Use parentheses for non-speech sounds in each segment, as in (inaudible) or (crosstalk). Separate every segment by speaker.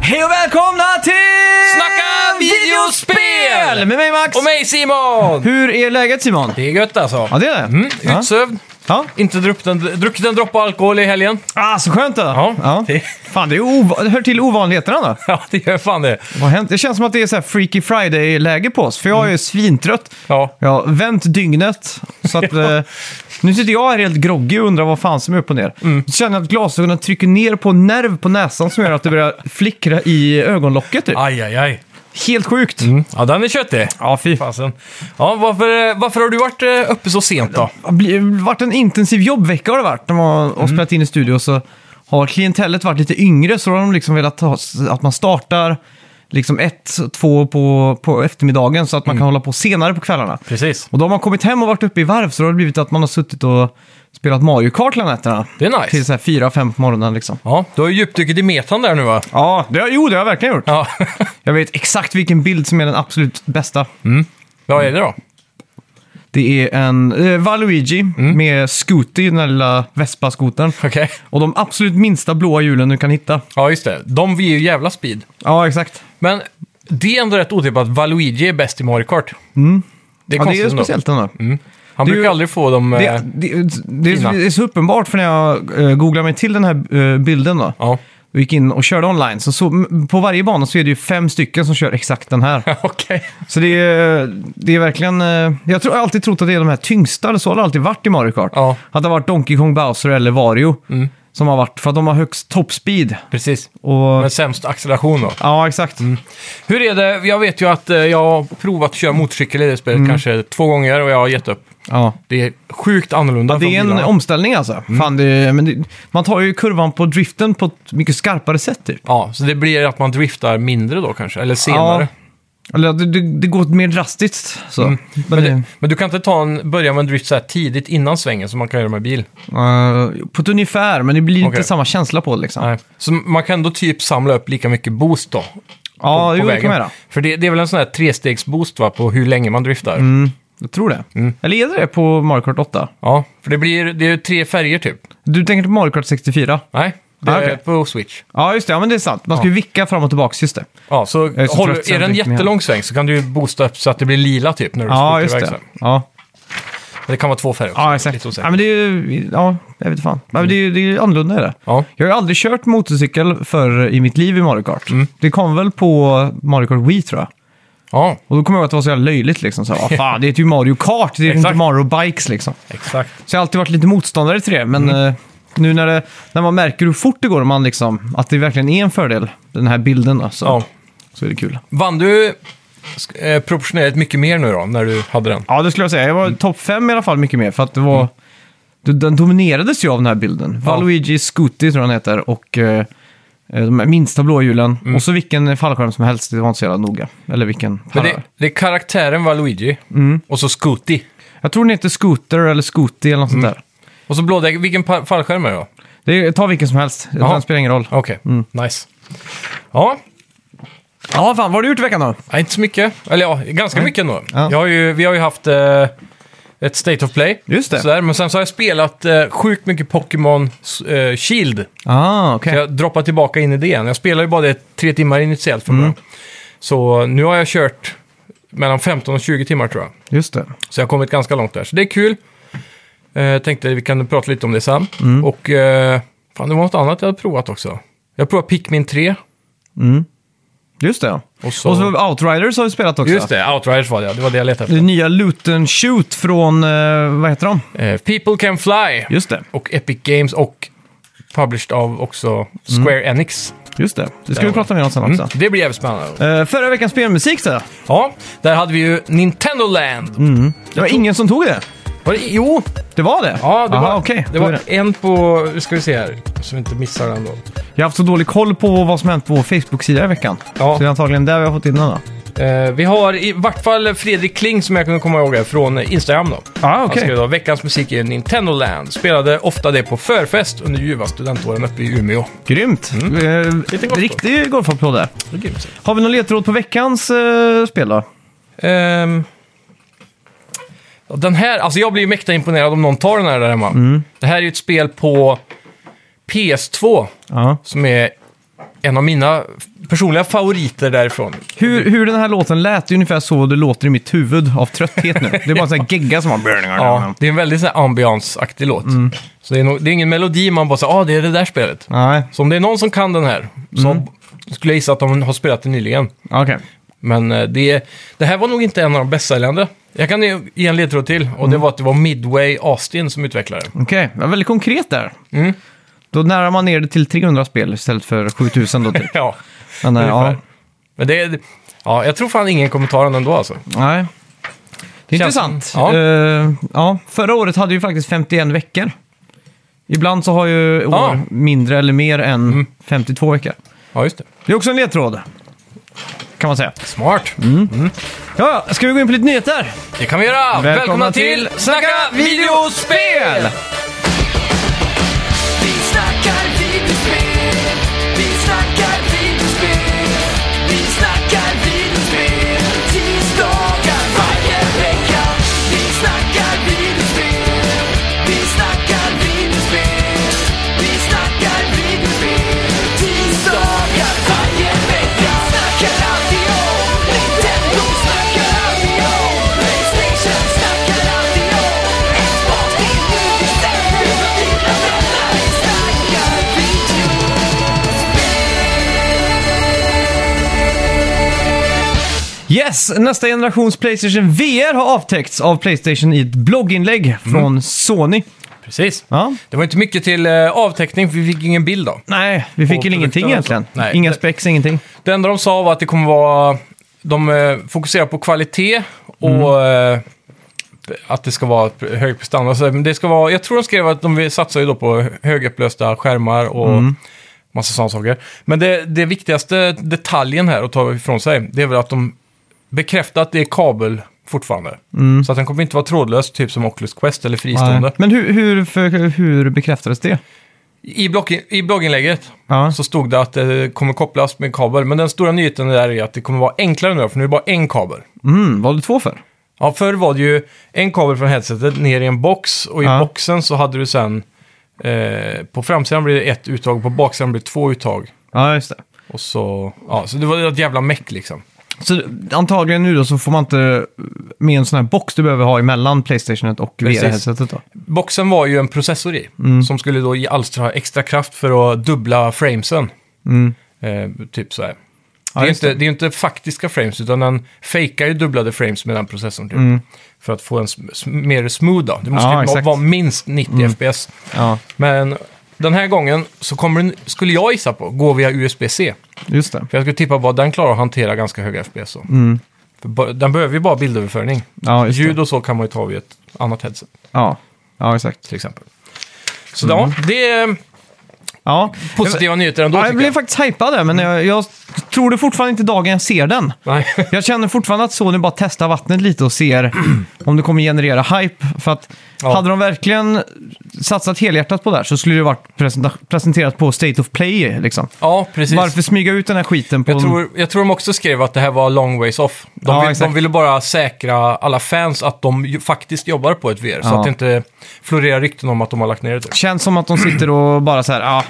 Speaker 1: Hej och välkomna till
Speaker 2: Snacka videospel!
Speaker 1: Med mig Max!
Speaker 2: Och mig Simon!
Speaker 1: Hur är läget Simon?
Speaker 2: Det är gött alltså.
Speaker 1: Ja det är det.
Speaker 2: Mm,
Speaker 1: ja.
Speaker 2: utsövd.
Speaker 1: ja.
Speaker 2: Inte druckit en, druckit en droppe alkohol i helgen. (laughs)
Speaker 1: Ah, så skönt då.
Speaker 2: Ja. Det-
Speaker 1: Fan, det är ova- det hör till ovanligheterna då.
Speaker 2: Ja, det gör fan det.
Speaker 1: Vad har hänt? Det känns som att det är så här Freaky Friday-läge på oss, för jag är ju svintrött.
Speaker 2: Mm. Ja.
Speaker 1: Jag har vänt dygnet, så
Speaker 2: (laughs)
Speaker 1: att eh, nu sitter jag här helt groggy och undrar vad fan som är upp och ner.
Speaker 2: Mm.
Speaker 1: Så känner jag att glasögonen trycker ner på en nerv på näsan som gör att det börjar flickra i ögonlocket typ.
Speaker 2: Aj, aj, aj.
Speaker 1: Helt sjukt!
Speaker 2: Ja, den är köttig.
Speaker 1: Ja, fy.
Speaker 2: Fasen. Ja, varför, eh, varför har du varit eh, uppe så sent då?
Speaker 1: Det har bli- varit en intensiv jobbvecka har det varit. De har och spelat in i studio så har klientellet varit lite yngre så har de liksom velat ha, att man startar liksom ett, två på, på eftermiddagen så att man kan hålla på senare på kvällarna.
Speaker 2: Precis.
Speaker 1: Och då har man kommit hem och varit uppe i varv så då har det blivit att man har suttit och spelat Mario Kart hela nätterna.
Speaker 2: Det är
Speaker 1: Till
Speaker 2: nice.
Speaker 1: så här fyra, fem på morgonen liksom.
Speaker 2: Ja, du har ju djupdykt i metan där nu va?
Speaker 1: Ja, det har, jo det har jag verkligen gjort.
Speaker 2: Ja. (laughs)
Speaker 1: Jag vet exakt vilken bild som är den absolut bästa.
Speaker 2: Vad är det då?
Speaker 1: Det är en eh, Valuigi med Scooty, den där lilla Vespa-skotern.
Speaker 2: Okej.
Speaker 1: Och de absolut minsta blåa hjulen du kan hitta.
Speaker 2: Ja, just det. De ger ju jävla speed.
Speaker 1: Ja, exakt.
Speaker 2: Men det är ändå rätt otippat att Valuigi är bäst i Mario Kart. Det är
Speaker 1: Mm. Ja, det
Speaker 2: konstigt
Speaker 1: är
Speaker 2: ändå.
Speaker 1: speciellt ändå.
Speaker 2: Han
Speaker 1: Det är
Speaker 2: brukar
Speaker 1: ju-
Speaker 2: aldrig få dem...
Speaker 1: Det,
Speaker 2: eh,
Speaker 1: det, det,
Speaker 2: Fina.
Speaker 1: är så uppenbart för när jag eh, googlar mig till den här eh, bilden då.
Speaker 2: Ja, (laughs)
Speaker 1: Och gick in och körde online. Så, så m- på varje bana så är det ju fem stycken som kör exakt den
Speaker 2: (laughs)
Speaker 1: här.
Speaker 2: okej.
Speaker 1: Så det är, det är verkligen... eh, Jag, tror, jag har alltid trott att det är de här tyngsta, eller så har det alltid varit i Mario Kart.
Speaker 2: Ja, Mm.
Speaker 1: Att det har varit Donkey Kong, Bowser eller Wario. Som har varit, för att de har högst toppspeed.
Speaker 2: precis.
Speaker 1: Och...
Speaker 2: Men Mm. sämst acceleration då.
Speaker 1: Ja, exakt.
Speaker 2: Hur är det? Jag vet ju att eh, jag har provat att köra motorcykel i det spelet
Speaker 1: Mm.
Speaker 2: kanske två gånger och jag har gett upp.
Speaker 1: Ja.
Speaker 2: Det är sjukt annorlunda
Speaker 1: Det är
Speaker 2: från
Speaker 1: en
Speaker 2: bilarna.
Speaker 1: omställning alltså.
Speaker 2: Mm.
Speaker 1: Fan, det, men det, man tar ju kurvan på driften på ett mycket skarpare sätt typ.
Speaker 2: Ja, så det blir att man driftar mindre då kanske, eller senare.
Speaker 1: Ja, eller det, det, det går mer drastiskt så. Men,
Speaker 2: Mm. Men,
Speaker 1: det,
Speaker 2: det, men du kan inte ta en, börja med en drift så här tidigt innan svängen som man kan göra med bil.
Speaker 1: eh, på ett ungefär, men det blir inte
Speaker 2: Okej.
Speaker 1: samma känsla på det liksom.
Speaker 2: Nej. Så man kan ändå typ samla upp lika mycket boost då.
Speaker 1: ja,
Speaker 2: på
Speaker 1: jo, det
Speaker 2: vägen.
Speaker 1: kan man göra.
Speaker 2: För det, det är väl en sån här trestegsboost va, på hur länge man driftar.
Speaker 1: Mm, jag tror det.
Speaker 2: Mm.
Speaker 1: Eller är det det på Mario Kart 8?
Speaker 2: Ja, för det blir det är tre färger typ.
Speaker 1: Du tänker på Mario Kart 64?
Speaker 2: Nej, det
Speaker 1: Ah,
Speaker 2: är
Speaker 1: okej.
Speaker 2: på Switch.
Speaker 1: Ja, just det. Ja, men det är sant. Man ska ju vicka fram och tillbaka, just det.
Speaker 2: Ja, så,
Speaker 1: är så
Speaker 2: håll,
Speaker 1: trött sen
Speaker 2: är det en
Speaker 1: riktigt med
Speaker 2: jättelång sväng så kan du ju boosta upp så att det blir lila typ när du
Speaker 1: Ja,
Speaker 2: skjuter
Speaker 1: just
Speaker 2: iväg
Speaker 1: det.
Speaker 2: sen.
Speaker 1: Ja,
Speaker 2: Men Det kan vara två färger också.
Speaker 1: ja
Speaker 2: Lite
Speaker 1: exakt.
Speaker 2: osäkert.
Speaker 1: Ja, men det är ju... Ja, jag vet fan. Ja, men det är ju det är ju annorlunda är det.
Speaker 2: ja.
Speaker 1: Jag har ju aldrig kört motorcykel för i mitt liv i Mario Kart.
Speaker 2: Mm.
Speaker 1: Det kom väl på Mario Kart Wii tror jag.
Speaker 2: ja,
Speaker 1: Och då kommer jag ihåg att det var så jävla löjligt liksom. Så
Speaker 2: (laughs)
Speaker 1: här, "Vad fan, det är ju Mario Kart, det är ju inte
Speaker 2: Exakt.
Speaker 1: Mario Bikes liksom.
Speaker 2: exakt.
Speaker 1: Så jag har alltid varit lite motståndare till det, men
Speaker 2: Mm.
Speaker 1: eh, nu när, det, när man märker hur fort det går, man liksom, att det verkligen är en fördel, den här bilden då, så,
Speaker 2: Ja.
Speaker 1: så är det kul.
Speaker 2: Vann du sk- eh, proportionerligt mycket mer nu då, när du hade den?
Speaker 1: Ja, det skulle jag säga. Jag var topp fem i alla fall mycket mer, för att det var... du- Den dominerades ju av den här bilden.
Speaker 2: Ja.
Speaker 1: Valuigi Scooty tror jag han heter, och eh, de här minsta blåhjulen. Och så vilken fallskärm som helst, det var inte så jävla noga. Eller vilken
Speaker 2: Men
Speaker 1: parallell.
Speaker 2: det, det är karaktären var Luigi
Speaker 1: Mm.
Speaker 2: och så Scooty.
Speaker 1: Jag tror den heter Scooter eller Scooty eller något sånt där.
Speaker 2: Och så blådäck. Vilken pa- fallskärm är det då?
Speaker 1: Det är, ta vilken som helst,
Speaker 2: Ja.
Speaker 1: den spelar ingen roll.
Speaker 2: Okej,
Speaker 1: Mm.
Speaker 2: nice. Ja,
Speaker 1: Ja, fan, vad har du gjort i veckan då?
Speaker 2: nej, inte så mycket. Eller ja, ganska mycket ändå.
Speaker 1: Ja.
Speaker 2: Jag har ju, vi har ju haft eh, ett State of Play.
Speaker 1: Just det.
Speaker 2: Sådär, men sen så har jag spelat eh, sjukt mycket Pokémon eh, Shield.
Speaker 1: Ah, okej.
Speaker 2: Så jag droppar tillbaka in i det igen. Jag spelar ju bara det tre timmar initiellt från början. Så nu har jag kört mellan 15 och 20 timmar tror jag.
Speaker 1: Just det.
Speaker 2: Så jag har kommit ganska långt där. Så det är kul. Eh, tänkte vi kan prata lite om det sen.
Speaker 1: Mm.
Speaker 2: Och eh, fan, det var något annat jag hade provat också. Jag provade Pikmin 3.
Speaker 1: Just det, ja.
Speaker 2: Och så,
Speaker 1: Och så Outriders har vi spelat också.
Speaker 2: just det, Outriders var det. ja. Det var det jag letade
Speaker 1: Det nya Loot and Shoot från, eh, vad heter de?
Speaker 2: efter. Eh, People Can Fly.
Speaker 1: Just det,
Speaker 2: Och Epic Games och published av också Square Enix.
Speaker 1: just det. Det ska
Speaker 2: Där
Speaker 1: vi
Speaker 2: har
Speaker 1: prata mer om sen Mm. också.
Speaker 2: Mm. Det blir jävligt spännande.
Speaker 1: Eh, förra veckans spelmusik så.
Speaker 2: Ja, där hade vi ju Nintendo Land.
Speaker 1: Mm. Det var ingen som tog det.
Speaker 2: Var det, jo,
Speaker 1: Det var det?
Speaker 2: Ja, det
Speaker 1: Aha,
Speaker 2: var,
Speaker 1: okej.
Speaker 2: det
Speaker 1: Då är
Speaker 2: var
Speaker 1: det.
Speaker 2: en på... Nu ska vi se här, så vi inte missar den då.
Speaker 1: Jag har haft så dålig koll på vad som hänt på vår Facebook-sida i veckan.
Speaker 2: Ja.
Speaker 1: Så det är antagligen där vi har fått in den då.
Speaker 2: Eh, vi har i vart fall Fredrik Kling som jag kunde komma ihåg här, från Instagram då.
Speaker 1: Ah,
Speaker 2: Han skrev då veckans musik är Nintendo Land. Spelade ofta det på förfest under ljuva studentåren uppe i Umeå.
Speaker 1: Grymt. Eh,
Speaker 2: Mm. Lite gott då.
Speaker 1: riktig golfapplåd där.
Speaker 2: Det är grymt.
Speaker 1: Har vi någon ledtråd på veckans eh, spel då?
Speaker 2: Ehm, ja, den här, alltså jag blir ju mäkta imponerad om någon tar den
Speaker 1: Mm.
Speaker 2: här där hemma. Det här är ju ett spel på PS2
Speaker 1: Ja.
Speaker 2: som är en av mina personliga favoriter därifrån.
Speaker 1: Hur, hur den här låten lät, det är ungefär så det låter i mitt huvud av trötthet nu. Det är bara en sån
Speaker 2: (laughs)
Speaker 1: här gegga som har...
Speaker 2: Ja, det är en väldigt så här ambiance-aktig låt. Så det är, nog, det är ingen melodi man bara säger, ah, det är det där spelet.
Speaker 1: Nej,
Speaker 2: Så om det är någon som kan den här, så skulle jag gissa att de har spelat den nyligen.
Speaker 1: okej.
Speaker 2: Men eh, det, det här var nog inte en av de bästsäljande. Jag kan ge ge en ledtråd till, och det var att det var Midway Austin som (laughs) utvecklade den.
Speaker 1: Okej, ja, väldigt konkret där.
Speaker 2: Mm.
Speaker 1: Då närar man ner det till 300 spel istället för 7000 då typ.
Speaker 2: Ja,
Speaker 1: Men, eh, ja,
Speaker 2: ungefär. Men det är... Ja, jag tror fan ingen kommentar ändå alltså.
Speaker 1: nej. Det är
Speaker 2: Känns-
Speaker 1: intressant.
Speaker 2: ja.
Speaker 1: Eh, ja, förra året hade vi faktiskt 51 veckor. Ibland så har ju år
Speaker 2: Ja. Mm.
Speaker 1: mindre eller mer än 52 veckor.
Speaker 2: Ja, just det.
Speaker 1: Det är också en ledtråd. Kan man säga.
Speaker 2: Smart.
Speaker 1: Ja, ja, ska vi gå in på lite nyheter?
Speaker 2: Det kan vi göra! Välkomna, till Snacka videospel!
Speaker 3: Vi snackar videospel, vi snackar videospel, vi snackar videospel, tisdagar varje vecka. Vi snackar videospel, vi snackar videospel, vi snackar videospel, tisdagar varje vecka. Snackar alltid om Nintendo, snackar alltid om Playstation, snackar alltid om Xbox, din nyhetssändning, dina vänner. Vi snackar video.
Speaker 1: Yes, nästa generations Playstation VR har avtäckts av Playstation i ett
Speaker 2: Mm.
Speaker 1: blogginlägg från Sony.
Speaker 2: Precis.
Speaker 1: Ja.
Speaker 2: Det var inte mycket till eh, avteckning, för vi fick ingen bild då.
Speaker 1: Nej, vi fick
Speaker 2: Och
Speaker 1: väl ingenting
Speaker 2: produkter och så.
Speaker 1: egentligen.
Speaker 2: Nej.
Speaker 1: Inga specs, ingenting.
Speaker 2: Det enda de sa var att det kommer vara... De eh, fokuserar på kvalitet och eh, att det ska vara hög prestanda. Så det ska vara, jag tror de skrev att de vill- satsar ju då på högupplösta skärmar och massa sådana saker. Men det, det viktigaste detaljen här att ta ifrån sig, det är väl att de bekräftar att det är kabel fortfarande. Så att den kommer inte vara trådlös, typ som Oculus Quest eller fristående.
Speaker 1: Men hur, hur, för, hur bekräftades det?
Speaker 2: I, block, I blogginlägget
Speaker 1: Ja.
Speaker 2: så stod det att det kommer kopplas med kabel. Men den stora nyheten där är att det kommer vara enklare nu, för nu är det bara en kabel.
Speaker 1: Mm, vad har du två för?
Speaker 2: Ja, förr var det ju en kabel från headsetet ner i en box och i
Speaker 1: Ja.
Speaker 2: boxen så hade du sen... Eh, på framsidan blir det ett uttag, på baksidan blir det två uttag.
Speaker 1: Ja, just det.
Speaker 2: Och så... Ja, så det var ett jävla meck liksom.
Speaker 1: Så antagligen nu då så får man inte med en sån här box du behöver ha emellan Playstationet och
Speaker 2: Precis.
Speaker 1: VR-headsetet då.
Speaker 2: Boxen var ju en processor i,
Speaker 1: Mm.
Speaker 2: som skulle då ge alstra extra kraft för att dubbla framesen. Eh, typ så här.
Speaker 1: Mm. Ja,
Speaker 2: det, är
Speaker 1: just
Speaker 2: inte, det är ju inte faktiska frames, utan den fejkar ju dubblade frames med den processorn. Typ. För att få en sm- sm- mer smooth då. Det måste
Speaker 1: Mm. Ja,
Speaker 2: ju
Speaker 1: exakt. Mm.
Speaker 2: vara minst 90 fps.
Speaker 1: Ja,
Speaker 2: Men den här gången så kommer den, skulle jag gissa på, gå via USB-C.
Speaker 1: just det.
Speaker 2: För jag skulle tippa på att den klarar att hantera ganska höga fps. Då. För ba- den behöver ju bara bildöverföring.
Speaker 1: Mm. Ja, just
Speaker 2: Ljud
Speaker 1: det.
Speaker 2: och så kan man ju ta vid ett annat headset
Speaker 1: Ja. ja, exakt.
Speaker 2: till exempel. Så ja, det är
Speaker 1: Ja.
Speaker 2: positiva nyheter ändå
Speaker 1: Mm. Ja, jag
Speaker 2: tycker
Speaker 1: blev
Speaker 2: jag.
Speaker 1: faktiskt hypad där, men jag, jag tror det fortfarande inte dagen jag ser den.
Speaker 2: Nej.
Speaker 1: Jag känner fortfarande att Sony bara testar vattnet lite och ser om det kommer generera hype. För att
Speaker 2: Ja.
Speaker 1: hade de verkligen satsat helhjärtat på det här så skulle det varit presenta- presenterat på State of Play. Liksom.
Speaker 2: Ja, precis.
Speaker 1: Varför smyga ut den här skiten på...
Speaker 2: Jag tror, jag tror de också skrev att det här var long ways off. De,
Speaker 1: Ja,
Speaker 2: vill,
Speaker 1: exakt.
Speaker 2: de ville bara säkra alla fans att de ju, faktiskt jobbar på ett VR. Så
Speaker 1: Ja.
Speaker 2: att det inte florerar rykten om att de har lagt ner det. typ.
Speaker 1: Känns som att de sitter och bara så här, ah.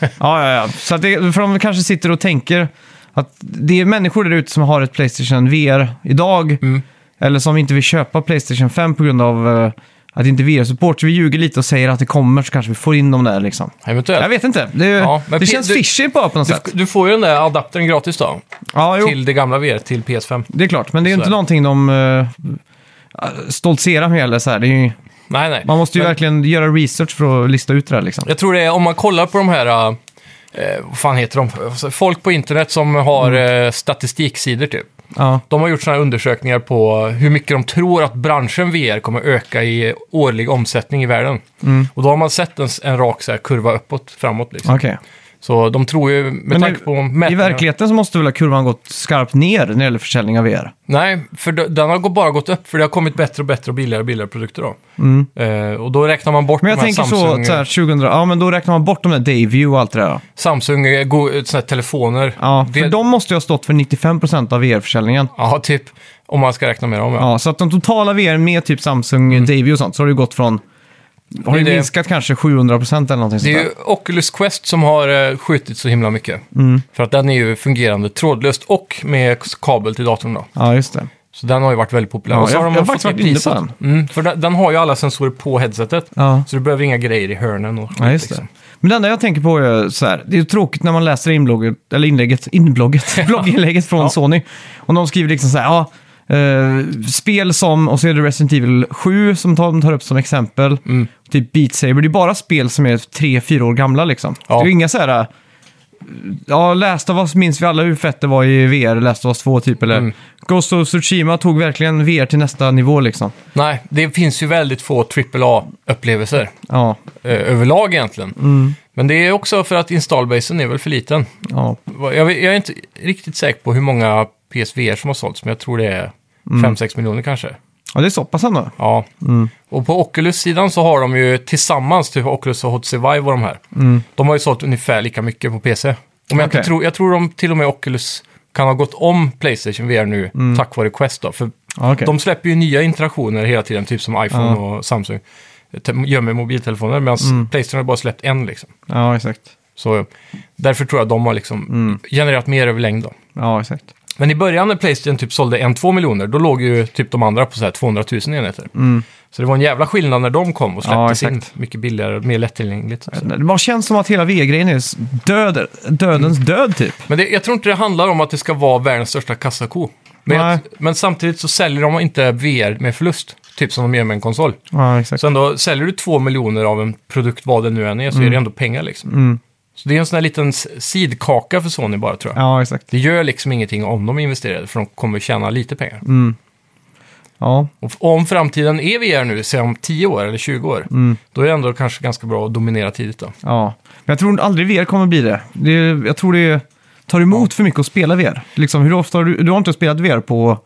Speaker 1: ja, ja, ja. Så att det, för de kanske sitter och tänker att det är människor där ute som har ett Playstation VR idag.
Speaker 2: Mm.
Speaker 1: Eller som inte vill köpa Playstation 5 på grund av eh, att det inte är VR-support. Så vi ljuger lite och säger att det kommer så kanske vi får in dem där liksom. Jag
Speaker 2: Eventuellt.
Speaker 1: vet inte. Det,
Speaker 2: Ja, men
Speaker 1: det
Speaker 2: Pe-
Speaker 1: känns
Speaker 2: du-
Speaker 1: fishy bara på något
Speaker 2: Du,
Speaker 1: sätt.
Speaker 2: du får ju den där adaptern gratis då.
Speaker 1: Ja, jo,
Speaker 2: Till det gamla VR, till PS5.
Speaker 1: det är klart. Men det är ju inte
Speaker 2: Sådär.
Speaker 1: någonting de uh, stoltserar med eller så här. Det är ju,
Speaker 2: Nej, nej.
Speaker 1: man måste ju
Speaker 2: Men
Speaker 1: verkligen göra research för att lista ut det där liksom.
Speaker 2: Jag tror det är, om man kollar på de här, eh, vad fan heter de? Folk på internet som har
Speaker 1: Mm.
Speaker 2: eh, statistiksidor typ.
Speaker 1: Ja,
Speaker 2: De har gjort sådana här undersökningar på hur mycket de tror att branschen VR kommer öka i årlig omsättning i världen.
Speaker 1: Mm.
Speaker 2: Och då har man sett en, en rak så här kurva uppåt, framåt. Liksom.
Speaker 1: okej.
Speaker 2: Så de tror ju, med
Speaker 1: Men
Speaker 2: tanke
Speaker 1: i-
Speaker 2: på
Speaker 1: I
Speaker 2: mätningar...
Speaker 1: verkligheten så måste väl ha kurvan gått skarpt ner när det gäller försäljning av VR?
Speaker 2: Nej, för de- den har gå- bara gått upp, för det har kommit bättre och bättre och billigare och billigare produkter då. Eh, och då räknar man bort
Speaker 1: Mm. Men jag
Speaker 2: de här
Speaker 1: tänker så,
Speaker 2: Samsung,
Speaker 1: så här, 2000, ja men då räknar man bort de där Dayview och allt det där. ja.
Speaker 2: Samsung eh, go, såna här telefoner.
Speaker 1: Ja, för
Speaker 2: Det-
Speaker 1: de måste ju ha stått för 95% av VR-försäljningen.
Speaker 2: Ja, typ. Om man ska räkna med dem, ja. Mm.
Speaker 1: Ja, så att de totala VR med typ Samsung, Dayview och sånt, så har det ju gått från Har ju
Speaker 2: det-
Speaker 1: minskat kanske 700 procent eller någonting
Speaker 2: Det
Speaker 1: sånt
Speaker 2: är
Speaker 1: där.
Speaker 2: ju Oculus Quest som har eh, skjutit så himla mycket.
Speaker 1: Mm.
Speaker 2: För att den är ju fungerande trådlöst och med kabel till datorn då.
Speaker 1: Ja, just det.
Speaker 2: Så den har ju varit väldigt populär.
Speaker 1: Ja,
Speaker 2: Och så
Speaker 1: jag-
Speaker 2: de
Speaker 1: jag har
Speaker 2: fått
Speaker 1: faktiskt
Speaker 2: ner
Speaker 1: varit inne på
Speaker 2: priset. Mm, för den, den har ju alla sensorer på headsetet.
Speaker 1: Ja.
Speaker 2: Så du behöver inga grejer i hörnen och skit,
Speaker 1: Ja, just det.
Speaker 2: liksom.
Speaker 1: Men det enda jag tänker på är så här, det är ju tråkigt när man läser inlogget, eller inlägget, (laughs) inblogget, blogginlägget från Sony. Och de skriver liksom så här, ja, eh, spel som, och så är det Resident Evil 7 som de tar upp som exempel. Typ Beat Saber, det är bara spel som är 3-4 år gamla liksom.
Speaker 2: Ja.
Speaker 1: Det är ju inga så här, eh, ja, Last of Us minns vi alla hur fett det var i VR, Last of Us 2 typ, eller
Speaker 2: Mm.
Speaker 1: Ghost of Tsushima tog verkligen VR till nästa nivå liksom.
Speaker 2: Nej, det finns ju väldigt få AAA-upplevelser
Speaker 1: Ja,
Speaker 2: eh, överlag egentligen.
Speaker 1: Mm.
Speaker 2: Men det är också för att installbasen är väl för liten.
Speaker 1: ja.
Speaker 2: Vad- Jag, vet- jag är inte riktigt säker på hur många PSVR som har sålts, men jag tror det är
Speaker 1: Mm.
Speaker 2: 5-6 miljoner kanske.
Speaker 1: ja det är så pass ändå. Mm.
Speaker 2: Ja. Och på Oculus-sidan så har de ju tillsammans, typ Oculus och HTC Vive och de här, de har ju sålt ungefär lika mycket på PC. Om jag, inte
Speaker 1: Mm. Okej.
Speaker 2: tror, jag tror de till och med Oculus kan ha gått om Playstation VR nu tack vare Quest då. För
Speaker 1: Ja, Mm. okej.
Speaker 2: de släpper ju nya interaktioner hela tiden, typ som iPhone och Samsung. Te- Gör med mobiltelefoner, medan
Speaker 1: Mm.
Speaker 2: Playstation har bara släppt en liksom.
Speaker 1: Ja, exakt.
Speaker 2: Så därför tror jag de har liksom
Speaker 1: Mm.
Speaker 2: genererat mer över längd då.
Speaker 1: Ja, exakt.
Speaker 2: Men i början när Playstation typ sålde 1-2 miljoner, då låg ju typ de andra på så här 200 000 enheter. Så det var en jävla skillnad när de kom och
Speaker 1: Mm. Ja,
Speaker 2: släpptes in.
Speaker 1: exakt.
Speaker 2: Mycket billigare och mer lättillgängligt. Så.
Speaker 1: Det bara känns som att hela VR-grejen är s- död, dödens död typ.
Speaker 2: Men det, jag tror inte det handlar om att det ska vara världens största kassako. Men, jag,
Speaker 1: Nej.
Speaker 2: men samtidigt så säljer de inte VR med förlust, typ som de gör med en konsol.
Speaker 1: Ja, exakt.
Speaker 2: Så ändå, säljer du 2 miljoner av en produkt, vad det nu än är, så är
Speaker 1: Mm.
Speaker 2: det ändå pengar liksom. Så det är en sån här liten s- sidkaka för Sony bara tror jag.
Speaker 1: Ja, exakt.
Speaker 2: Det gör liksom ingenting om de investerar, för de kommer tjäna lite pengar.
Speaker 1: Ja,
Speaker 2: Och f- om framtiden är VR nu, säg om 10 år eller 20 år,
Speaker 1: Mm.
Speaker 2: då är det ändå kanske ganska bra att dominera tidigt då.
Speaker 1: ja. Men jag tror aldrig VR kommer bli det. det är- jag tror det tar emot för mycket att spela VR. Liksom, hur ofta har du, du har inte spelat VR på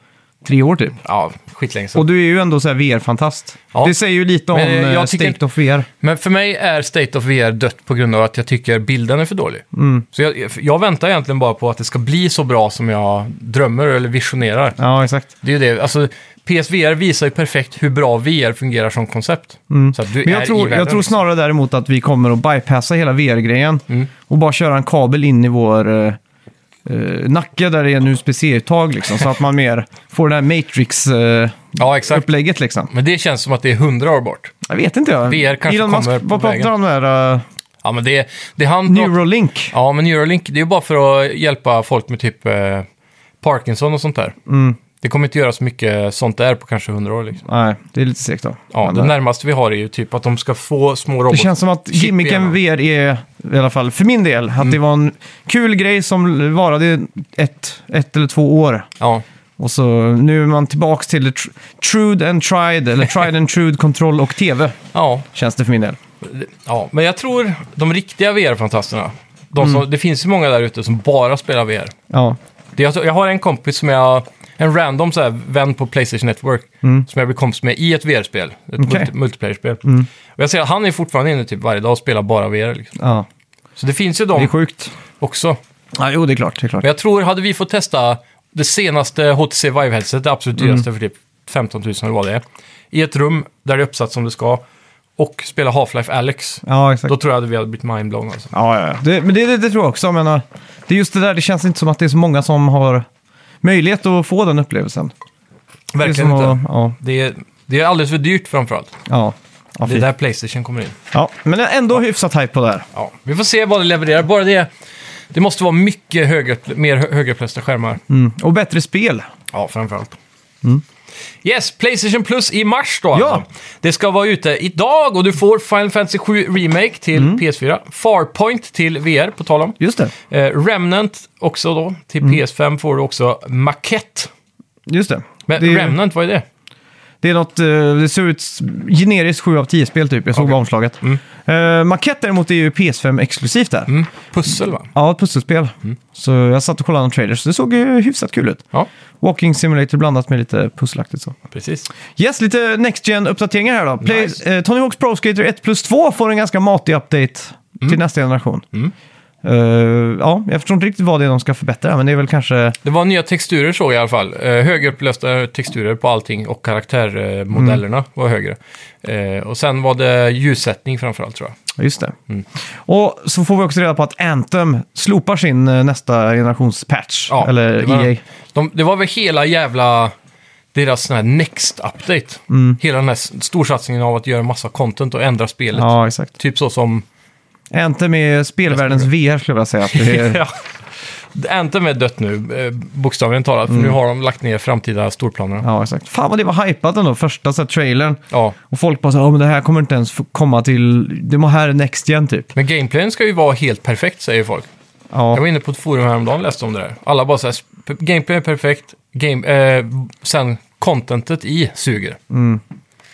Speaker 1: tre år typ.
Speaker 2: Ja, skitlänge sedan.
Speaker 1: Och du är ju ändå så här VR-fantast.
Speaker 2: Ja.
Speaker 1: Det säger ju lite om
Speaker 2: Men, eh,
Speaker 1: eh,
Speaker 2: jag tycker-
Speaker 1: State of VR.
Speaker 2: Men för mig är State of VR dött på grund av att jag tycker bilden är för dålig.
Speaker 1: Mm.
Speaker 2: Så jag, jag väntar egentligen bara på att det ska bli så bra som jag drömmer eller visionerar.
Speaker 1: Ja, exakt.
Speaker 2: Det är ju det, alltså PSVR visar ju perfekt hur bra VR fungerar som koncept. Så
Speaker 1: Mm.
Speaker 2: att du
Speaker 1: Men jag
Speaker 2: är
Speaker 1: tror,
Speaker 2: i världen,
Speaker 1: jag tror
Speaker 2: liksom. Mm.
Speaker 1: snarare däremot att vi kommer att bypassa hela VR-grejen och bara köra en kabel in i vår eh, eh, nacke där det är en USB-C-uttag liksom. Så att man mer får det här Matrix... Eh,
Speaker 2: Ja, exakt.
Speaker 1: upplägget liksom.
Speaker 2: Men det känns som att det är hundra år bort.
Speaker 1: Jag vet inte jag.
Speaker 2: VR kanske
Speaker 1: Elon Musk,
Speaker 2: kommer på
Speaker 1: vad pratar
Speaker 2: vägen.
Speaker 1: han om där? eh,
Speaker 2: Ja, men det, det han...
Speaker 1: Neuralink?
Speaker 2: Ja, men Neuralink, det är ju bara för att hjälpa folk med typ eh, Parkinson och sånt där.
Speaker 1: Mm.
Speaker 2: Det kommer inte göra så mycket sånt där på kanske 100 år. Liksom.
Speaker 1: Nej, det är lite segt då.
Speaker 2: Ja,
Speaker 1: Men,
Speaker 2: det
Speaker 1: eh,
Speaker 2: närmaste vi har är ju typ att de ska få små
Speaker 1: det
Speaker 2: robotar.
Speaker 1: känns som att
Speaker 2: Chip Mm. i hjärnan.
Speaker 1: gimmicken VR är, i alla fall för min del, att det var en kul grej som varade ett, ett eller två år.
Speaker 2: Ja,
Speaker 1: Och så nu är man tillbaks till tr- Trued and Tried, eller Tried and Trued (laughs) Control och TV,
Speaker 2: ja,
Speaker 1: känns det för min del.
Speaker 2: ja, men jag tror de riktiga VR-fantasterna, de
Speaker 1: Mm.
Speaker 2: som, det finns ju många där ute som bara spelar VR.
Speaker 1: Ja,
Speaker 2: Det, jag, jag har en kompis som jag, en random så här, vän på Playstation Network,
Speaker 1: Mm.
Speaker 2: som jag blev kompis med i ett VR-spel, ett multi- multiplayer-spel. Och jag ser att han är fortfarande inne typ varje dag och spelar bara VR. Liksom.
Speaker 1: ja.
Speaker 2: Så det finns ju
Speaker 1: Det är
Speaker 2: de
Speaker 1: sjukt.
Speaker 2: också.
Speaker 1: Ja, jo, det är klart. Det är klart.
Speaker 2: Men jag tror, hade vi fått testa det senaste HTC Vive-headset, det absolut
Speaker 1: Mm.
Speaker 2: dyraste för typ 15 000 eller vad det är, i ett rum där det är uppsatt som det ska, och spela Half-Life Alex,
Speaker 1: Ja, exakt.
Speaker 2: då tror jag att vi hade blivit mindblown. Alltså.
Speaker 1: Ja, ja, ja. Det, men det, det, det tror jag också. Jag menar, det är just det där, det känns inte som att det är så många som har möjlighet att få den upplevelsen.
Speaker 2: Verkligen
Speaker 1: det är som
Speaker 2: inte.
Speaker 1: Att, ja,
Speaker 2: Det är, det är alldeles för dyrt framförallt.
Speaker 1: ja. Ja,
Speaker 2: Det är
Speaker 1: fy.
Speaker 2: där Playstation kommer in.
Speaker 1: ja, men ändå hyfsat hype på det här.
Speaker 2: Ja, vi får se vad det levererar. Bara det, det måste vara mycket högre, mer hö- högupplösta skärmar.
Speaker 1: Mm. Och bättre spel.
Speaker 2: Ja, framförallt. Yes, Playstation Plus i mars då.
Speaker 1: Mm. Ja.
Speaker 2: Alltså. Det ska vara ute idag och du får Final Fantasy 7 Remake till
Speaker 1: Mm.
Speaker 2: PS4. Farpoint till VR, på tal om.
Speaker 1: Just det.
Speaker 2: Eh, Remnant också då. Till
Speaker 1: Mm.
Speaker 2: PS5 får du också Maquette.
Speaker 1: Just det.
Speaker 2: Men
Speaker 1: det, är,
Speaker 2: Remnant, vad är det?
Speaker 1: det är något, eh, det ser ut s- generiskt 7 av 10 spel typ. Jag såg
Speaker 2: Okej.
Speaker 1: bara omslaget. Mm. Maquette däremot är ju PS5 exklusivt där.
Speaker 2: Mm. Pussel, va?
Speaker 1: Ja, ett pusselspel. Så jag satt och kollade någon trailer, så det såg ju hyfsat kul ut.
Speaker 2: Ja,
Speaker 1: Walking simulator blandat med lite pusselaktigt så.
Speaker 2: precis.
Speaker 1: Yes, lite Next Gen-uppdateringar här då.
Speaker 2: Mm.
Speaker 1: Play, eh, Tony Hawk's Pro Skater 1 plus 2 får en ganska matig update till nästa generation. Eh, ja, jag förstår inte riktigt vad det är de ska förbättra, men det är väl kanske...
Speaker 2: Det var nya texturer såg jag i alla fall. Eh, högupplösta texturer på allting och karaktärmodellerna eh, modellerna
Speaker 1: Mm.
Speaker 2: var högre. Eh, och sen var det ljussättning framförallt tror jag.
Speaker 1: Just det.
Speaker 2: Mm.
Speaker 1: Och så får vi också reda på att Anthem slopar sin eh, nästa generations patch,
Speaker 2: Ja,
Speaker 1: eller E
Speaker 2: det var,
Speaker 1: EA.
Speaker 2: De, det var väl hela jävla deras sån här next update.
Speaker 1: Mm.
Speaker 2: Hela den här s- storsatsningen av att göra massa content och ändra spelet.
Speaker 1: Ja, exakt.
Speaker 2: Typ så som
Speaker 1: Anthem är spelvärldens VR skulle jag vilja säga. Att det är,
Speaker 2: (laughs) Ja. Anthem är dött nu, eh, bokstavligen talat, för nu har de lagt ner framtida storplanerna. Ja.
Speaker 1: Mm. ja, exakt. Fan vad det var hypat ändå, första så här, trailern. Och folk bara så här, "Ja, men det här kommer inte ens få komma till, det må här är next gen typ.
Speaker 2: Men gameplayen ska ju vara helt perfekt, säger folk. Jag
Speaker 1: Ja,
Speaker 2: var inne på ett forum häromdagen och läste om det där. Alla bara såhär, gameplayen är perfekt, game, eh, sen contentet i suger.
Speaker 1: Mm.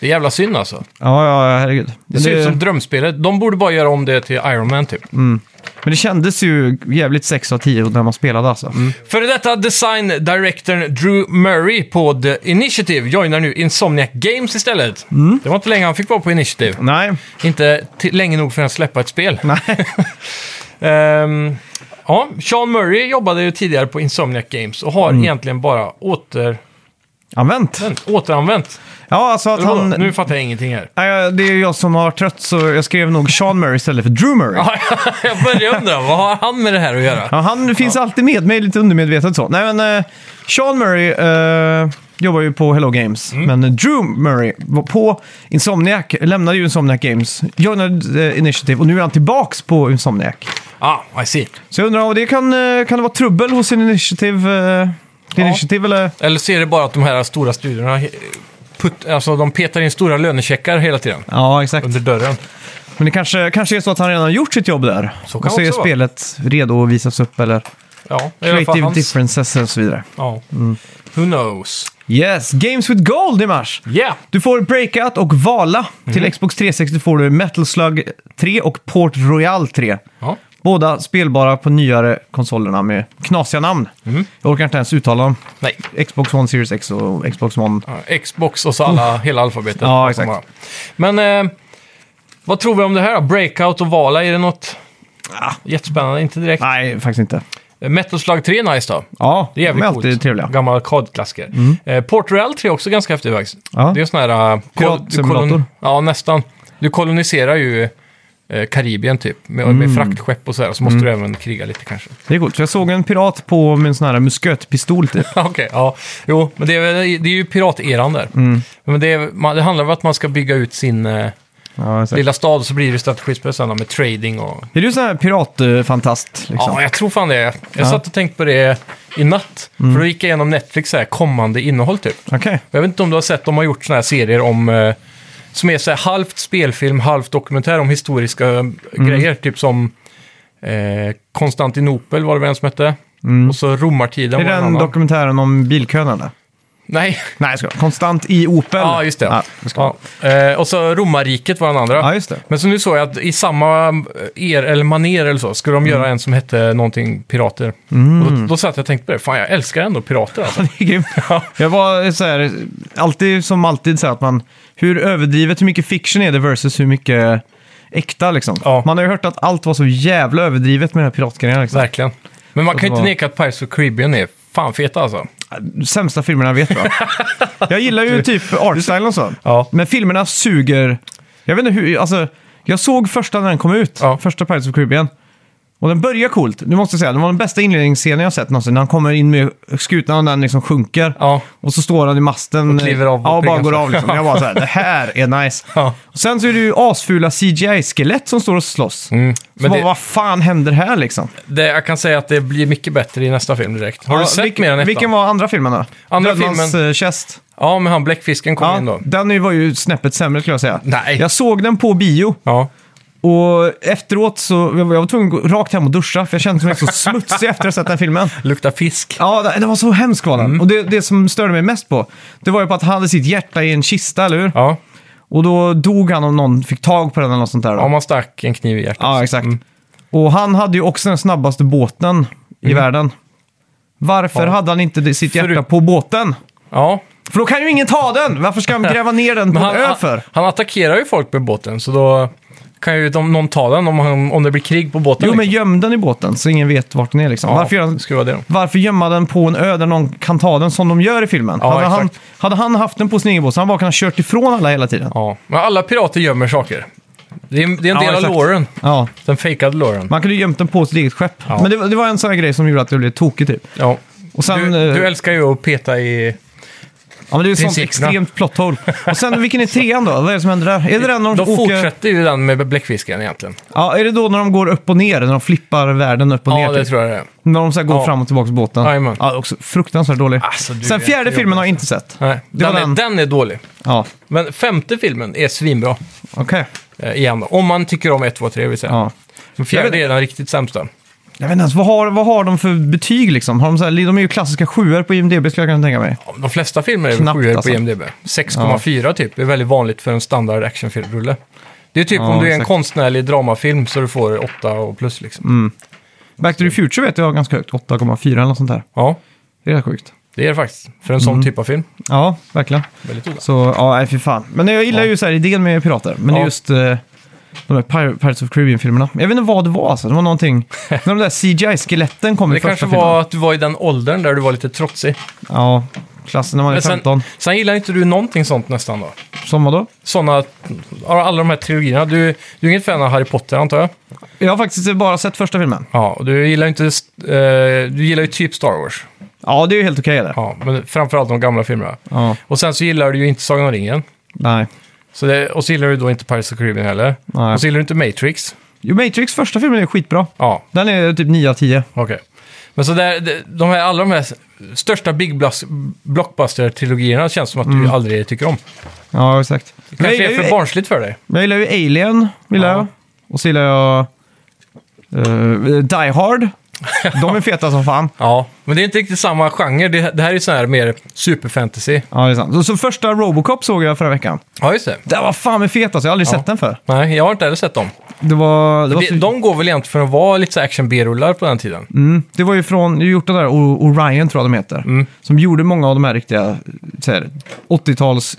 Speaker 2: Det är jävla synd alltså. Det,
Speaker 1: ja, ja herregud. Det
Speaker 2: ser ut
Speaker 1: det,
Speaker 2: som drömspelet. De borde bara göra om det till Iron Man typ.
Speaker 1: Mm. men det kändes ju jävligt 6 av 10 när man spelade alltså.
Speaker 2: Före detta design directorn Drew Murray på The Initiative joinar nu Insomniac Games istället.
Speaker 1: Mm.
Speaker 2: Det var inte länge han fick vara på Initiative.
Speaker 1: Nej,
Speaker 2: Inte till- länge nog för att släppa ett spel.
Speaker 1: nej.
Speaker 2: (laughs) Ehm, ja, Sean Murray jobbade ju tidigare på Insomniac Games och har
Speaker 1: Mm.
Speaker 2: egentligen bara åter,
Speaker 1: Använt.
Speaker 2: återanvänt.
Speaker 1: Ja, alltså att
Speaker 2: Eller vadå?
Speaker 1: han...
Speaker 2: Nu fattar jag ingenting här. (laughs)
Speaker 1: Nej, det är jag som har varit trött så jag skrev nog Sean Murray istället för Drew Murray. Ja.
Speaker 2: jag börjar undra, vad har han med det här att göra?
Speaker 1: han finns alltid med mig, lite undermedvetet så. Nej, men eh, Sean Murray eh, jobbar ju på Hello Games,
Speaker 2: Mm.
Speaker 1: men Drew Murray var på Insomniac, lämnade ju Insomniac Games, joinade eh, Initiative och nu är han tillbaks på Insomniac.
Speaker 2: Ah, I see.
Speaker 1: Så jag undrar om det kan, eh, kan det vara trubbel hos sin Initiative, eh, Initiative eller?
Speaker 2: Eller ser det bara att de här stora studiorna eh, put, alltså, de petar in stora lönecheckar hela tiden
Speaker 1: Ja, exakt.
Speaker 2: under dörren.
Speaker 1: Men det kanske, kanske är så att han redan har gjort sitt jobb där.
Speaker 2: Så kan
Speaker 1: och så
Speaker 2: det
Speaker 1: är
Speaker 2: också vara.
Speaker 1: spelet redo att visas upp eller
Speaker 2: Ja, i alla fall
Speaker 1: creative
Speaker 2: hans-
Speaker 1: differences och så vidare.
Speaker 2: Ja.
Speaker 1: Mm.
Speaker 2: Who knows?
Speaker 1: Yes, Games with Gold i mars.
Speaker 2: Yeah!
Speaker 1: Du får Breakout och Vala. Till
Speaker 2: Mm.
Speaker 1: Xbox 360 får du Metal Slug 3 och Port Royal 3.
Speaker 2: Ja.
Speaker 1: Båda spelbara på nyare konsolerna med knasiga namn.
Speaker 2: Mm.
Speaker 1: Jag orkar inte ens uttala dem.
Speaker 2: Nej.
Speaker 1: Xbox One Series X och Xbox One.
Speaker 2: Ja, Xbox och så alla, hela alfabetet.
Speaker 1: Mm. Ja, exakt.
Speaker 2: Men eh, vad tror vi om det här då? Breakout och Vala, är det något
Speaker 1: Ah.
Speaker 2: jättespännande? Inte direkt.
Speaker 1: Nej, faktiskt inte.
Speaker 2: Metal Slug 3 är nice då.
Speaker 1: Ja,
Speaker 2: Det är jävligt
Speaker 1: de
Speaker 2: coolt.
Speaker 1: alltid trevliga. Mm.
Speaker 2: Gammal arkadklassiker. Eh, Port Royal 3 är också ganska häftig faktiskt.
Speaker 1: Ja.
Speaker 2: Det är sån här... eh, kol-
Speaker 1: Piratsimulator.
Speaker 2: du kolon- Ja, nästan. Du koloniserar ju eh, Karibien typ, med,
Speaker 1: Mm.
Speaker 2: med fraktskepp och sådär. Så måste du även kriga lite kanske. (laughs)
Speaker 1: Det är coolt. För jag såg en pirat på min sån här muskötpistol
Speaker 2: (laughs)
Speaker 1: typ.
Speaker 2: Okej, ja. Jo, men det är, väl- det är ju pirateran där.
Speaker 1: Mm.
Speaker 2: Men det, är, man, det handlar om att man ska bygga ut sin eh,
Speaker 1: Ja, exakt.
Speaker 2: lilla stad, så blir det strategispel sen då med trading och...
Speaker 1: Är du sån här piratfantast? Liksom?
Speaker 2: Ja, jag tror fan det. Jag satt och tänkte på det i natt.
Speaker 1: Mm.
Speaker 2: För då gick jag igenom Netflix så här, kommande innehåll typ.
Speaker 1: Okej.
Speaker 2: Jag vet inte om du har sett, de har gjort såna här serier om... Eh, som är så här halvt spelfilm, halvt dokumentär om historiska eh,
Speaker 1: Mm.
Speaker 2: grejer. Typ som eh, Konstantinopel var det väl en som hette. Och så romartiden
Speaker 1: Mm. Är det
Speaker 2: var en
Speaker 1: den
Speaker 2: annan.
Speaker 1: dokumentären om bilkön eller?
Speaker 2: Nej,
Speaker 1: Nej, jag skojar. Konstant i Opel.
Speaker 2: ja just det.
Speaker 1: Ja,
Speaker 2: Ja,
Speaker 1: jag skojar.
Speaker 2: Eh, och så romarriket var den andra.
Speaker 1: Ja, just det.
Speaker 2: Men så nu såg jag att i samma eh, er eller maner eller så skulle de göra
Speaker 1: Mm.
Speaker 2: en som hette någonting pirater. Och då, då satt jag och tänkte på det, fan jag älskar ändå pirater
Speaker 1: (laughs)
Speaker 2: alltså.
Speaker 1: Det är grymt. Jag var så här, alltid som alltid så här att man, hur överdrivet hur mycket fiction är det versus hur mycket äkta liksom.
Speaker 2: Ja.
Speaker 1: Man har ju hört att allt var så jävla överdrivet med den här piratgrejen liksom.
Speaker 2: Verkligen. Men man kan ju
Speaker 1: det
Speaker 2: inte
Speaker 1: var-
Speaker 2: neka att Pirates of the Caribbean är fan feta alltså.
Speaker 1: Sämsta filmerna jag
Speaker 2: (laughs)
Speaker 1: vet va? jag gillar ju typ artstyle och så.
Speaker 2: Ja.
Speaker 1: Men filmerna suger, jag vet inte hur, alltså jag såg första när den kom ut,
Speaker 2: Ja.
Speaker 1: första Pirates of the Caribbean. Och den börjar coolt, nu måste jag säga, det var den bästa inledningsscenen jag har sett någonsin. När han kommer in med skutan och den liksom sjunker.
Speaker 2: Ja.
Speaker 1: Och så står han i masten.
Speaker 2: Och kliver av
Speaker 1: Ja, och bara
Speaker 2: bryggan
Speaker 1: går
Speaker 2: så.
Speaker 1: av liksom. Jag bara så här, det här är nice.
Speaker 2: (laughs) Ja.
Speaker 1: Och sen så är det ju asfula CGI-skelett som står och slåss.
Speaker 2: Mm. Men
Speaker 1: så bara,
Speaker 2: det-
Speaker 1: vad fan händer här liksom?
Speaker 2: Det, jag kan säga att det blir mycket bättre i nästa film direkt. Har
Speaker 1: Ja,
Speaker 2: du sett
Speaker 1: vilken-
Speaker 2: mer än ettan?
Speaker 1: Vilken var andra filmen då?
Speaker 2: Andra
Speaker 1: Dödmans
Speaker 2: filmen-
Speaker 1: eh, Chest.
Speaker 2: Ja, men han bläckfisken kom in
Speaker 1: Ja,
Speaker 2: då.
Speaker 1: den var ju snäppet sämre skulle jag säga.
Speaker 2: Nej.
Speaker 1: Jag såg den på bio.
Speaker 2: Ja.
Speaker 1: Och efteråt så jag var jag var tvungen att gå rakt hem och duscha för jag kände
Speaker 2: (laughs)
Speaker 1: mig så smutsig efter att ha sett den filmen.
Speaker 2: Luktar fisk.
Speaker 1: Ja, det- den var så hemsk var den.
Speaker 2: Mm.
Speaker 1: Och det, det som störde mig mest på, det var ju på att han hade sitt hjärta i en kista, eller hur?
Speaker 2: Ja,
Speaker 1: Och då dog han om någon fick tag på den eller något sånt där. Då.
Speaker 2: om man stack en kniv i hjärtat.
Speaker 1: Ja, exakt. Och han hade ju också den snabbaste båten i världen. Varför
Speaker 2: Mm. Ja.
Speaker 1: hade han inte det- sitt hjärta
Speaker 2: Förut-
Speaker 1: på båten?
Speaker 2: Ja,
Speaker 1: För då kan
Speaker 2: (laughs)
Speaker 1: ju ingen ta den! Varför ska han gräva ner den på
Speaker 2: men
Speaker 1: en
Speaker 2: han,
Speaker 1: ö
Speaker 2: han,
Speaker 1: för?
Speaker 2: han attackerar ju folk med båten, så då kan ju de, någon ta den om, han- om det blir krig på båten.
Speaker 1: Jo, men
Speaker 2: liksom.
Speaker 1: göm den i båten så ingen vet vart den är liksom.
Speaker 2: ja,
Speaker 1: Varför, gör han,
Speaker 2: det skulle vara det då.
Speaker 1: varför gömma den på en ö där någon kan ta den som de gör i filmen?
Speaker 2: Ja,
Speaker 1: hade, han,
Speaker 2: exakt.
Speaker 1: hade han haft den på sin egen båt så hade han bara kunnat kört ifrån alla hela tiden. Ja,
Speaker 2: Ja. Men alla pirater gömmer saker. Det är, det är en
Speaker 1: Ja,
Speaker 2: del av
Speaker 1: exakt.
Speaker 2: loren. Den fejkade loren.
Speaker 1: Man kunde ju gömt den på sitt eget skepp.
Speaker 2: Ja.
Speaker 1: Men det, var- det var en sån här grej som gjorde att det blev tokigt typ.
Speaker 2: Ja.
Speaker 1: Och sen,
Speaker 2: du,
Speaker 1: eh,
Speaker 2: du älskar ju att peta i...
Speaker 1: Ja, men det är ju ett sånt
Speaker 2: Principerna.
Speaker 1: extremt plot hole. Och sen, vilken är trean då? Vad är det som händer där? Är det den när de
Speaker 2: Då
Speaker 1: åker...
Speaker 2: fortsätter ju den med bläckfisken egentligen.
Speaker 1: Ja, är det då när de går upp och ner? När de flippar världen upp och ner?
Speaker 2: Ja, det
Speaker 1: typ?
Speaker 2: tror jag det är.
Speaker 1: När de så här går
Speaker 2: Ja.
Speaker 1: fram och tillbaka på båten?
Speaker 2: Jajamän.
Speaker 1: Ja, också fruktansvärt dålig.
Speaker 2: Alltså, du
Speaker 1: sen
Speaker 2: är
Speaker 1: fjärde
Speaker 2: inte
Speaker 1: filmen har jag
Speaker 2: jobbig,
Speaker 1: inte sett.
Speaker 2: Nej,
Speaker 1: Det
Speaker 2: den,
Speaker 1: var
Speaker 2: är,
Speaker 1: den.
Speaker 2: den är dålig.
Speaker 1: Ja,
Speaker 2: Men femte filmen är svinbra.
Speaker 1: okej.
Speaker 2: Eh, igen, då. om man tycker om 1, 2, 3 vill säga.
Speaker 1: Ja.
Speaker 2: Men
Speaker 1: Jag
Speaker 2: fjärde
Speaker 1: vet-
Speaker 2: är den riktigt sämsta.
Speaker 1: Jag vet inte ens, vad har, vad har de för betyg liksom? Har de, så här, de är ju klassiska sjuor på IMDB skulle jag kunna tänka mig.
Speaker 2: Ja, De flesta filmer är väl
Speaker 1: Knappt,
Speaker 2: sjuor på
Speaker 1: alltså.
Speaker 2: IMDB. 6,4 typ är väldigt vanligt för en standard actionfilmrulle. Det är typ
Speaker 1: Ja,
Speaker 2: om du är en
Speaker 1: exakt. Mm.
Speaker 2: konstnärlig dramafilm så du får 8 och plus liksom.
Speaker 1: Back to the Future vet jag har ganska högt, 8,4 eller något sånt där.
Speaker 2: Ja,
Speaker 1: Det är rätt sjukt.
Speaker 2: det är det faktiskt. För en sån
Speaker 1: Mm.
Speaker 2: typ av film.
Speaker 1: Ja, verkligen.
Speaker 2: Väldigt illa.
Speaker 1: Så, ja, nej, fy fan. Men jag gillar ju så här idén med pirater. Men det är
Speaker 2: Ja.
Speaker 1: just eh, de här Pir- Pirates of Caribbean-filmerna. Jag vet inte vad det var alltså. Det var
Speaker 2: (laughs)
Speaker 1: någonting... när de där CGI-skeletten kom
Speaker 2: Det
Speaker 1: i första
Speaker 2: kanske
Speaker 1: filmen.
Speaker 2: var att du var i den åldern där du var lite trotsig.
Speaker 1: Ja, klassen när man är
Speaker 2: Men sen,
Speaker 1: 15.
Speaker 2: sen gillar inte du någonting sånt nästan då?
Speaker 1: Som vadå?
Speaker 2: Såna, alla de här trilogierna. Du, du är ingen fan av Harry Potter antar jag?
Speaker 1: Jag har faktiskt bara sett första filmen.
Speaker 2: Ja, och du gillar ju inte... eh, du gillar ju typ Star Wars.
Speaker 1: Ja, det är ju helt okej där. Ja.
Speaker 2: Ja, men framförallt de gamla filmerna. Och sen så gillar du ju inte Sagan om ringen.
Speaker 1: nej.
Speaker 2: Så det, och så gillar du då inte Pirates of Caribbean heller.
Speaker 1: Nej.
Speaker 2: Och så gillar du inte Matrix.
Speaker 1: Jo, Matrix första filmen är skitbra.
Speaker 2: Ja,
Speaker 1: Den är typ 9 av 10.
Speaker 2: okej. Men så där, de- de här, alla de här största big blus- blockbuster-trilogierna känns som att du aldrig tycker om.
Speaker 1: Ja, exakt.
Speaker 2: Det kanske
Speaker 1: Mm. jag,
Speaker 2: är för
Speaker 1: gillar ju,
Speaker 2: barnsligt för dig.
Speaker 1: jag gillar ju Alien, gillar
Speaker 2: Ja.
Speaker 1: jag. Och så gillar jag eh, Die
Speaker 2: (laughs)
Speaker 1: Hard. De är feta som fan.
Speaker 2: Ja, men det är inte riktigt samma genre. Det, det här är ju sån här mer superfantasy.
Speaker 1: Ja, det är sant. Så, så första Robocop såg jag förra veckan.
Speaker 2: Ja, just det.
Speaker 1: Den var fan med fet alltså. Jag har aldrig sett den för.
Speaker 2: Nej, jag har inte heller sett dem.
Speaker 1: Det var, det var,
Speaker 2: De,
Speaker 1: så,
Speaker 2: de går väl egentligen för att vara lite så här action-B-rullar på den tiden.
Speaker 1: mm, det var ju från, du har gjort den där O- Orion tror jag de heter.
Speaker 2: Mm.
Speaker 1: Som gjorde många av de här riktiga så här, 80-tals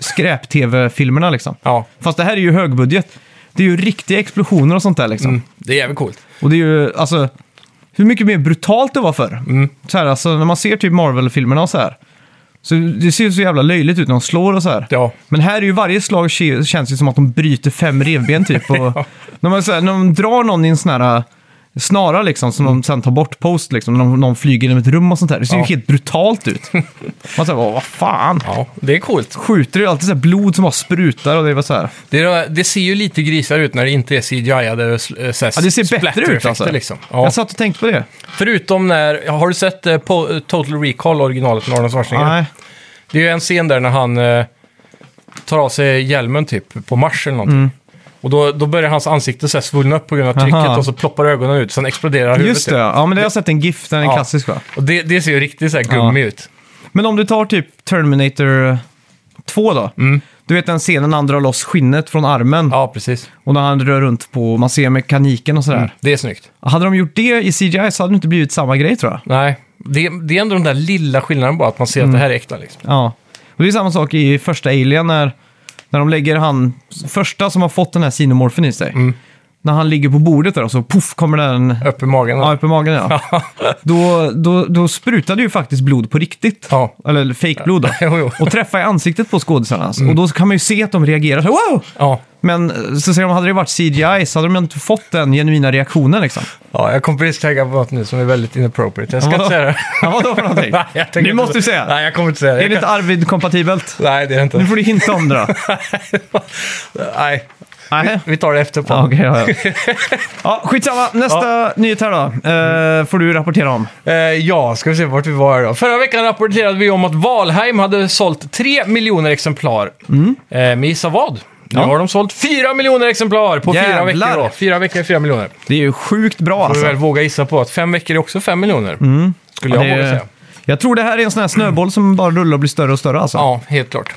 Speaker 1: skräp-tv-filmerna liksom.
Speaker 2: Ja,
Speaker 1: Fast det här är ju högbudget. Det är ju riktiga explosioner och sånt där liksom.
Speaker 2: mm. det är jävligt coolt.
Speaker 1: Och det är ju, alltså, hur mycket mer brutalt det var förr.
Speaker 2: Mm.
Speaker 1: Så här, alltså, när man ser typ Marvel-filmerna och så här. Så det ser ju så jävla löjligt ut när de slår och så här.
Speaker 2: Ja.
Speaker 1: Men här är ju varje slag ke- känns ju som att de bryter fem revben typ.
Speaker 2: (laughs)
Speaker 1: Och när, man, så här, när de drar någon i en sån här äh, snara liksom, som de sen tar bort post, liksom, när de- någon flyger genom ett rum och sånt där. Det ser
Speaker 2: Ja.
Speaker 1: ju helt brutalt ut. Man säger, vad fan.
Speaker 2: Ja, det är coolt.
Speaker 1: Skjuter det är alltid så här blod som bara sprutar och det var så här.
Speaker 2: Det, är, det ser ju lite grisar ut när det inte är CGI-ade
Speaker 1: Ja, det ser bättre ut alltså.
Speaker 2: eh, Liksom. Ja.
Speaker 1: Jag satt och tänkte på det.
Speaker 2: Förutom när, ja, har du sett eh, po- eh, Total Recall, originalet med Arnold Schwarzenegger?
Speaker 1: Nej.
Speaker 2: Det är ju en scen där när han eh, tar av sig hjälmen typ på Mars eller
Speaker 1: Mm.
Speaker 2: någonting. Och då, då börjar hans ansikte så här svullna upp på grund av trycket
Speaker 1: Aha.
Speaker 2: och så ploppar ögonen ut, sen exploderar huvudet.
Speaker 1: Just det,
Speaker 2: typ.
Speaker 1: ja. ja men det har jag sett en GIF, den är
Speaker 2: Ja.
Speaker 1: klassisk va?
Speaker 2: Och det, det ser ju riktigt så här gummi ut.
Speaker 1: Men om du tar typ Terminator 2 då.
Speaker 2: Mm.
Speaker 1: Du vet den scenen när han drar loss skinnet från armen
Speaker 2: Ja, precis.
Speaker 1: och när han rör runt på, man ser mekaniken och sådär.
Speaker 2: Det är snyggt.
Speaker 1: Hade de gjort det i CGI så hade det inte blivit samma grej tror jag.
Speaker 2: Nej, det, det är ändå den där lilla skillnaden bara, att man ser
Speaker 1: Mm.
Speaker 2: att det här är äkta liksom.
Speaker 1: Ja. Och det är samma sak i första Alien när, när de lägger han, första som har fått den här sinomorfen i sig.
Speaker 2: Mm.
Speaker 1: När han ligger på bordet där och så poff kommer den
Speaker 2: Upp i magen.
Speaker 1: ja, upp i magen. Ja. då, då, då sprutade ju faktiskt blod på riktigt.
Speaker 2: Ja.
Speaker 1: Eller fejkblod då.
Speaker 2: (laughs) Jo, Mm. jo.
Speaker 1: och träffa i ansiktet på skådisarna. alltså. Och då kan man ju se att de reagerar så här, wow!
Speaker 2: Ja.
Speaker 1: Men eh, så säger de, hade det varit CGI så hade de inte fått den genuina reaktionen liksom.
Speaker 2: Ja, jag kommer precis tänka på något nu som är väldigt inappropriate. Jag ska
Speaker 1: Vadå?
Speaker 2: inte
Speaker 1: (laughs)
Speaker 2: säga det.
Speaker 1: Ja, vadå för någonting?
Speaker 2: (laughs) Nej, jag tänker
Speaker 1: Nu
Speaker 2: inte-
Speaker 1: måste du säga.
Speaker 2: Nej, jag kommer inte säga det.
Speaker 1: Är det inte Arvid-kompatibelt?
Speaker 2: Nej, det är det
Speaker 1: Nu (laughs)
Speaker 2: inte.
Speaker 1: får du hinta om det då.
Speaker 2: Nej,
Speaker 1: Nej.
Speaker 2: vi tar det efter på.
Speaker 1: Ja, okej, ja,
Speaker 2: (laughs)
Speaker 1: ja. ja, skitsamma. Nästa nyhet här då. Eh, får du rapportera om.
Speaker 2: Eh, ja, ska vi se vart vi var då. Förra veckan rapporterade vi om att Valheim hade sålt 3 miljoner exemplar.
Speaker 1: Mm.
Speaker 2: Eh, men gissa vad? Nu har de sålt 4 miljoner exemplar på fyra
Speaker 1: Jävlar.
Speaker 2: veckor. Då. Fyra veckor är 4 miljoner.
Speaker 1: Det är ju sjukt bra
Speaker 2: Får vi
Speaker 1: alltså. Mm.
Speaker 2: väl våga gissa på att fem veckor är också 5 miljoner. Skulle jag
Speaker 1: Det är-
Speaker 2: våga säga.
Speaker 1: Jag tror det här är en sån här snöboll som bara rullar och blir större och större alltså.
Speaker 2: Ja, helt klart.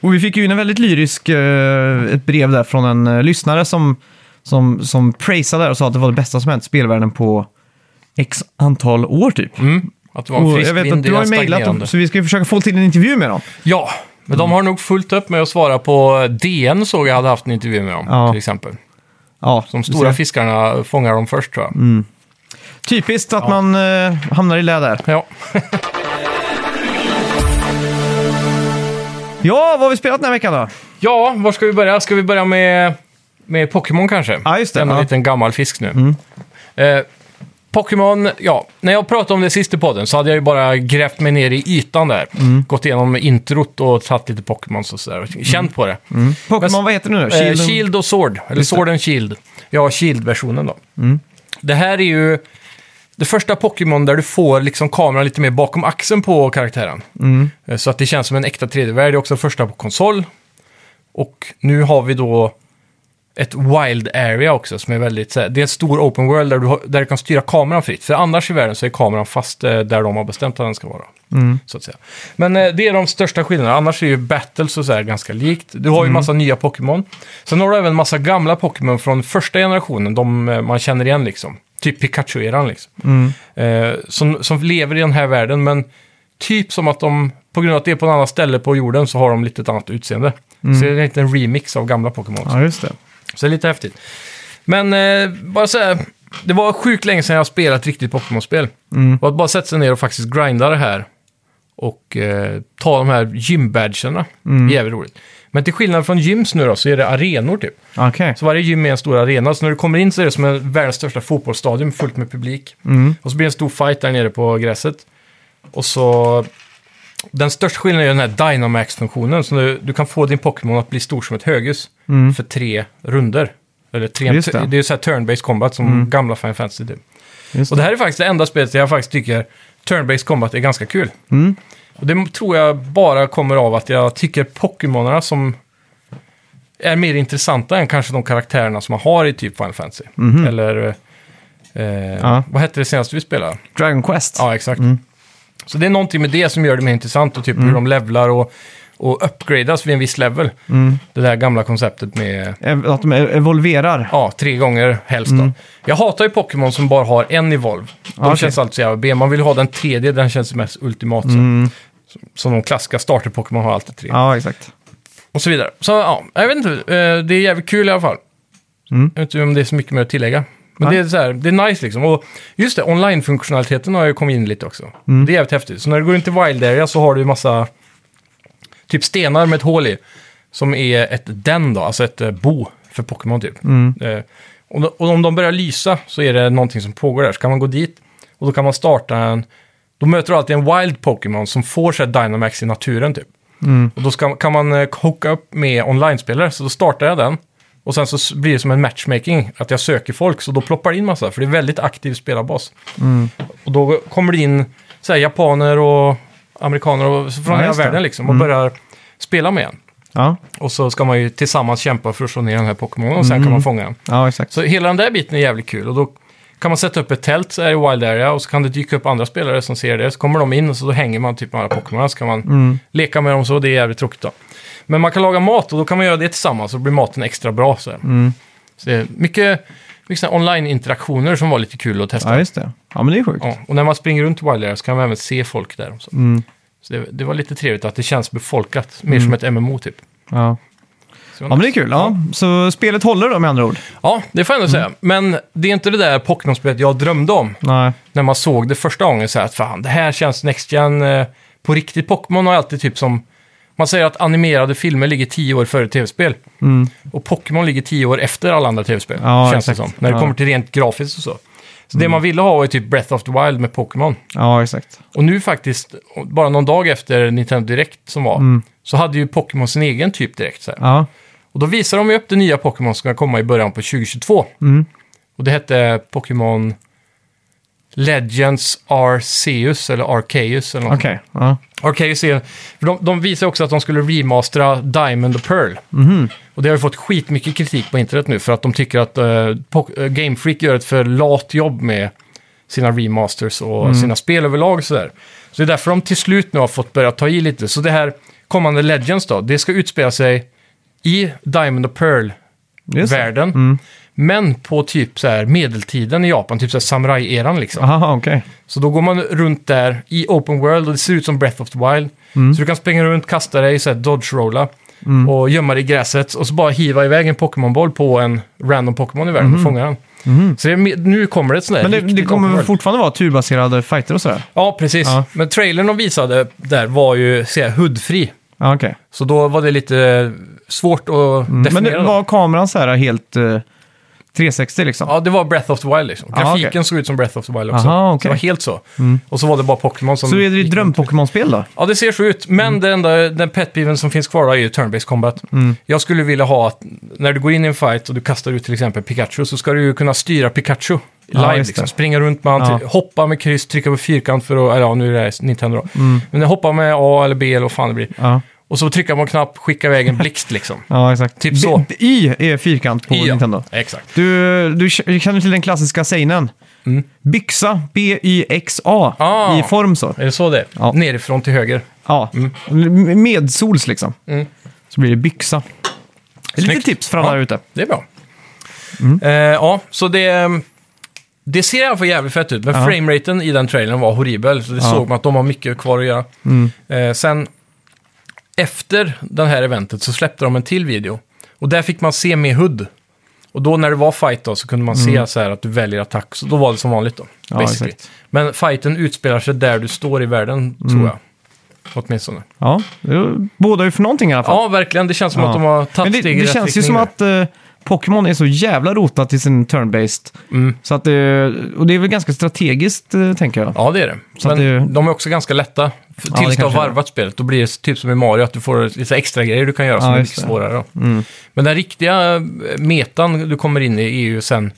Speaker 1: Och vi fick ju in en väldigt lyrisk, eh, ett brev där från en eh, lyssnare som, som, som praisade det och sa att det var det bästa som hänt spelvärlden på x antal år typ.
Speaker 2: Att det var en
Speaker 1: Och jag
Speaker 2: frisk
Speaker 1: vet att
Speaker 2: Mm, vind i
Speaker 1: du har
Speaker 2: den
Speaker 1: ju mejlat
Speaker 2: stagnerande.
Speaker 1: dem, så vi ska ju försöka få till en intervju med dem.
Speaker 2: Ja,
Speaker 1: Mm.
Speaker 2: men de har nog fullt upp med att svara på DN såg jag hade haft en intervju med dem
Speaker 1: Ja.
Speaker 2: till exempel.
Speaker 1: Ja,
Speaker 2: De
Speaker 1: du
Speaker 2: stora
Speaker 1: ser. Mm.
Speaker 2: fiskarna fångar dem först tror jag.
Speaker 1: Typiskt att man eh, hamnar i lä där.
Speaker 2: Ja.
Speaker 1: Ja, vad har vi spelat den här veckan då?
Speaker 2: ja, var ska vi börja? Ska vi börja med, med Pokémon kanske?
Speaker 1: Ja, just det,
Speaker 2: En
Speaker 1: ja. Mm.
Speaker 2: liten gammal fisk nu. Eh, Pokémon, ja, när jag pratade om det sist i podden så hade jag ju bara grävt mig ner i ytan där.
Speaker 1: Mm.
Speaker 2: Gått igenom introt och tagit lite Pokémon och sådär. och Känt
Speaker 1: Mm.
Speaker 2: på det.
Speaker 1: Pokémon,
Speaker 2: Men-
Speaker 1: vad heter det nu?
Speaker 2: Shield,
Speaker 1: Shield
Speaker 2: eh,
Speaker 1: and-
Speaker 2: Shield och Sword. Eller
Speaker 1: Just det. Mm.
Speaker 2: Sword and Shield. Ja, Shield-versionen då. Det här är ju det första Pokémon där du får liksom kameran lite mer bakom axeln på karaktären.
Speaker 1: Mm.
Speaker 2: Eh, Så att det känns som en äkta 3D-värld. Det är också första på konsol. Och nu har vi då ett wild area också som är väldigt så här, Det är en stor open world där du, har, där du kan styra kameran fritt. För annars i världen så är kameran fast eh, där de har bestämt att den ska vara. Så att säga. Men eh, det är de största skillnaderna. Annars är ju battles och så här ganska likt. Du har ju massa nya Pokémon. Sen har du även massa gamla Pokémon från första generationen. De eh, man känner igen liksom. Typ Pikachu-eran liksom. Eh, som, som lever i den här världen. Men typ som att de, på grund av att det är på en annan ställe på jorden så har de lite ett annat utseende. Så det är lite en remix av gamla Pokémon.
Speaker 1: Ja, just det.
Speaker 2: Så det är lite häftigt. Men eh, bara så här, det var sjukt länge sedan jag har spelat riktigt Pokémon-spel. Och att bara sätta sig ner och faktiskt grinda det här och eh, ta de här gymbadgarna, jävligt roligt. Men till skillnad från gyms nu då, så är det arenor typ.
Speaker 1: Okej.
Speaker 2: Så varje gym är en stor arena, så när du kommer in så är det som en världens största fotbollsstadion fullt med publik.
Speaker 1: Mm.
Speaker 2: Och så blir det en stor fight där nere på gräset. Och så... Den största skillnaden är den här Dynamax-funktionen, så du, du kan få din Pokémon att bli stor som ett höghus för tre runder. Eller tre,
Speaker 1: Mm. Just det. Mm.
Speaker 2: det. är ju så här turn-based combat som gamla Final Fantasy typ.
Speaker 1: Just
Speaker 2: Och det här är faktiskt det enda spelet där jag faktiskt tycker turn-based combat är ganska kul. Och det tror jag bara kommer av att jag tycker Pokémonerna som är mer intressanta än kanske de karaktärerna som man har i typ Final Fantasy. Eller eh,
Speaker 1: Ja.
Speaker 2: vad hette det senaste vi spelade?
Speaker 1: Dragon Quest.
Speaker 2: Ja, exakt. Så det är någonting med det som gör det mer intressant och typ hur de levlar och, och uppgradas vid en viss level. Det där gamla konceptet med
Speaker 1: Ev- Att de evolverar.
Speaker 2: Ja, tre gånger helst då. Jag hatar ju Pokémon som bara har en Evolve. De
Speaker 1: Mm. okej.
Speaker 2: känns alltid så jävla B. Man vill ju ha den tredje, den känns mest ultimat. så. Som- Som de klassiska starter-Pokémon har alltid tre.
Speaker 1: Mm. Ja, exakt.
Speaker 2: Och så vidare. Så ja, jag vet inte. eh, Det är jävligt kul i alla fall. Jag vet inte om det är så mycket mer att tillägga. Men
Speaker 1: Mm. Nej.
Speaker 2: det är, så här, det är nice liksom. Och just det, online-funktionaliteten har ju kommit in lite också.
Speaker 1: Mm.
Speaker 2: Det är jävligt häftigt. Så när du går in till Wild Area så har du ju massa typ stenar med ett hål i. Som är ett den då, alltså ett eh, bo för Pokémon typ.
Speaker 1: Mm.
Speaker 2: Eh, och, då- och om de börjar lysa så är det någonting som pågår där. Så kan man gå dit och då kan man starta en... Då möter du alltid en wild Pokémon som får sig Dynamax i naturen typ.
Speaker 1: Mm.
Speaker 2: Och då ska, kan man eh, hooka upp med online-spelare, så då startar jag den. Och sen så s- blir det som en matchmaking, att jag söker folk, så då ploppar det in massa, för det är väldigt aktiv spelarbas.
Speaker 1: Mm.
Speaker 2: Och då kommer det in så här, japaner och amerikaner och, så från
Speaker 1: Ja,
Speaker 2: hela
Speaker 1: just det. Mm.
Speaker 2: världen liksom, och börjar spela med en.
Speaker 1: Ja,
Speaker 2: Och så ska man ju tillsammans kämpa för att slå ner den här Pokémonen och sen kan
Speaker 1: Mm.
Speaker 2: man fånga den.
Speaker 1: ja exakt.
Speaker 2: Så hela den där biten är jävligt kul. Och då kan man sätta upp ett tält så här i Wild Area och så kan det dyka upp andra spelare som ser det. Så kommer de in och så då hänger man typ med alla Pokémon. Så kan man
Speaker 1: Mm.
Speaker 2: leka med dem så. Det är jävligt tråkigt då. Men man kan laga mat och då kan man göra det tillsammans och då blir maten extra bra. Så, här.
Speaker 1: Mm.
Speaker 2: så det är mycket, mycket såna här online-interaktioner som var lite kul att testa.
Speaker 1: Ja, just det. Ja, men det är sjukt.
Speaker 2: Ja, och när man springer runt i Wild Area så kan man även se folk där. och Så.
Speaker 1: Mm.
Speaker 2: Så det, det var lite trevligt att det känns befolkat, mer som ett MMO typ.
Speaker 1: Ja.
Speaker 2: Så
Speaker 1: Mm. ja, men det är kul. Ja. Så spelet håller då med andra ord?
Speaker 2: Ja, det får jag
Speaker 1: Mm.
Speaker 2: ändå säga. Men det är inte det där Pokémon-spelet jag drömde om.
Speaker 1: Nej.
Speaker 2: När man såg det första gången så här att fan, det här känns Next Gen eh, på riktigt. Pokémon har alltid typ som... Man säger att animerade filmer ligger tio år före tv-spel.
Speaker 1: Mm.
Speaker 2: Och Pokémon ligger tio år efter alla andra tv-spel,
Speaker 1: Ja,
Speaker 2: känns det
Speaker 1: exakt.
Speaker 2: som. När det
Speaker 1: Ja. Mm.
Speaker 2: kommer till rent grafiskt och så. Så det man ville ha var ju typ Breath of the Wild med Pokémon.
Speaker 1: Ja, exakt.
Speaker 2: Och nu faktiskt, bara någon dag efter Nintendo Direct som var,
Speaker 1: Mm.
Speaker 2: så hade ju Pokémon sin egen typ direkt. Så här.
Speaker 1: Ja,
Speaker 2: Och då visar de ju upp det nya Pokémon som ska komma i början på 2022. Och det hette Pokémon Legends Arceus eller Arceus eller något sånt.
Speaker 1: okej. Ja.
Speaker 2: Arceus är... För de, de visar också att de skulle remastera Diamond och Pearl.
Speaker 1: Mhm.
Speaker 2: Och det har ju fått skitmycket kritik på internet nu för att de tycker att eh, Pok- eh, Game Freak gör ett för lat jobb med sina remasters och
Speaker 1: Mm.
Speaker 2: sina spel överlag och sådär. Så det är därför de till slut nu har fått börja ta i lite. Så det här kommande Legends då, det ska utspela sig i Diamond och Pearl
Speaker 1: Just det. Mm.
Speaker 2: världen. Men på typ så här medeltiden i Japan, typ så här samurai-eran liksom.
Speaker 1: Aha, okej.
Speaker 2: Så då går man runt
Speaker 1: Mm.
Speaker 2: där i open world och det ser ut som Breath of the Wild. Så du kan springa runt, kasta dig, så här dodge-rolla. och gömma det i gräset och så bara hiva iväg en Pokémon-boll på en random Pokémon i världen och fånga den. Så det, är me- nu kommer det ett sånt där
Speaker 1: Mhm. Men det, det
Speaker 2: riktigt
Speaker 1: kommer
Speaker 2: open
Speaker 1: väl
Speaker 2: world.
Speaker 1: fortfarande vara turbaserade fighter och sådär?
Speaker 2: Ja, precis.
Speaker 1: Ja.
Speaker 2: Men trailern de visade där var ju, säger jag, hudfri.
Speaker 1: Ja, okej.
Speaker 2: Så då var det lite eh, svårt att definiera.
Speaker 1: Mm. Men det,
Speaker 2: dem.
Speaker 1: var kameran så här helt eh, 360 liksom?
Speaker 2: Ja, det var Breath of the Wild liksom.
Speaker 1: Ja,
Speaker 2: Grafiken
Speaker 1: okej.
Speaker 2: såg ut som Breath of the Wild också.
Speaker 1: Aha, okej. Mm.
Speaker 2: Så Det var helt så. Och så var det bara Pokémon som...
Speaker 1: så är det ett dröm-Pokémon-spel då?
Speaker 2: Ja, det ser så ut. Men
Speaker 1: Mm.
Speaker 2: det enda, den petpiven som finns kvar då är ju turn-based combat. Jag skulle vilja ha att när du går in i en fight och du kastar ut till exempel Pikachu så ska du ju kunna styra Pikachu live.
Speaker 1: Ja, just det.
Speaker 2: liksom. Springa runt med han,
Speaker 1: Ja.
Speaker 2: hoppa med kryss, trycka på fyrkant för att... eller Ja, nu är det här Nintendo då.
Speaker 1: Mm.
Speaker 2: Men hoppa med A eller B eller vad fan det blir.
Speaker 1: Ja,
Speaker 2: Och så trycka på en knapp, skicka iväg en blixt liksom.
Speaker 1: ja exakt.
Speaker 2: Typ så.
Speaker 1: B- B- Y är fyrkant (laughs) på
Speaker 2: Ja,
Speaker 1: Nintendo.
Speaker 2: Exakt.
Speaker 1: Du, du k- känner till den klassiska seinen? Byxa, B-Y-X-A,
Speaker 2: Mm. Ah.
Speaker 1: i form så.
Speaker 2: Är det så det är?
Speaker 1: Ja.
Speaker 2: Nerifrån till höger.
Speaker 1: Ja, med sols liksom. Så blir det byxa. Det är lite
Speaker 2: Mm. Snyggt.
Speaker 1: tips för alla
Speaker 2: Ja.
Speaker 1: där ute.
Speaker 2: Det är bra. Eh, ja, så det... Det ser i alla fall jävligt fett ut, men
Speaker 1: Ja.
Speaker 2: frameraten i den trailern var horribel. Så det
Speaker 1: Ja. Mm.
Speaker 2: såg man att de har mycket kvar att göra. Eh, sen, efter det här eventet så släppte de en till video. Och där fick man se med HUD. Och då när det var fight då, så kunde man se så här att du väljer attack. Så då var det som vanligt då,
Speaker 1: Mm. Ja,
Speaker 2: basically.
Speaker 1: exakt. Mm.
Speaker 2: Men fighten utspelar sig där du står i världen, tror jag. Åtminstone.
Speaker 1: Ja, det bådar ju för någonting i alla fall.
Speaker 2: Ja, verkligen. Det känns som
Speaker 1: Ja.
Speaker 2: att de har
Speaker 1: Men
Speaker 2: tagit
Speaker 1: det,
Speaker 2: steg i
Speaker 1: det
Speaker 2: rätt
Speaker 1: känns ju
Speaker 2: riktning
Speaker 1: som
Speaker 2: där.
Speaker 1: att eh, Pokémon är så jävla rotat till sin turn-based.
Speaker 2: Mm.
Speaker 1: Så att det, och det är väl ganska strategiskt, eh, tänker jag.
Speaker 2: Ja, det är det.
Speaker 1: Så
Speaker 2: men
Speaker 1: att det-
Speaker 2: de är också ganska lätta. F-
Speaker 1: det
Speaker 2: Tills du har
Speaker 1: kanske är.
Speaker 2: varvat spelet, då blir det typ som i Mario, att du får lite extra grejer du kan göra som
Speaker 1: Ja,
Speaker 2: är
Speaker 1: just
Speaker 2: mycket
Speaker 1: det. Mm.
Speaker 2: svårare. Då. Men den riktiga eh, metan du kommer in i är ju sen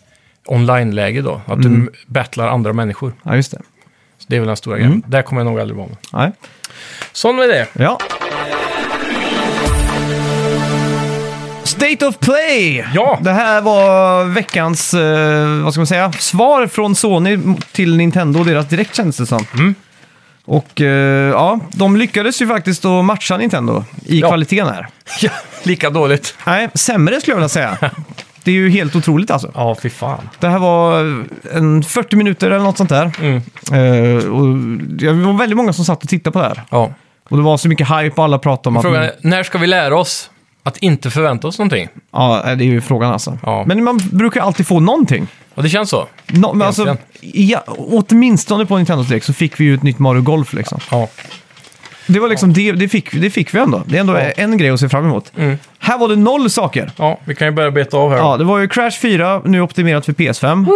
Speaker 2: online-läge då, att du
Speaker 1: Mm.
Speaker 2: m- battlar andra människor.
Speaker 1: Ja, just det.
Speaker 2: Så det är väl den stora
Speaker 1: Mm.
Speaker 2: grejen. Där kommer jag nog aldrig vara med.
Speaker 1: Nej.
Speaker 2: Sån med det. (laughs)
Speaker 1: Ja. State of Play!
Speaker 2: Ja.
Speaker 1: Det här var veckans, eh, vad ska man säga, svar från Sony till Nintendo och deras direkt kändes det som.
Speaker 2: Mm.
Speaker 1: Och eh, ja, de lyckades ju faktiskt att matcha Nintendo i
Speaker 2: Ja.
Speaker 1: kvaliteten här.
Speaker 2: Ja, lika dåligt.
Speaker 1: Nej, sämre skulle jag vilja
Speaker 2: (laughs)
Speaker 1: säga. Det är ju helt otroligt alltså.
Speaker 2: Ja, fy fan.
Speaker 1: Det här var en 40 minuter eller något sånt där.
Speaker 2: Mm.
Speaker 1: Eh, och det var väldigt många som satt och tittade på det här.
Speaker 2: Ja.
Speaker 1: Och det var så mycket hype och alla pratade om att...
Speaker 2: Frågan är, när ska vi lära oss att inte förvänta oss någonting?
Speaker 1: Ja, det är ju frågan alltså.
Speaker 2: Ja.
Speaker 1: Men man brukar alltid få någonting.
Speaker 2: Och det känns så.
Speaker 1: No, men alltså, ja, åtminstone på Nintendo Direkt så fick vi ju ett nytt Mario Golf liksom.
Speaker 2: Ja.
Speaker 1: Det var liksom det, det, fick, det fick vi ändå. Det är ändå en grej att se fram emot.
Speaker 2: Mm.
Speaker 1: Här var det noll saker.
Speaker 2: ja, vi kan ju börja beta av här.
Speaker 1: Ja, det var ju Crash 4, nu optimerat för PS5.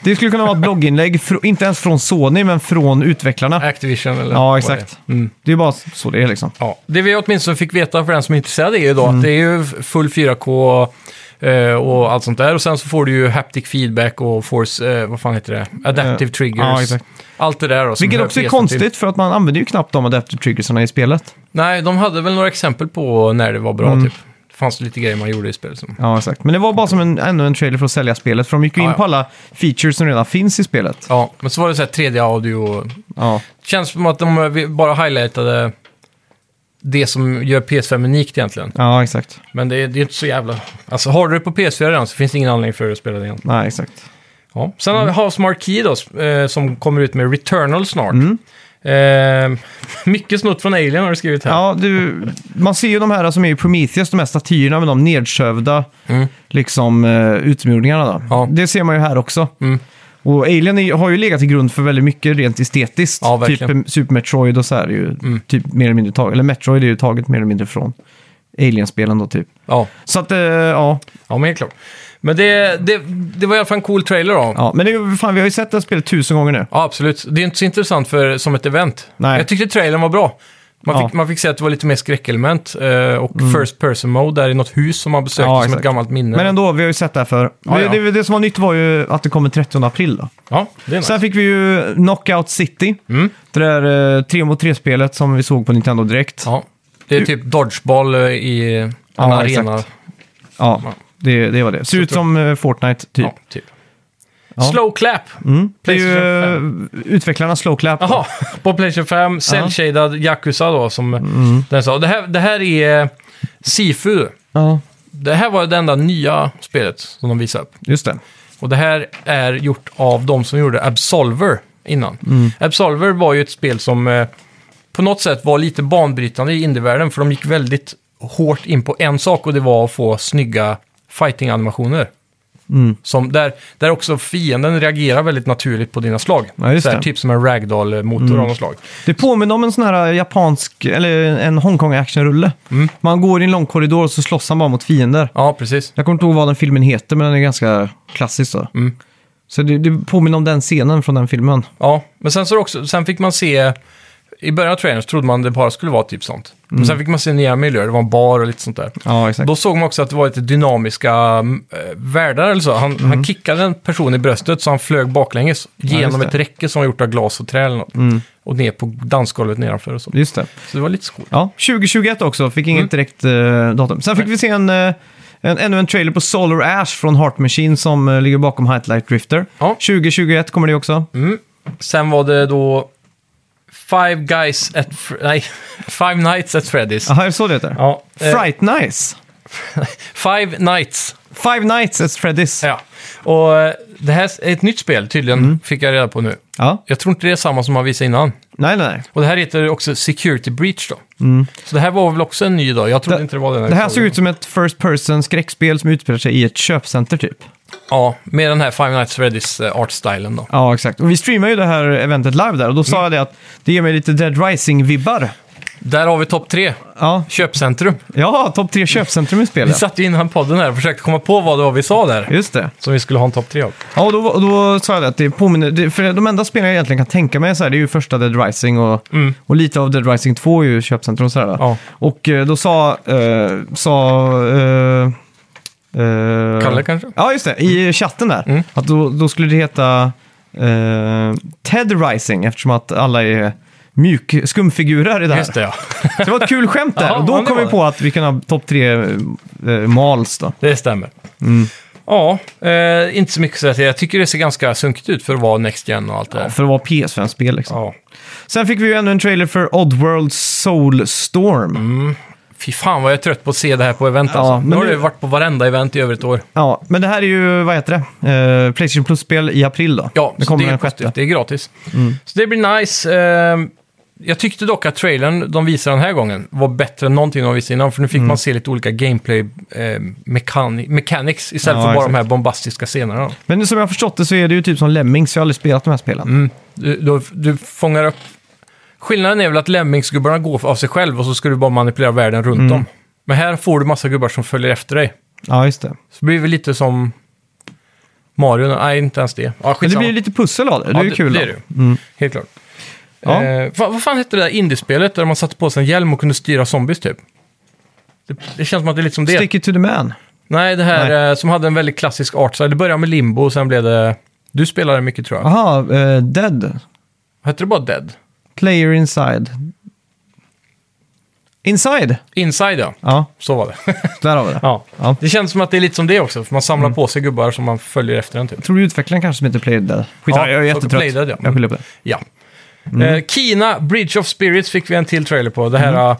Speaker 1: Det skulle kunna vara ett blogginlägg, fr- inte ens från Sony, men från utvecklarna.
Speaker 2: Activision eller vad
Speaker 1: Ja,
Speaker 2: det är.
Speaker 1: exakt. Mm. Det är bara så det är liksom.
Speaker 2: Ja, det vi åtminstone fick veta för den som är intresserad är ju då
Speaker 1: Mm.
Speaker 2: att det är ju full 4K eh, och allt sånt där. Och sen så får du ju haptic feedback och force, eh, vad fan heter det? Adaptive
Speaker 1: Eh,
Speaker 2: triggers.
Speaker 1: ja, exakt.
Speaker 2: allt det där då, som
Speaker 1: Vilket
Speaker 2: hör
Speaker 1: också är
Speaker 2: PS-en Mm. till.
Speaker 1: konstigt, för att man använder ju knappt de adaptive triggersarna i spelet.
Speaker 2: Nej, de hade väl några exempel på när det var bra
Speaker 1: Mm.
Speaker 2: typ. Det fanns lite grejer man gjorde i spelet som...
Speaker 1: Ja, exakt. Men det var bara som en, ännu en trailer för att sälja spelet, för de gick ju in
Speaker 2: Ja, ja.
Speaker 1: på alla features som redan finns i spelet.
Speaker 2: Ja, men så var det så här 3D-audio och...
Speaker 1: Ja,
Speaker 2: Känns som att de eh, bara highlightade det som gör PS5 unikt egentligen.
Speaker 1: ja exakt.
Speaker 2: Men det är, det är inte så jävla... Alltså har du det på PS4 redan så finns det ingen anledning för dig att spela det igen.
Speaker 1: Nej, exakt.
Speaker 2: Ja. Sen har vi
Speaker 1: Mm.
Speaker 2: House Marquee då, eh, som kommer ut med Returnal snart.
Speaker 1: Mm.
Speaker 2: Eh, (laughs) mycket snott från Alien har du skrivit här.
Speaker 1: Ja, du, man ser ju de här som är i Prometheus, de här statyerna med de nedsövda liksom, eh, utomjordingarna. Då.
Speaker 2: Mm. Ja. Mm.
Speaker 1: Det ser man ju här också. Och Alien är, har ju legat till grund för väldigt mycket rent estetiskt.
Speaker 2: Ja, verkligen. Mm.
Speaker 1: typ Super Metroid och så här är ju typ mer eller mindre taget. Eller Metroid är ju taget mer eller mindre från Alien-spelen då typ.
Speaker 2: Ja,
Speaker 1: Så att, eh, ja.
Speaker 2: ja men helt klart. Men det, det, det var i alla fall en cool trailer då. Ja.
Speaker 1: ja. Men det, är ju- fan, vi har ju sett det här spelet tusen gånger nu.
Speaker 2: absolut. Det är inte så intressant för, som ett event.
Speaker 1: Nej.
Speaker 2: Jag tyckte trailern var bra. Man,
Speaker 1: Ja. Mm.
Speaker 2: fick, man fick se att det var lite mer skräckelement eh, och first person mode där i något hus som man besökte
Speaker 1: Ja,
Speaker 2: som
Speaker 1: exakt.
Speaker 2: ett gammalt minne.
Speaker 1: Men ändå, vi har ju sett det här för.
Speaker 2: Ja, ja.
Speaker 1: Det, det, det som var nytt var ju att det kommer 30 april då.
Speaker 2: Ja, det är nice.
Speaker 1: Sen fick vi ju Knockout City. Det där eh, 3 mot 3-spelet som vi såg på Nintendo direkt. Ja,
Speaker 2: Ja. Det är typ dodgeball eh, i en
Speaker 1: Ja,
Speaker 2: arena.
Speaker 1: exakt. Det, det var det. Ser ut som eh, Fortnite typ.
Speaker 2: Ja, typ. Slow clap! Mm.
Speaker 1: Det är ju eh, utvecklarna Slowclap.
Speaker 2: Jaha, på Playstation 5, Cell-shaded Yakuza då som
Speaker 1: Mm.
Speaker 2: den sa. Det här, det här är eh, Sifu.
Speaker 1: Ja,
Speaker 2: Det här var det enda nya spelet som de visade upp.
Speaker 1: just det.
Speaker 2: Och det här är gjort av de som gjorde Absolver innan.
Speaker 1: Mm.
Speaker 2: Absolver var ju ett spel som eh, på något sätt var lite banbrytande i indievärlden för de gick väldigt hårt in på en sak och det var att få snygga fighting-animationer.
Speaker 1: Mm.
Speaker 2: Som där, där också fienden reagerar väldigt naturligt på dina slag.
Speaker 1: Ja, just
Speaker 2: så här,
Speaker 1: det. Mm.
Speaker 2: typ som en ragdoll-motor av något slag.
Speaker 1: Det påminner om en sån här eh, japansk, eller eh, en Hongkong-actionrulle. Man går i en lång korridor och så slåss han bara mot fiender.
Speaker 2: Ja, precis.
Speaker 1: Jag kommer inte ihåg vad den filmen heter, men den är ganska klassisk. Så, så det, det påminner om den scenen från den filmen.
Speaker 2: Ja, men sen, så är det också, sen fick man se... I början av trailern så trodde man det bara skulle vara typ sånt. Men sen fick man se nya miljöer, det var en bar och lite sånt där.
Speaker 1: Ja, Mm. exakt.
Speaker 2: Då såg man också att det var lite dynamiska äh, världar eller så. Han,
Speaker 1: Mm.
Speaker 2: han kickade en person i bröstet så han flög baklänges genom
Speaker 1: det. Mm.
Speaker 2: ett räcke som var gjort av glas och trä eller något. Och ner på dansgolvet nedanför och så.
Speaker 1: Just det.
Speaker 2: Så det var lite skoj.
Speaker 1: Ja, 2021 också, fick
Speaker 2: Mm.
Speaker 1: inget direkt eh, datum. Sen fick vi se en, eh, en, ännu en trailer på Solar Ash från Heart Machine som eh, ligger bakom Highlight Drifter.
Speaker 2: Ja. Mm.
Speaker 1: 2021 kommer det också.
Speaker 2: Sen var det då Five Guys at... Fre- Nej, (laughs) Five Nights at Freddy's.
Speaker 1: Jaha, är det så det heter?
Speaker 2: Ja, eh,
Speaker 1: Fright Nights.
Speaker 2: Five Nights
Speaker 1: Five Nights at Freddy's.
Speaker 2: Ja, och eh, det här är ett nytt spel tydligen, fick jag reda på nu.
Speaker 1: Ja.
Speaker 2: Jag tror inte det är samma som man visade innan.
Speaker 1: Nej, nej, nej.
Speaker 2: Och det här heter också Security Breach då. Så det här var väl också en ny dag. Jag trodde inte Mm. det var den.
Speaker 1: Det här såg ut som ett first person skräckspel som utspelar sig i ett köpcenter typ.
Speaker 2: Ja, med den här Five Nights at Freddy's eh, art-stilen då.
Speaker 1: Ja, exakt. Och vi streamar ju det här eventet live där och då
Speaker 2: Mm.
Speaker 1: sa jag det att det ger mig lite Dead Rising-vibbar.
Speaker 2: Där har vi topp tre,
Speaker 1: Ja,
Speaker 2: köpcentrum.
Speaker 1: ja topp tre köpcentrum i
Speaker 2: Vi
Speaker 1: spelet.
Speaker 2: satt ju innan podden här och försökte komma på vad det var vi sa där.
Speaker 1: Just det.
Speaker 2: Som vi skulle ha en topp tre av.
Speaker 1: Ja, och då, och då sa jag det att det påminner... Det, för de enda spelen jag egentligen kan tänka mig så här, det är ju första Dead Rising och, och lite av Dead Rising 2 är ju köpcentrum och sådär.
Speaker 2: Mm. Ja.
Speaker 1: Och eh, då sa... Eh, sa eh, eh,
Speaker 2: Kalle kanske? Mm.
Speaker 1: Ja, just det. I chatten där. Att då, då skulle det heta eh, Ted Rising eftersom att alla är mjuk, skumfigurer i det här.
Speaker 2: Just det, ja.
Speaker 1: Så det var ett kul skämt där.
Speaker 2: (laughs) Ja,
Speaker 1: och
Speaker 2: ja,
Speaker 1: då
Speaker 2: det
Speaker 1: kom vi
Speaker 2: var
Speaker 1: på att vi kan ha topp tre eh, mals då.
Speaker 2: (laughs) Det stämmer. Ja, eh, inte så mycket att säga till. Jag tycker det ser ganska sunkigt ut för att vara Next Gen och allt det där.
Speaker 1: För att vara PS5-spel liksom.
Speaker 2: Ja.
Speaker 1: Sen fick vi ju ännu en trailer för Oddworld Soulstorm.
Speaker 2: Mm. Fy fan vad jag är trött på att se det här på event
Speaker 1: Ja,
Speaker 2: alltså.
Speaker 1: men
Speaker 2: Nu har
Speaker 1: nu-
Speaker 2: det ju varit på varenda event i över ett år.
Speaker 1: Ja, men det här är ju, vad heter det? Eh, Playstation Plus-spel i april då.
Speaker 2: Ja,
Speaker 1: det
Speaker 2: så
Speaker 1: kommer
Speaker 2: det är
Speaker 1: den
Speaker 2: positivt.
Speaker 1: sjätte. Mm.
Speaker 2: Det är gratis. Så det blir nice. Ehm, Jag tyckte dock att trailern de visade den här gången var bättre än någonting de visade innan. För nu
Speaker 1: Mm.
Speaker 2: fick man se lite olika gameplay eh, mechani- mechanics istället
Speaker 1: Ja,
Speaker 2: för bara
Speaker 1: exakt.
Speaker 2: de här bombastiska scenerna.
Speaker 1: Men som jag har förstått det så är det ju typ som Lemmings, jag har aldrig spelat de här
Speaker 2: Mm.
Speaker 1: spelen.
Speaker 2: Du, du, du fångar upp... Skillnaden är väl att lemmingsgubbarna går av sig själv och så ska du bara manipulera världen runt
Speaker 1: Mm.
Speaker 2: dem. Men här får du massa gubbar som följer efter dig.
Speaker 1: Ja, just det.
Speaker 2: Så det blir väl lite som Mario. Nej, inte ens det. Ja,
Speaker 1: Men det
Speaker 2: skitsamma.
Speaker 1: blir ju lite pussel av det, det
Speaker 2: Ja,
Speaker 1: är ju kul.
Speaker 2: Det är
Speaker 1: då. Mm.
Speaker 2: det. Helt klart.
Speaker 1: Ja.
Speaker 2: Eh, vad, vad fan hette det där indiespelet där man satte på sig en hjälm och kunde styra zombies typ? Det, det känns som att det är lite som det.
Speaker 1: Stick it to the man.
Speaker 2: Nej, det här
Speaker 1: Nej.
Speaker 2: Eh, som hade en väldigt klassisk art. Så det började med limbo och sen blev det... Du spelade mycket tror jag.
Speaker 1: Aha, eh, Dead.
Speaker 2: Hette det bara Dead?
Speaker 1: Player inside. Inside?
Speaker 2: Inside ja.
Speaker 1: Ja,
Speaker 2: Så var det.
Speaker 1: där har vi det.
Speaker 2: ja.
Speaker 1: Ja.
Speaker 2: (laughs)
Speaker 1: Mm.
Speaker 2: Det känns som att det är lite som det också. För man samlar på sig gubbar som man följer efter en typ.
Speaker 1: Tror du utvecklaren kanske som heter Player Dead? Skit,
Speaker 2: Ja,
Speaker 1: jag är
Speaker 2: så
Speaker 1: jättetrött.
Speaker 2: Player Dead, ja.
Speaker 1: Jag skyller på det.
Speaker 2: Ja.
Speaker 1: Mm.
Speaker 2: Eh, Kina, Bridge of Spirits fick vi en till trailer på. Det här,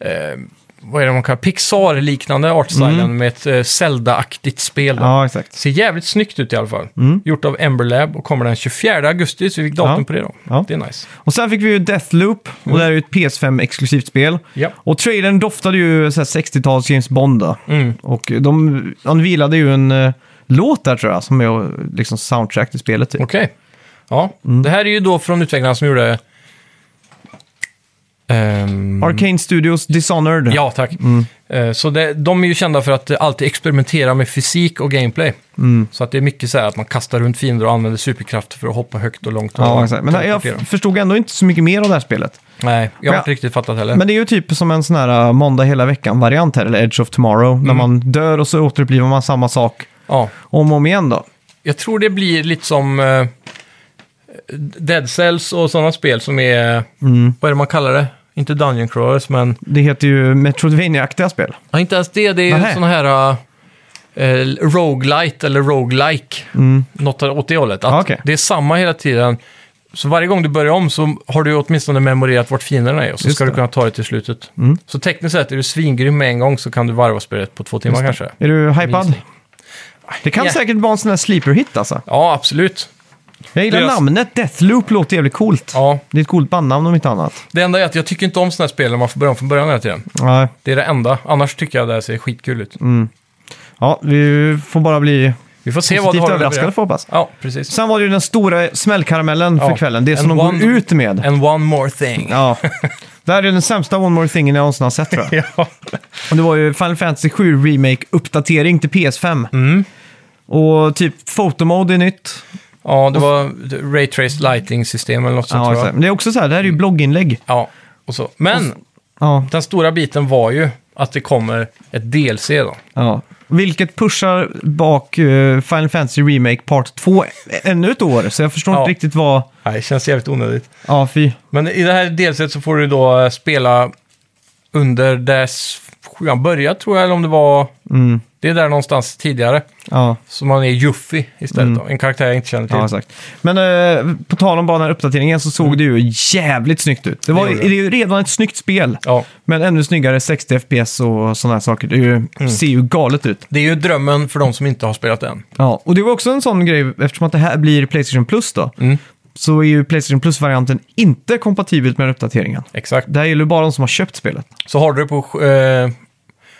Speaker 1: Mm.
Speaker 2: eh, vad är det man kallar, Pixar-liknande artstylen med ett eh, Zelda-aktigt spel. då.
Speaker 1: Mm. Ja, exakt.
Speaker 2: Ser jävligt snyggt ut i alla fall. Gjort av Ember Lab och kommer den 24 augusti, så vi fick datum
Speaker 1: Ja.
Speaker 2: på det då.
Speaker 1: Ja.
Speaker 2: Det är nice.
Speaker 1: Och sen fick vi ju Deathloop, och det här är ju ett PS5-exklusivt spel.
Speaker 2: Ja.
Speaker 1: Och trailern doftade ju så här 60-tals James Bond då.
Speaker 2: Mm.
Speaker 1: Och de anvilade ju en eh, låt där tror jag, som är eh, liksom soundtrack till spelet typ.
Speaker 2: Okej. Ja,
Speaker 1: Mm.
Speaker 2: det här är ju då från utvecklarna som gjorde... ehm,
Speaker 1: Arcane Studios Dishonored.
Speaker 2: Ja, tack.
Speaker 1: Mm.
Speaker 2: Eh, Så det, de är ju kända för att eh, alltid experimentera med fysik och gameplay.
Speaker 1: Mm.
Speaker 2: Så att det är mycket så här att man kastar runt fiender och använder superkrafter för att hoppa högt och långt. Och
Speaker 1: Ja, exakt. Men jag
Speaker 2: teleportera.
Speaker 1: förstod ändå inte så mycket mer av det här spelet.
Speaker 2: Nej, jag har
Speaker 1: Ja.
Speaker 2: inte riktigt fattat heller.
Speaker 1: Men det är ju typ som en sån här eh, måndag hela veckan-variant här, eller Edge of Tomorrow.
Speaker 2: Mm.
Speaker 1: När man dör och så återupplivar man samma sak
Speaker 2: Ja,
Speaker 1: om och om igen då.
Speaker 2: jag tror det blir lite som eh, Dead Cells och sådana spel som är...
Speaker 1: Mm.
Speaker 2: Vad är det man kallar det? Inte Dungeon Crawlers, men...
Speaker 1: Det heter ju Metroidvania-aktiga spel.
Speaker 2: Ja, inte ens det. Det är
Speaker 1: Nähä.
Speaker 2: sådana här... Eh, roguelite eller roguelike. Något åt det hållet.
Speaker 1: Ja,
Speaker 2: Att
Speaker 1: Mm. Ah, okej.
Speaker 2: Det är samma hela tiden. Så varje gång du börjar om så har du åtminstone memorerat vart fienderna är och så
Speaker 1: Just
Speaker 2: ska du
Speaker 1: det. Mm.
Speaker 2: kunna ta det till slutet. Så tekniskt sett, är du svingrym med en gång så kan du varva spelet på två timmar kanske.
Speaker 1: Är du hypad?
Speaker 2: Minst.
Speaker 1: Det kan
Speaker 2: Ja.
Speaker 1: säkert vara en sån här sleeper hit alltså.
Speaker 2: Ja, absolut.
Speaker 1: Jag gillar
Speaker 2: Deras-
Speaker 1: namnet. Deathloop låter jävligt coolt.
Speaker 2: Ja,
Speaker 1: Det är ett coolt bandnamn om inte annat.
Speaker 2: det enda är att jag tycker inte om sådana här spel där man får börja om från början hela tiden.
Speaker 1: Nej.
Speaker 2: Det är det enda. Annars tycker jag det här ser skitkul ut.
Speaker 1: Mm. Ja, vi får bara bli
Speaker 2: Vi får se vad du
Speaker 1: positivt
Speaker 2: har att
Speaker 1: överraskade
Speaker 2: leverera.
Speaker 1: får jag hoppas.
Speaker 2: Ja, precis.
Speaker 1: Sen var det ju den stora smällkaramellen för
Speaker 2: Ja,
Speaker 1: kvällen. Det
Speaker 2: en
Speaker 1: som de
Speaker 2: one-
Speaker 1: går ut med.
Speaker 2: And one
Speaker 1: (laughs)
Speaker 2: more thing.
Speaker 1: Ja. Det här är den sämsta One More Thing jag någonsin har sett tror
Speaker 2: (laughs)
Speaker 1: jag.
Speaker 2: Ja.
Speaker 1: Och det var ju Final Fantasy 7 Remake-uppdatering till PS5.
Speaker 2: Mm.
Speaker 1: Och typ fotomode är nytt.
Speaker 2: ja, det var Ray Traced Lighting-system eller något sånt
Speaker 1: Ja,
Speaker 2: tror
Speaker 1: så här.
Speaker 2: jag. Mm.
Speaker 1: Men det är också så här, det här är ju blogginlägg.
Speaker 2: Ja, och så. Men
Speaker 1: Ja,
Speaker 2: den stora biten var ju att det kommer ett DLC då.
Speaker 1: ja. Vilket pushar bak eh, Final Fantasy Remake Part 2 ännu ett år. Så jag förstår
Speaker 2: Ja.
Speaker 1: inte riktigt vad...
Speaker 2: Nej, det känns jävligt onödigt.
Speaker 1: Ja, fy.
Speaker 2: Men i det här delset så får du då eh, spela under dess sjuan började tror jag, eller om det var...
Speaker 1: Mm.
Speaker 2: Det är där någonstans tidigare.
Speaker 1: Ja.
Speaker 2: Så man är Juffy istället då. En karaktär jag inte känner till.
Speaker 1: Ja, exakt. Men eh, på tal om bara den här uppdateringen så såg det ju jävligt snyggt ut. Det, var,
Speaker 2: Mm. Det
Speaker 1: det,
Speaker 2: gjorde
Speaker 1: är ju redan ett snyggt spel,
Speaker 2: ja.
Speaker 1: men ännu snyggare 60 FPS och sådana här saker. Det är ju,
Speaker 2: Mm.
Speaker 1: ser ju galet ut.
Speaker 2: Det är ju drömmen för de som inte har spelat än.
Speaker 1: Ja, och det var också en sån grej, eftersom att det här blir Playstation Plus då,
Speaker 2: Mm.
Speaker 1: så är ju Playstation Plus-varianten inte kompatibel med uppdateringen.
Speaker 2: Exakt.
Speaker 1: Det här gäller ju bara de som har köpt spelet.
Speaker 2: Så har du det på... Eh,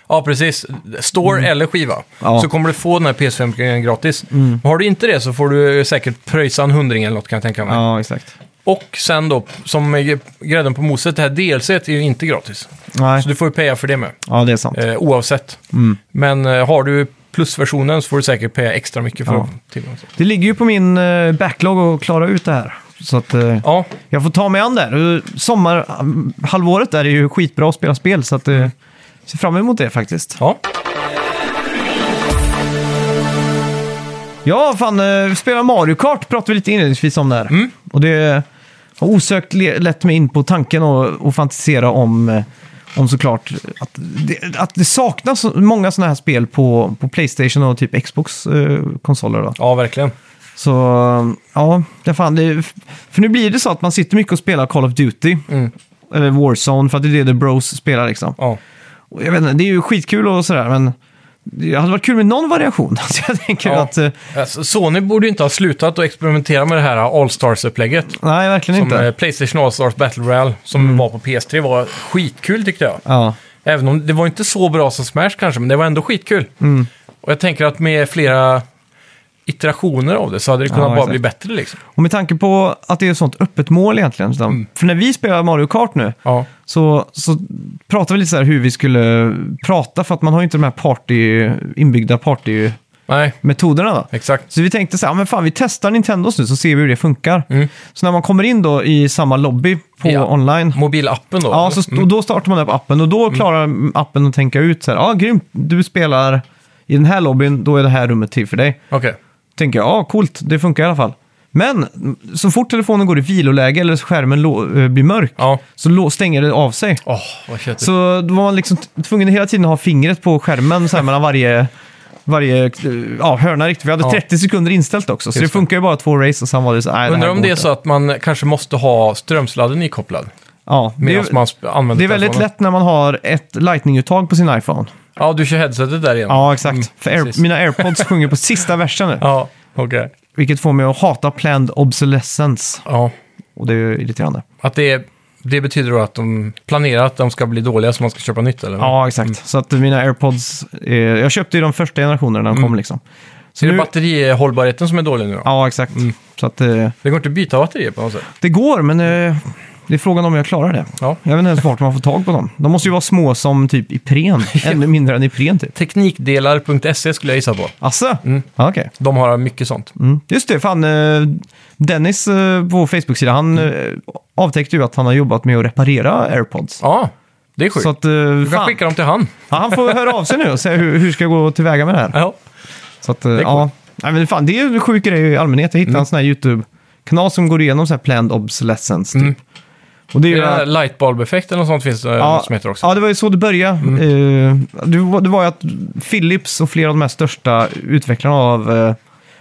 Speaker 2: ja, precis. Store eller skiva.
Speaker 1: Mm. Ja. Mm.
Speaker 2: Så kommer du få den här PS5-grejen gratis. Och Har du inte det så får du säkert pröjsa en hundring eller något kan jag tänka mig.
Speaker 1: Ja, exakt.
Speaker 2: Och sen då, som är grädden på moset, det här DLCet är ju inte gratis.
Speaker 1: Nej, Mm.
Speaker 2: Så du får ju paya för det med,
Speaker 1: ja det är sant.
Speaker 2: eh, oavsett. Men eh, har du plusversionen så får du säkert paya extra mycket för
Speaker 1: Ja.
Speaker 2: tillgång till
Speaker 1: Det ligger ju på min eh, backlog att klara ut det här. Så att, eh,
Speaker 2: Ja,
Speaker 1: Jag får ta mig an där. Sommarhalvåret där är ju skitbra att spela spel, så att, eh, ser fram emot det faktiskt.
Speaker 2: ja.
Speaker 1: Ja, fan, eh, vi spelar Mario Kart pratade vi lite inledningsvis om där. Och det har osökt le- lett mig in på tanken och, och fantisera om, eh, om såklart att det, att det saknas så många sådana här spel på, på Playstation och typ Xbox-konsoler. då.
Speaker 2: ja verkligen.
Speaker 1: Så eh, ja, det fan, det, för nu blir det så att man sitter mycket och spelar Call of Duty.
Speaker 2: Mm.
Speaker 1: Eller Warzone, för att det är det The Bros spelar liksom. (laughs)
Speaker 2: Ja.
Speaker 1: Och jag vet inte, det är ju skitkul och sådär, men det hade varit kul med någon variation. (laughs) Så jag tänker
Speaker 2: Ja.
Speaker 1: att, eh,
Speaker 2: Alltså, Sony borde ju inte ha slutat att experimentera med det här All-Stars-upplägget.
Speaker 1: nej verkligen
Speaker 2: Som
Speaker 1: inte. Mm.
Speaker 2: eh, Playstation All-Stars Battle Royale, som var på PS3, var skitkul tyckte jag.
Speaker 1: Ja,
Speaker 2: Även om det var inte så bra som Smash kanske, men det var ändå skitkul.
Speaker 1: Mm.
Speaker 2: Och jag tänker att med flera iterationer av det så hade det kunnat
Speaker 1: Ja,
Speaker 2: bara
Speaker 1: exakt.
Speaker 2: bli bättre liksom.
Speaker 1: och med tanke på att det är ett sånt öppet mål egentligen. så- För när vi spelar Mario Kart nu,
Speaker 2: Mm. Ja,
Speaker 1: så, så pratar vi lite så här hur vi skulle prata, för att man har ju inte de här party, inbyggda partymetoderna
Speaker 2: nej,
Speaker 1: då.
Speaker 2: exakt.
Speaker 1: Så vi tänkte så här, "Ja, men fan vi testar Nintendos nu så ser vi hur det funkar. Så när man kommer in då i samma lobby på
Speaker 2: Mm. Ja.
Speaker 1: online,
Speaker 2: Mobilappen då?
Speaker 1: Ja, så st- och då startar man upp appen och
Speaker 2: Mm.
Speaker 1: då klarar appen att tänka ut så här, ja ah, grymt, du spelar i den här lobbyn, då är det här rummet till för dig.
Speaker 2: Okej.
Speaker 1: Tänker jag, ja ah, coolt, det funkar i alla fall. Men mm, så fort telefonen går i viloläge eller skärmen lå- eh, blir mörk
Speaker 2: Ja.
Speaker 1: så lå- stänger det av sig.
Speaker 2: Åh, vad köttigt.
Speaker 1: Så då var man liksom t- tvungen att hela tiden ha fingret på skärmen så här, mellan varje, varje eh, ja, hörna riktigt. Vi hade
Speaker 2: Ja.
Speaker 1: 30 sekunder inställt också, så
Speaker 2: Just
Speaker 1: det funkar ju bara två race och sen var det så här, nej, det
Speaker 2: Undrar
Speaker 1: här
Speaker 2: om
Speaker 1: går
Speaker 2: det är
Speaker 1: inte.
Speaker 2: så att man kanske måste ha strömsladden ikopplad
Speaker 1: Ja, det,
Speaker 2: medan
Speaker 1: är-
Speaker 2: man sp- använder
Speaker 1: det är väldigt
Speaker 2: telefonen.
Speaker 1: lätt när man har ett lightning-uttag på sin iPhone.
Speaker 2: Ja, du kör headsetet där igen.
Speaker 1: Ja, exakt. För
Speaker 2: Mm, precis.
Speaker 1: Air, mina airpods sjunger på sista versen nu.
Speaker 2: Ja, okej.
Speaker 1: Vilket får mig att hata planned obsolescence.
Speaker 2: Ja,
Speaker 1: Och det är ju irriterande.
Speaker 2: att det, det betyder då att de planerar att de ska bli dåliga så man ska köpa nytt eller?
Speaker 1: Ja, exakt.
Speaker 2: Mm.
Speaker 1: Så att mina airpods... Eh, jag köpte ju de första generationerna när de kom liksom. Så
Speaker 2: Är Mm. Mm. det
Speaker 1: nu-
Speaker 2: batterihållbarheten som är dålig nu då?
Speaker 1: Ja, exakt. Så att eh,
Speaker 2: Det går inte att byta batterier på något sätt?
Speaker 1: det går, men eh, det är frågan om jag klarar det.
Speaker 2: Ja.
Speaker 1: Jag vet inte ens vart man får tag på dem. De måste ju vara små som typ
Speaker 2: (laughs)
Speaker 1: Ipren. Ännu mindre än Ipren typ.
Speaker 2: Teknikdelar.se E skulle jag gissa på.
Speaker 1: Asså?
Speaker 2: Mm.
Speaker 1: Ja, Okej.
Speaker 2: De har mycket sånt.
Speaker 1: Mm. Just det, fan. Eh, Dennis eh, på Facebook-sida, han
Speaker 2: Mm.
Speaker 1: eh, avtäckte ju att han har jobbat med att reparera airpods.
Speaker 2: Ja, det är sjukt.
Speaker 1: Så att, eh,
Speaker 2: du kan
Speaker 1: fan.
Speaker 2: skicka dem till han.
Speaker 1: Ja, han får höra av sig nu och säga hur, hur ska jag gå tillväga med det här.
Speaker 2: Ja.
Speaker 1: Så att, eh,
Speaker 2: är Mm.
Speaker 1: ja. Nej, men fan, det är ju en sjuk grej i allmänhet. Jag hittade en sån här YouTube-kanal som går igenom så här planned obsolescence. Typ. Och det är
Speaker 2: Mm.
Speaker 1: ju...
Speaker 2: Det är den här
Speaker 1: att-
Speaker 2: lightbulb-effekten och sånt finns det
Speaker 1: Ja,
Speaker 2: något som heter också. Mm.
Speaker 1: ja, det var ju så det började. Eh, det, var, det var ju att Philips och flera av de här största utvecklarna av eh,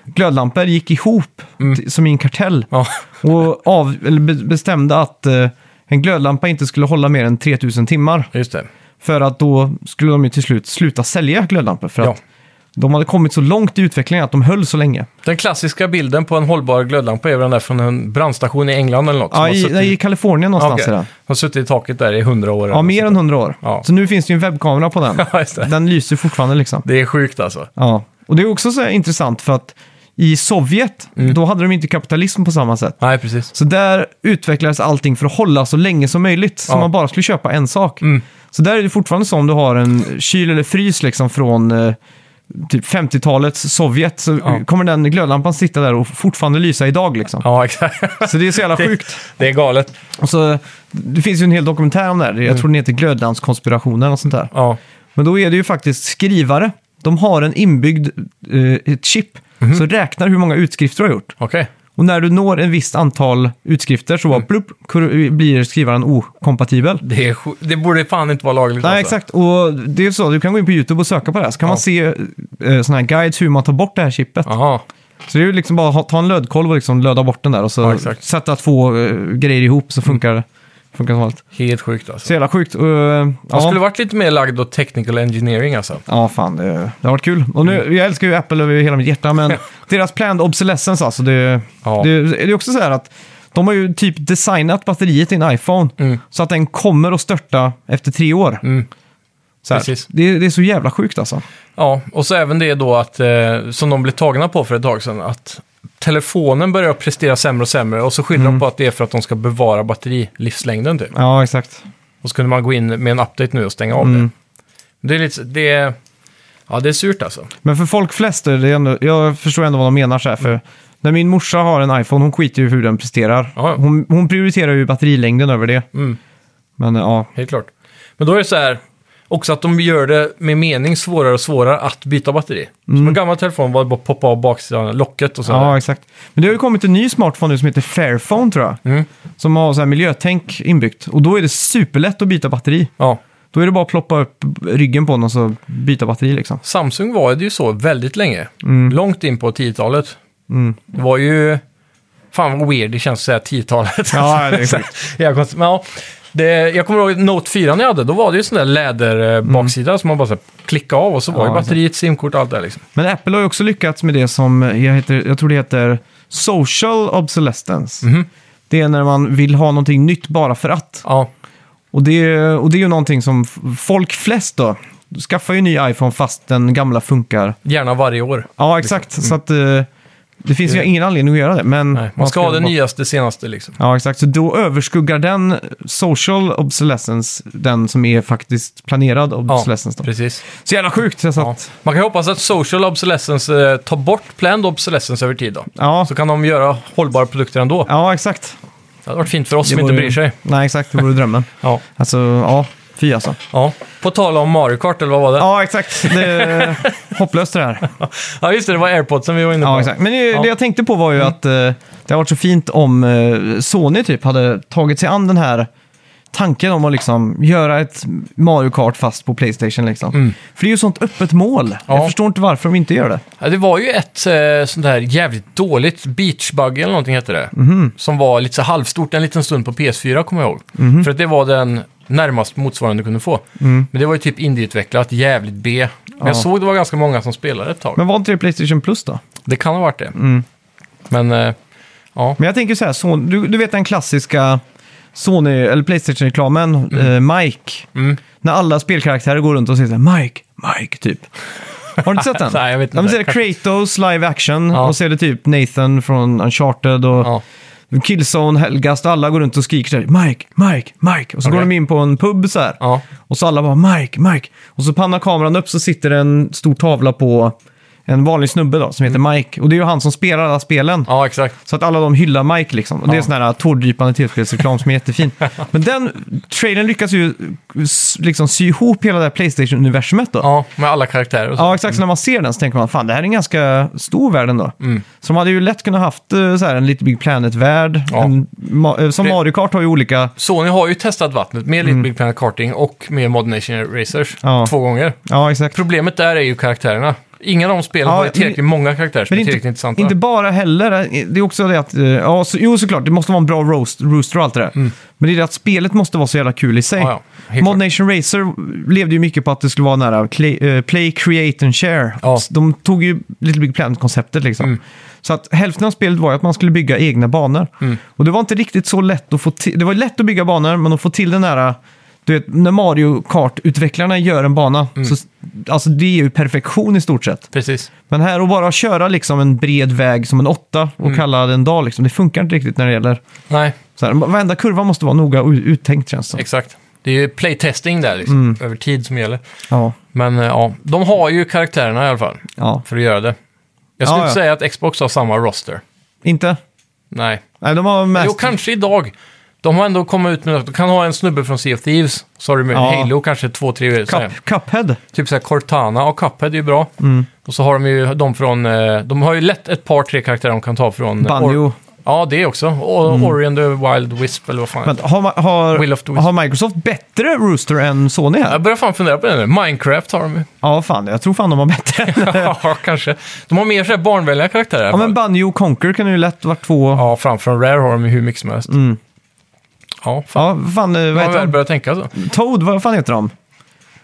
Speaker 1: glödlampor gick ihop
Speaker 2: Mm.
Speaker 1: t- som i en kartell.
Speaker 2: Ja.
Speaker 1: Och av, eller be, bestämde att eh, en glödlampa inte skulle hålla mer än 3000 timmar.
Speaker 2: just det.
Speaker 1: För att då skulle de ju till slut sluta sälja glödlampor. För
Speaker 2: Ja.
Speaker 1: att De hade kommit så långt i utvecklingen att de höll så länge.
Speaker 2: Den klassiska bilden på en hållbar glödlampa är väl den där från en brandstation i England eller något? som
Speaker 1: Ja,
Speaker 2: har
Speaker 1: i,
Speaker 2: suttit-
Speaker 1: nej, I Kalifornien
Speaker 2: Ja,
Speaker 1: någonstans
Speaker 2: okej.
Speaker 1: är det.
Speaker 2: Har suttit i taket där i hundra år.
Speaker 1: Ja,
Speaker 2: eller
Speaker 1: mer
Speaker 2: något
Speaker 1: än
Speaker 2: sånt
Speaker 1: 100 år.
Speaker 2: Ja.
Speaker 1: Så nu finns det ju en webbkamera på den.
Speaker 2: där. (laughs) Ja, just det.
Speaker 1: Den lyser fortfarande liksom.
Speaker 2: Det är sjukt alltså.
Speaker 1: Ja. Och det är också så här intressant för att i Sovjet,
Speaker 2: Mm.
Speaker 1: då hade de inte kapitalism på samma sätt.
Speaker 2: Nej, precis.
Speaker 1: Så där utvecklades allting för att hålla så länge som möjligt. Så
Speaker 2: Ja. Mm.
Speaker 1: man bara skulle köpa en sak. Så där är det fortfarande så om du har en kyl eller frys liksom från eh, typ 50-talets Sovjet. Så
Speaker 2: Ja.
Speaker 1: kommer den glödlampan sitta där och fortfarande lysa idag liksom.
Speaker 2: Ja, (laughs) exakt.
Speaker 1: Så det är så jävla sjukt.
Speaker 2: (laughs) Det är galet.
Speaker 1: Och så, det finns ju en hel dokumentär om det här.
Speaker 2: Mm.
Speaker 1: Jag tror den heter Glödlandskonspirationen och sånt där.
Speaker 2: Ja,
Speaker 1: Men då är det ju faktiskt skrivare. De har en inbyggd eh, ett chip
Speaker 2: Mhm.
Speaker 1: som räknar hur många utskrifter du har gjort.
Speaker 2: okej.
Speaker 1: Och när du når ett visst antal utskrifter så bara plupp, kur- blir skrivaren okompatibel.
Speaker 2: Mm. Det, är sju- det borde fan inte vara lagligt
Speaker 1: Nej,
Speaker 2: alltså.
Speaker 1: exakt. Och det är så, du kan gå in på YouTube och söka på det här. Så kan
Speaker 2: Ja.
Speaker 1: man se eh, sådana här guides hur man tar bort det här chippet.
Speaker 2: Jaha.
Speaker 1: Så det är ju liksom bara att ha- ta en lödkolv och liksom löda bort den där och så
Speaker 2: Ja, exakt.
Speaker 1: sätta två eh, grejer ihop så funkar det. Funkar som allt.
Speaker 2: Helt sjukt alltså.
Speaker 1: Så jävla sjukt. Och, eh,
Speaker 2: Man
Speaker 1: ja.
Speaker 2: skulle varit lite mer lagd åt technical engineering alltså.
Speaker 1: Ja, fan. Det, det har varit kul. Och nu, jag älskar ju Apple över hela mitt hjärta,
Speaker 2: (laughs)
Speaker 1: men deras planned obsolescence alltså. Det,
Speaker 2: Ja.
Speaker 1: det, det är också så här att de har ju typ designat batteriet i en iPhone
Speaker 2: Mm.
Speaker 1: så att den kommer att störta efter tre år.
Speaker 2: Mm.
Speaker 1: Så här,
Speaker 2: Precis.
Speaker 1: det, det är så jävla sjukt alltså.
Speaker 2: Ja, och så även det då att, eh, som de blev tagna på för ett tag sedan, att telefonen börjar prestera sämre och sämre och så skyller
Speaker 1: Mm.
Speaker 2: de på att det är för att de ska bevara batterilivslängden typ.
Speaker 1: Ja, exakt.
Speaker 2: Och så kunde man gå in med en update nu och stänga av
Speaker 1: Mm.
Speaker 2: det. Det är lite, det är, ja det är surt alltså.
Speaker 1: Men för folk flest, är det ändå, jag förstår ändå vad de menar så här, för när min morsa har en iPhone, hon skiter ju i hur den presterar.
Speaker 2: Ja.
Speaker 1: Hon, hon prioriterar ju batterilängden över det.
Speaker 2: Mm.
Speaker 1: Men ja,
Speaker 2: Helt klart. Men då är det så här, också att de gör det med mening svårare och svårare att byta batteri. Som en gammal telefon var det bara att poppa av baksidan, locket och så.
Speaker 1: Mm. Ja,
Speaker 2: här.
Speaker 1: exakt. Men det har ju kommit en ny smartphone nu som heter Fairphone tror jag.
Speaker 2: Mm.
Speaker 1: Som har så här miljötänk inbyggt. Och då är det superlätt att byta batteri.
Speaker 2: ja.
Speaker 1: Då är det bara att ploppa upp ryggen på den och så byta batteri liksom.
Speaker 2: Samsung var det ju så väldigt länge.
Speaker 1: Mm.
Speaker 2: Långt in på 10-talet.
Speaker 1: Mm.
Speaker 2: Det var ju... Fan vad weird det känns att säga 10-talet.
Speaker 1: Ja, (laughs) det är
Speaker 2: Så här, (laughs) jag, konst- men ja, det, jag kommer ihåg Note 4 när jag hade. Då var det ju sån där läderbaksida som man bara så här, klickade av och så var
Speaker 1: Mm. Ja,
Speaker 2: ju batteriet, simkort och allt det där liksom.
Speaker 1: Men Apple har ju också lyckats med det som jag, heter, jag tror det heter social obsolescence.
Speaker 2: Mhm.
Speaker 1: Det är när man vill ha någonting nytt bara för att.
Speaker 2: Ja,
Speaker 1: Och det, och det är ju någonting som f- folk flest då skaffar ju ny iPhone fast den gamla funkar.
Speaker 2: gärna varje år.
Speaker 1: Ja, exakt. Så att eh, det finns ju
Speaker 2: Liksom. Mm. Det-
Speaker 1: ingen anledning att göra det. Men
Speaker 2: Nej, man ska ha det
Speaker 1: bara-
Speaker 2: nyaste, senaste liksom.
Speaker 1: Ja, exakt. Så då överskuggar den social obsolescence den som är faktiskt planerad obsolescence. då.
Speaker 2: Precis.
Speaker 1: Så jävla sjukt! Jag
Speaker 2: Ja.
Speaker 1: satt.
Speaker 2: Man kan ju hoppas att social obsolescence eh, tar bort planned obsolescence över tid då.
Speaker 1: Ja.
Speaker 2: Så
Speaker 1: Ja.
Speaker 2: kan de göra hållbara produkter ändå.
Speaker 1: exakt.
Speaker 2: Det hade varit fint för oss som
Speaker 1: Det
Speaker 2: inte
Speaker 1: vore-
Speaker 2: bryr sig.
Speaker 1: Nej, exakt. Det vore drömmen.
Speaker 2: Ja.
Speaker 1: Alltså, ja. Fy alltså.
Speaker 2: ja. På tal om Mario Kart, eller vad var det?
Speaker 1: Ja, exakt. Det är
Speaker 2: (laughs)
Speaker 1: hopplöst det här.
Speaker 2: Ja, just det. Det var airpodsen vi var inne på.
Speaker 1: Ja, exakt. Men det,
Speaker 2: Ja. Mm.
Speaker 1: det jag tänkte på var ju att eh, det har varit så fint om eh, Sony typ hade tagit sig an den här tanken om att liksom göra ett Mario Kart fast på Playstation. Liksom. För det är ju sånt öppet mål. Jag
Speaker 2: Mm. Ja.
Speaker 1: förstår inte varför de inte gör det.
Speaker 2: Ja, det var ju ett eh, sånt där jävligt dåligt beachbuggy eller någonting hette det.
Speaker 1: Mhm.
Speaker 2: Som var lite så halvstort en liten stund på PS4 kommer jag ihåg.
Speaker 1: Mhm.
Speaker 2: För att det var den närmast motsvarande du kunde få.
Speaker 1: Mm.
Speaker 2: Men det var ju typ indieutvecklat, jävligt B. Men jag såg det var ganska många som spelade ett tag.
Speaker 1: Men var inte det Playstation Plus då?
Speaker 2: Det kan ha varit det. Men eh, ja,
Speaker 1: Mm. Men jag tänker så här, Son- du, du vet den klassiska Sony, eller Playstation-reklamen,
Speaker 2: Mm.
Speaker 1: eh, Mike. När alla spelkaraktärer går runt och säger så här, Mike, Mike, typ. Har du inte sett den?
Speaker 2: (laughs) Nej, jag vet
Speaker 1: De
Speaker 2: inte.
Speaker 1: ser Kratos live action
Speaker 2: Ja.
Speaker 1: och ser det typ Nathan från Uncharted och
Speaker 2: ja.
Speaker 1: Killzone, Helgast och alla går runt och skriker så här, Mike, Mike, Mike. Och så går
Speaker 2: Okej.
Speaker 1: de in på en pub så här.
Speaker 2: ja.
Speaker 1: Och så alla bara Mike, Mike. Och så pannar kameran upp så sitter det en stor tavla på en vanlig snubbe då som heter Mike. Och det är ju han som spelar alla spelen.
Speaker 2: Mm. ja, exakt.
Speaker 1: Så att alla de hyllar Mike liksom. Och det är sån här tårdrypande tv-spelsreklam som är
Speaker 2: (laughs)
Speaker 1: jättefin. Men den trailern lyckas ju s- liksom sy ihop hela det här Playstation-universumet då. Ja.
Speaker 2: Ja, med alla karaktärer och så.
Speaker 1: exakt. Så när man ser den så tänker man, fan det här är en ganska stor värld ändå.
Speaker 2: Mm.
Speaker 1: Så de hade ju lätt kunnat haft eh, så här, en Little Big Planet-värld.
Speaker 2: Ja.
Speaker 1: En ma- eh, som
Speaker 2: Det-
Speaker 1: Mario Kart har ju olika...
Speaker 2: Sony har ju testat vattnet med Little Big Planet Karting och med Modern Nation Racers
Speaker 1: Mm. Ja.
Speaker 2: två gånger.
Speaker 1: Ja, exakt.
Speaker 2: Problemet där är ju karaktärerna. Ingen av de spelen
Speaker 1: Ja,
Speaker 2: har ju tillräckligt
Speaker 1: men-
Speaker 2: många karaktärer som är tillräckligt intressanta.
Speaker 1: inte bara heller. Det är också det att... eh, Ja, så, jo, såklart. Det måste vara en bra roast, rooster och allt det där. Men det är det att spelet måste vara så jävla kul i sig.
Speaker 2: Mm. Ja, ja, helt
Speaker 1: Mod
Speaker 2: klart.
Speaker 1: Nation Racer levde ju mycket på att det skulle vara nära play, eh, play create and share.
Speaker 2: Ja. Mm.
Speaker 1: De tog ju Little Big Planet-konceptet liksom. Så att hälften av spelet var ju att man skulle bygga egna banor.
Speaker 2: Mm.
Speaker 1: Och det var inte riktigt så lätt att få till... Det var lätt att bygga banor, men att få till den här... eh, Du vet, när Mario Kart-utvecklarna gör en bana,
Speaker 2: Mm.
Speaker 1: så, alltså det är ju perfektion i stort sett.
Speaker 2: Precis.
Speaker 1: Men här att bara köra liksom en bred väg som en åtta och
Speaker 2: Mm.
Speaker 1: kalla det en dag, liksom, det funkar inte riktigt när det gäller...
Speaker 2: Nej,
Speaker 1: Så här, varenda kurva måste vara noga och uttänkt känns det som.
Speaker 2: exakt. Det är ju playtesting där liksom,
Speaker 1: Mm.
Speaker 2: över tid som gäller.
Speaker 1: Ja,
Speaker 2: Men eh, ja, de har ju karaktärerna i alla fall
Speaker 1: ja.
Speaker 2: för att göra det. Jag skulle
Speaker 1: Ja,
Speaker 2: inte
Speaker 1: ja.
Speaker 2: säga att Xbox har samma roster.
Speaker 1: Inte?
Speaker 2: Nej.
Speaker 1: Nej, de har mest...
Speaker 2: Jo, kanske idag. De har ändå kommit ut med att du kan ha en snubbe från Sea of Thieves. Sorry, men
Speaker 1: Ja.
Speaker 2: Halo kanske två, tre. så här.
Speaker 1: Cup, Mm. Cuphead.
Speaker 2: Typ såhär Cortana och Cuphead är ju bra. Och så har de ju de från... eh, De har ju lätt ett par, tre karaktärer de kan ta från... eh,
Speaker 1: Banjo. Mm.
Speaker 2: Or- ja, det också. Och Ori and the Wild Wisp eller vad fan.
Speaker 1: Men har, ma- har,
Speaker 2: Will of the Wisps.
Speaker 1: har Microsoft bättre Rooster än Sony här?
Speaker 2: Jag börjar fan fundera på det nu. Minecraft har de ju. (laughs)
Speaker 1: Ja, fan. Jag tror fan de har bättre.
Speaker 2: ja, kanske. De har mer sådär barnvänliga karaktärer i alla
Speaker 1: ja,
Speaker 2: fall.
Speaker 1: men Banjo och Conquer kan ju lätt vara två... Ja,
Speaker 2: Ja, framför en Rare har de ju hur mycket som helst. Ja, fan.
Speaker 1: fan. eh, Mm. Vad
Speaker 2: Man har
Speaker 1: heter
Speaker 2: väl
Speaker 1: de?
Speaker 2: börjat tänka så.
Speaker 1: Toad, vad fan heter de?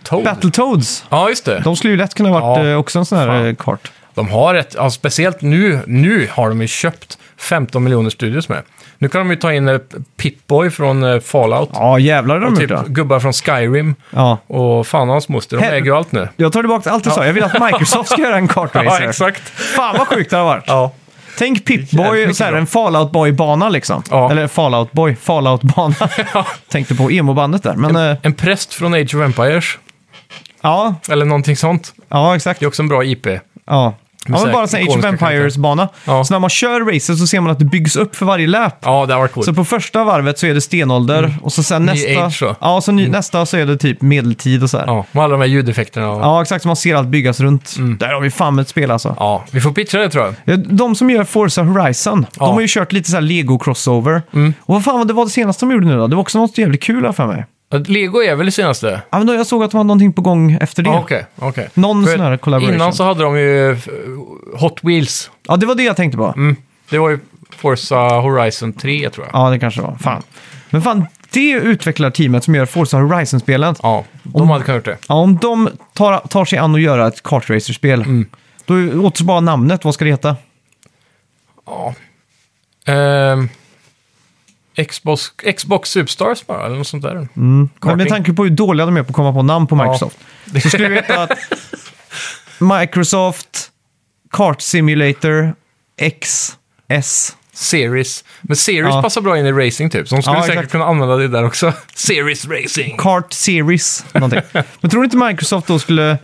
Speaker 2: Toad.
Speaker 1: Battletoads.
Speaker 2: Ja, just det.
Speaker 1: De skulle ju lätt kunna ha varit
Speaker 2: Ja.
Speaker 1: eh, också en sån här
Speaker 2: Fan.
Speaker 1: eh, kart.
Speaker 2: De har ett, ja, speciellt nu, nu har de ju köpt 15 miljoner studios med. Nu kan de ju ta in eh, Pip-Boy från eh, Fallout.
Speaker 1: Ja, jävlar de har gjort
Speaker 2: typ
Speaker 1: det.
Speaker 2: gubbar från Skyrim
Speaker 1: Ja.
Speaker 2: och fan och hans moster. De
Speaker 1: Hel-
Speaker 2: äger ju allt nu.
Speaker 1: Jag tar tillbaka allt jag sa. Jag vill att Microsoft
Speaker 2: (laughs)
Speaker 1: ska göra en kartracer.
Speaker 2: exakt.
Speaker 1: Fan vad sjukt det har varit.
Speaker 2: Ja.
Speaker 1: Tänk
Speaker 2: Jävligt
Speaker 1: Pip-Boy,
Speaker 2: mycket
Speaker 1: så här,
Speaker 2: bra.
Speaker 1: en Fallout Boy-bana liksom.
Speaker 2: Ja.
Speaker 1: Eller Fallout Boy,
Speaker 2: (laughs)
Speaker 1: Fallout-bana. Tänkte på emo-bandet där. Men eh,
Speaker 2: En präst från Age of Empires,
Speaker 1: ja,
Speaker 2: eller någonting sånt.
Speaker 1: ja, exakt.
Speaker 2: Det är också en bra IP.
Speaker 1: Ja. Ja,
Speaker 2: så
Speaker 1: men
Speaker 2: här
Speaker 1: bara en sån här Age of
Speaker 2: ikoniska
Speaker 1: Empires-bana.
Speaker 2: Ja.
Speaker 1: Så när man kör racer så ser man att det byggs upp för varje lap.
Speaker 2: Ja, det var coolt.
Speaker 1: Så på första varvet så är det stenålder och så sen
Speaker 2: Mm. Ny
Speaker 1: nästa...
Speaker 2: age då.
Speaker 1: ja, så ny, nästa så är det typ medeltid och så här. Ja,
Speaker 2: Ja, med alla de här ljudeffekterna. Och... Ja.
Speaker 1: exakt. Så man ser allt byggas runt.
Speaker 2: Mm.
Speaker 1: Där har vi fan ett spel alltså.
Speaker 2: vi får pitcha det tror jag.
Speaker 1: De som gör Forza Horizon,
Speaker 2: Ja. Mm.
Speaker 1: de har ju kört lite så här Lego-crossover. Och vad fan var det, var det senaste de gjorde nu då? Det var också något jävligt kul här för mig.
Speaker 2: Att Lego är väl det senaste?
Speaker 1: Ja, men då, jag såg att de hade någonting på gång efter det.
Speaker 2: Ja, Okej, okej.
Speaker 1: Någon
Speaker 2: För
Speaker 1: sån här collaboration.
Speaker 2: Innan så hade de ju eh, Hot Wheels.
Speaker 1: Ja, det var det jag tänkte på.
Speaker 2: Mm. Det var ju Forza Horizon 3 tror jag.
Speaker 1: Ja, det kanske det var. Fan. Men fan, det utvecklar teamet som gör Forza Horizon-spelen. Ja.
Speaker 2: Ja, de hade kunnat gjort det.
Speaker 1: om de tar, tar sig an att göra ett kartracerspel,
Speaker 2: Mm.
Speaker 1: då återstår bara namnet. Vad ska det heta?
Speaker 2: Ja. Ehm, Xbox, Xbox Superstars bara, eller något sånt där.
Speaker 1: Men Mm. med
Speaker 2: Karting.
Speaker 1: tanke på hur dåliga de är på att komma på namn på Microsoft, så skulle vi veta att Microsoft Kart Simulator XS.
Speaker 2: Series. Men Series
Speaker 1: Ja.
Speaker 2: passar bra in i racing typ, så de skulle
Speaker 1: Ja,
Speaker 2: säkert
Speaker 1: exakt.
Speaker 2: kunna använda det där också. (laughs) Series Racing!
Speaker 1: Kart Series, någonting. Men tror du inte Microsoft då skulle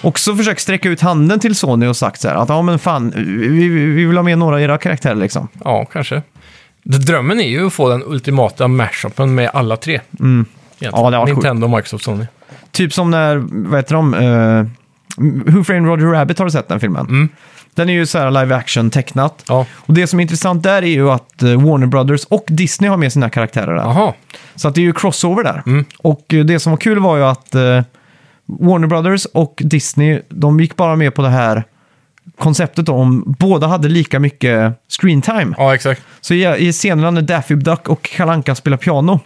Speaker 1: också försöka sträcka ut handen till Sony och sagt så här att ja men fan, vi, vi vill ha med några av era karaktärer liksom.
Speaker 2: Ja, kanske. Det- Drömmen är ju att få den ultimata mashupen med alla tre. Mm.
Speaker 1: Ja, det har varit
Speaker 2: Nintendo, Microsoft, Sony.
Speaker 1: Typ som när, vad heter de, eh, Who Framed Roger Rabbit, har du sett den filmen? Den är ju så här live action tecknat.
Speaker 2: Ja.
Speaker 1: Och det som är intressant där är ju att eh, Warner Brothers och Disney har med sina karaktärer där.
Speaker 2: Jaha.
Speaker 1: Så att det är ju crossover där. Och eh, det som var kul var ju att eh, Warner Brothers och Disney, de gick bara med på det här konceptet om båda hade lika mycket screen time.
Speaker 2: Ja, exakt. (laughs)
Speaker 1: Så i, i scenerna när Daffy Duck och Kalanka spelar piano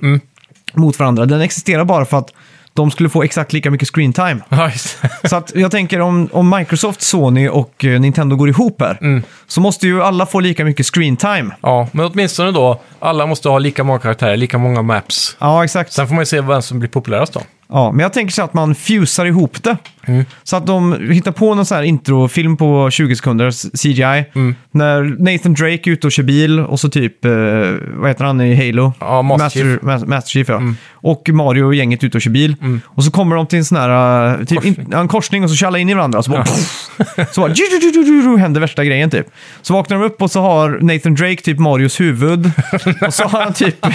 Speaker 1: mot varandra, den existerar bara för att de skulle få exakt lika mycket screen time.
Speaker 2: Ja, just det.
Speaker 1: Så att jag tänker om, om Microsoft, Sony och eh, Nintendo går ihop här, så måste ju alla få lika mycket screen time.
Speaker 2: ja, men åtminstone då, alla måste ha lika många karaktärer, lika många maps.
Speaker 1: Ja, exakt.
Speaker 2: Sen får man ju se vem som blir populärast då.
Speaker 1: Ja, men jag tänker så att man fusar ihop det.
Speaker 2: Mm.
Speaker 1: Så att de hittar på någon sån här introfilm på 20 sekunder, s- CGI.
Speaker 2: Mm.
Speaker 1: När Nathan Drake är ute och kör bil och så typ, eh, vad heter han i Halo?
Speaker 2: Ja, Master Chief. Mm.
Speaker 1: Ma- Master Chief, ja. Och Mario och gänget ute och kör bil. Och så kommer de till en sån här, eh, typ,
Speaker 2: Korsning.
Speaker 1: in, ja, en korsning och så kör alla in i varandra. Och så bara, pff, så bara ju, ju, ju, ju, ju, händer värsta grejen typ. Så vaknar de upp och så har Nathan Drake typ Marios
Speaker 2: (laughs)
Speaker 1: huvud. och så har han typ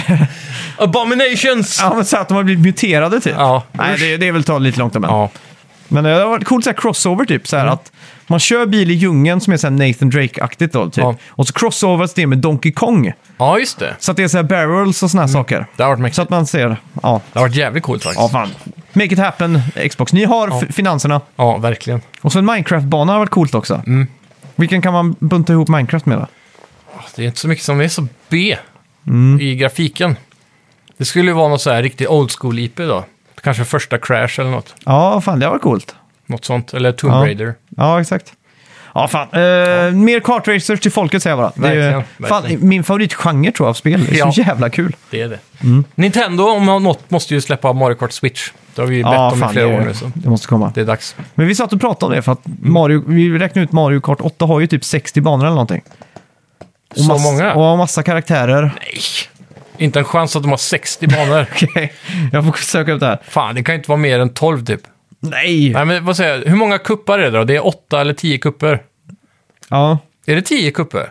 Speaker 2: Abominations!
Speaker 1: Ja, men så att de har blivit muterade typ.
Speaker 2: Ja.
Speaker 1: Nej, det, det är väl ta lite långt om än.
Speaker 2: Ja. Mm.
Speaker 1: Men eh, det har varit coolt så här crossover typ. Så här att man kör bil i djungeln som är så här Nathan Drake-aktigt då typ.
Speaker 2: Ja.
Speaker 1: Och så crossovers det med Donkey Kong.
Speaker 2: ja, just det. Mm.
Speaker 1: Så att det är så här barrels och såna här saker.
Speaker 2: Det har varit
Speaker 1: Så
Speaker 2: mäktigt.
Speaker 1: att man ser, ja.
Speaker 2: Det har varit jävligt coolt faktiskt.
Speaker 1: Ja, fan. Make it happen, Xbox. Ni har f- finanserna.
Speaker 2: Ja, verkligen.
Speaker 1: Och så en Minecraft-bana har varit coolt också.
Speaker 2: Mm.
Speaker 1: Vilken kan man bunta ihop Minecraft med då?
Speaker 2: Ah, Det är inte så mycket som är så B i grafiken. Det skulle ju vara något så här riktigt old school IP då. Kanske första Crash eller något.
Speaker 1: Ja, fan det har varit coolt.
Speaker 2: Något sånt. Eller Tomb
Speaker 1: Ja.
Speaker 2: Raider.
Speaker 1: Ja, exakt. Ja, fan. Eh, Mer kartracers till folket säger jag bara. Det är, ju-
Speaker 2: Verkligen,
Speaker 1: fan,
Speaker 2: verkligen.
Speaker 1: min favoritgenre tror jag av spel. Det är så
Speaker 2: Ja.
Speaker 1: jävla kul.
Speaker 2: Det är det. Nintendo, om något, måste ju släppa Mario Kart Switch. Det har vi ju bett om i flera
Speaker 1: det,
Speaker 2: år nu, så
Speaker 1: det måste komma.
Speaker 2: det Mm. är dags.
Speaker 1: Men vi satt och pratade om det för att Mario, vi räknade ut Mario Kart 8 har ju typ 60 banor eller någonting. Och
Speaker 2: Så många?
Speaker 1: Och massa karaktärer.
Speaker 2: Nej! Inte en chans att de har 60 (laughs) banor.
Speaker 1: (laughs) Okej, jag får söka upp det här.
Speaker 2: Fan, det kan ju inte vara mer än 12 typ.
Speaker 1: Nej!
Speaker 2: Nej, men vad säger jag? Hur många kuppar är det då? Det är 8 eller 10 kupper.
Speaker 1: Ja.
Speaker 2: Är det 10 kupper?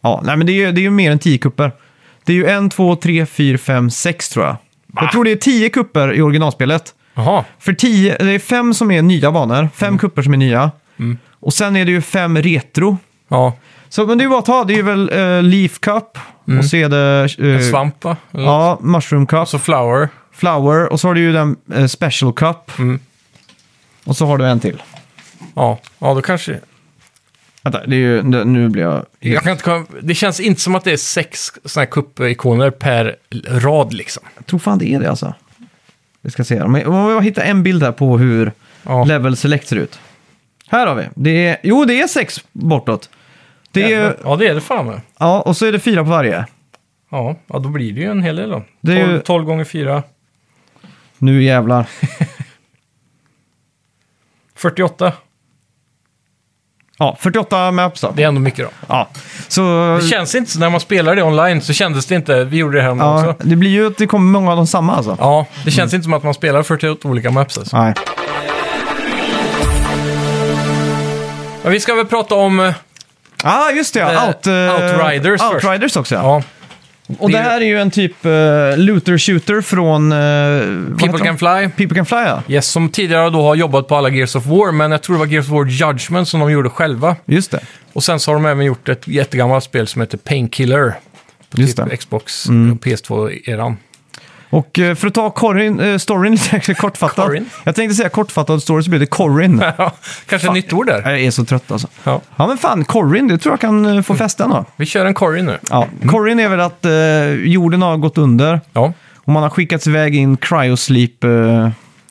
Speaker 1: Ja, nej men det är ju, det är ju mer än 10 kupper. Det är ju en, två, tre, fyra, fem, sex tror jag. Jag tror det är 10 kupper i originalspelet.
Speaker 2: Jaha.
Speaker 1: För 10, det är fem som är nya banor, fem
Speaker 2: Mm.
Speaker 1: kupper som är nya. Och sen är det ju fem retro.
Speaker 2: Ja.
Speaker 1: Så men det är ju bara att ta, det är ju väl eh, Leaf Cup och så är det... eh,
Speaker 2: Mm. En svamp va? Eller-
Speaker 1: Ja, Mushroom Cup,
Speaker 2: Så flower.
Speaker 1: Flower och så har du ju den eh, Special Cup.
Speaker 2: Mm.
Speaker 1: Och så har du en till.
Speaker 2: Ja. ja, då kanske...
Speaker 1: Vänta, det är ju, nu nu blir jag...
Speaker 2: Jag kan inte komma... Det känns inte som att det är sex sådana här kuppikoner per rad liksom.
Speaker 1: Jag tror fan det är det alltså. Vi ska se här. Men jag hittar en bild här på hur
Speaker 2: Ja.
Speaker 1: Level Select ser ut. Här har vi. Det är, jo, det är sex bortåt. Det är,
Speaker 2: Ja, det är det fan med.
Speaker 1: ja, och så är det fyra på varje.
Speaker 2: Ja, ja, då blir det ju en hel del då.
Speaker 1: Det är ju-
Speaker 2: 12, 12 gånger 4,
Speaker 1: Nu jävlar.
Speaker 2: 48.
Speaker 1: Ja, 48 maps då.
Speaker 2: Det är ändå mycket då.
Speaker 1: Ja, så...
Speaker 2: Det känns inte så när man spelar det online så kändes det inte, vi gjorde det här ja.
Speaker 1: Ja,
Speaker 2: också.
Speaker 1: det blir ju att det kommer många av de samma alltså.
Speaker 2: Ja, det känns inte som att man spelar 48 olika maps alltså.
Speaker 1: Nej.
Speaker 2: Men vi ska väl prata om, eh,
Speaker 1: Ah, just det ja.
Speaker 2: Eh,
Speaker 1: Out, eh,
Speaker 2: Outriders först.
Speaker 1: Outriders också ja.
Speaker 2: ja,
Speaker 1: Och det här är ju en typ uh, looter shooter från... eh, vad heter de?
Speaker 2: People Can Fly.
Speaker 1: People Can Fly ja.
Speaker 2: Yes, som tidigare då har jobbat på alla Gears of War, men jag tror det var Gears of War Judgment som de gjorde själva.
Speaker 1: Just det.
Speaker 2: Och sen så har de även gjort ett jättegammalt spel som heter Painkiller. På
Speaker 1: Just det.
Speaker 2: typ Xbox och PS2-eran.
Speaker 1: Och eh, för att ta Corin, eh, storyn (laughs) lite kortfattat.
Speaker 2: Corin?
Speaker 1: Jag tänkte säga kortfattad story så blev det
Speaker 2: (laughs)
Speaker 1: Corin.
Speaker 2: Ja, (laughs) Kanske ett nytt ord där.
Speaker 1: Jag är så trött alltså.
Speaker 2: Ja.
Speaker 1: Ja men fan, Corin, det tror jag kan eh, få fäste ändå.
Speaker 2: Vi kör en Corrie nu.
Speaker 1: Ja. Corin är väl att eh, jorden har gått under
Speaker 2: Ja.
Speaker 1: och man har skickats iväg i en cryosleep-tub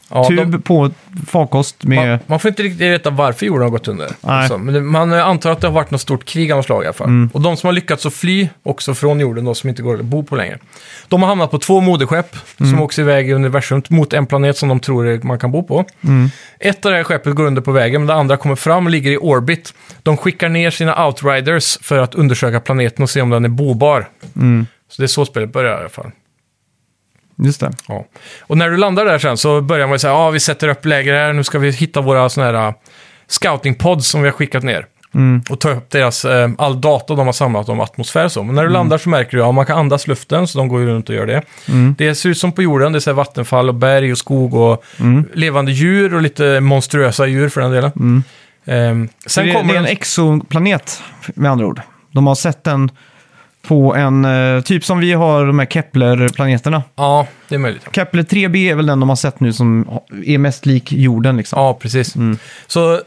Speaker 2: Ja, de-
Speaker 1: på farkost med...
Speaker 2: Man, man får inte riktigt veta varför jorden har gått under.
Speaker 1: Nej.
Speaker 2: Alltså, men det- man eh, antar att det har varit något stort krig av något slag i alla fall. Och de som har lyckats att fly också från jorden, de som inte går att bo på längre. De har hamnat på två moderskepp som åks iväg i universum mot en planet som de tror eh, man kan bo på. Ett av det här skeppet går under på vägen, men det andra kommer fram och ligger i orbit. De skickar ner sina outriders för att undersöka planeten och se om den är bobar. Så det är så spelet börjar i alla fall.
Speaker 1: mm, Just det.
Speaker 2: Ja. Och när du landar där sen så börjar man ju säga, ja ah, vi sätter upp läger här, nu ska vi hitta våra sådana här scoutingpods som vi har skickat ner.
Speaker 1: Mm.
Speaker 2: Och ta upp deras, eh, all data de har samlat om atmosfär och så. Men när
Speaker 1: Mm.
Speaker 2: du landar så märker du, ja man kan andas luften, så de går ju runt och gör det.
Speaker 1: Mm.
Speaker 2: Det ser ut som på jorden, det är så här vattenfall och berg och skog och
Speaker 1: Mm.
Speaker 2: levande djur och lite monstruösa djur för den delen. Ehm,
Speaker 1: Sen
Speaker 2: sen
Speaker 1: Mm. det,
Speaker 2: kommer
Speaker 1: det är en
Speaker 2: en...
Speaker 1: exoplanet med andra ord. De har sett den på en, eh, typ som vi har de här Kepler-planeterna.
Speaker 2: Ja, det är möjligt.
Speaker 1: Kepler 3b är väl den de har sett nu som är mest lik jorden liksom.
Speaker 2: Ja, precis. Så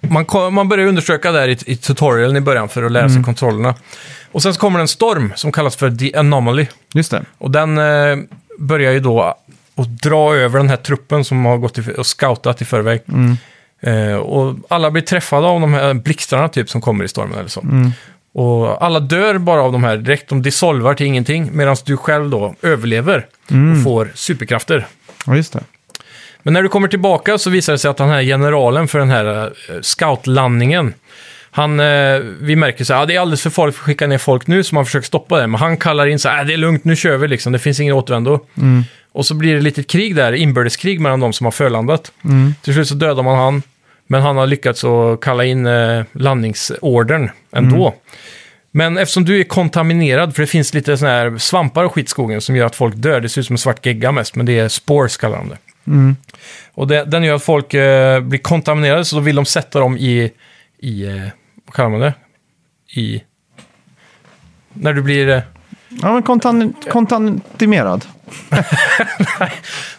Speaker 2: man, kom, man börjar undersöka där i, i tutorialen i början för att lära sig kontrollerna. Och sen så kommer det en storm som kallas för The Anomaly.
Speaker 1: Just det.
Speaker 2: Och den eh, börjar ju då att dra över den här truppen som har gått i, och scoutat i förväg. Eh, och alla blir träffade av de här blixtarna typ som kommer i stormen eller så. Och alla dör bara av de här direkt, de dissolvar till ingenting. Medan du själv då överlever och får superkrafter.
Speaker 1: Ja, just det.
Speaker 2: Men när du kommer tillbaka så visar det sig att den här generalen för den här eh, scoutlandningen, han, eh, vi märker så här, ah, det är alldeles för farligt för att skicka ner folk nu, så man försöker stoppa det. Men han kallar in så här, ah, det är lugnt, nu kör vi liksom, det finns ingen återvändo. Och så blir det lite krig där, inbördeskrig mellan de som har förlandat. Till slut så dödar man han, men han har lyckats att kalla in eh, landningsordern ändå. Men eftersom du är kontaminerad, för det finns lite såna här svampar och skit i skogen som gör att folk dör, det ser ut som en svart gegga mest, men det är spores kallar de det. Och det, den gör att folk eh, blir kontaminerade, så då vill de sätta dem i... i eh, vad kallar man det? I... När du blir... Eh,
Speaker 1: Ja, men kontan- kontantimerad.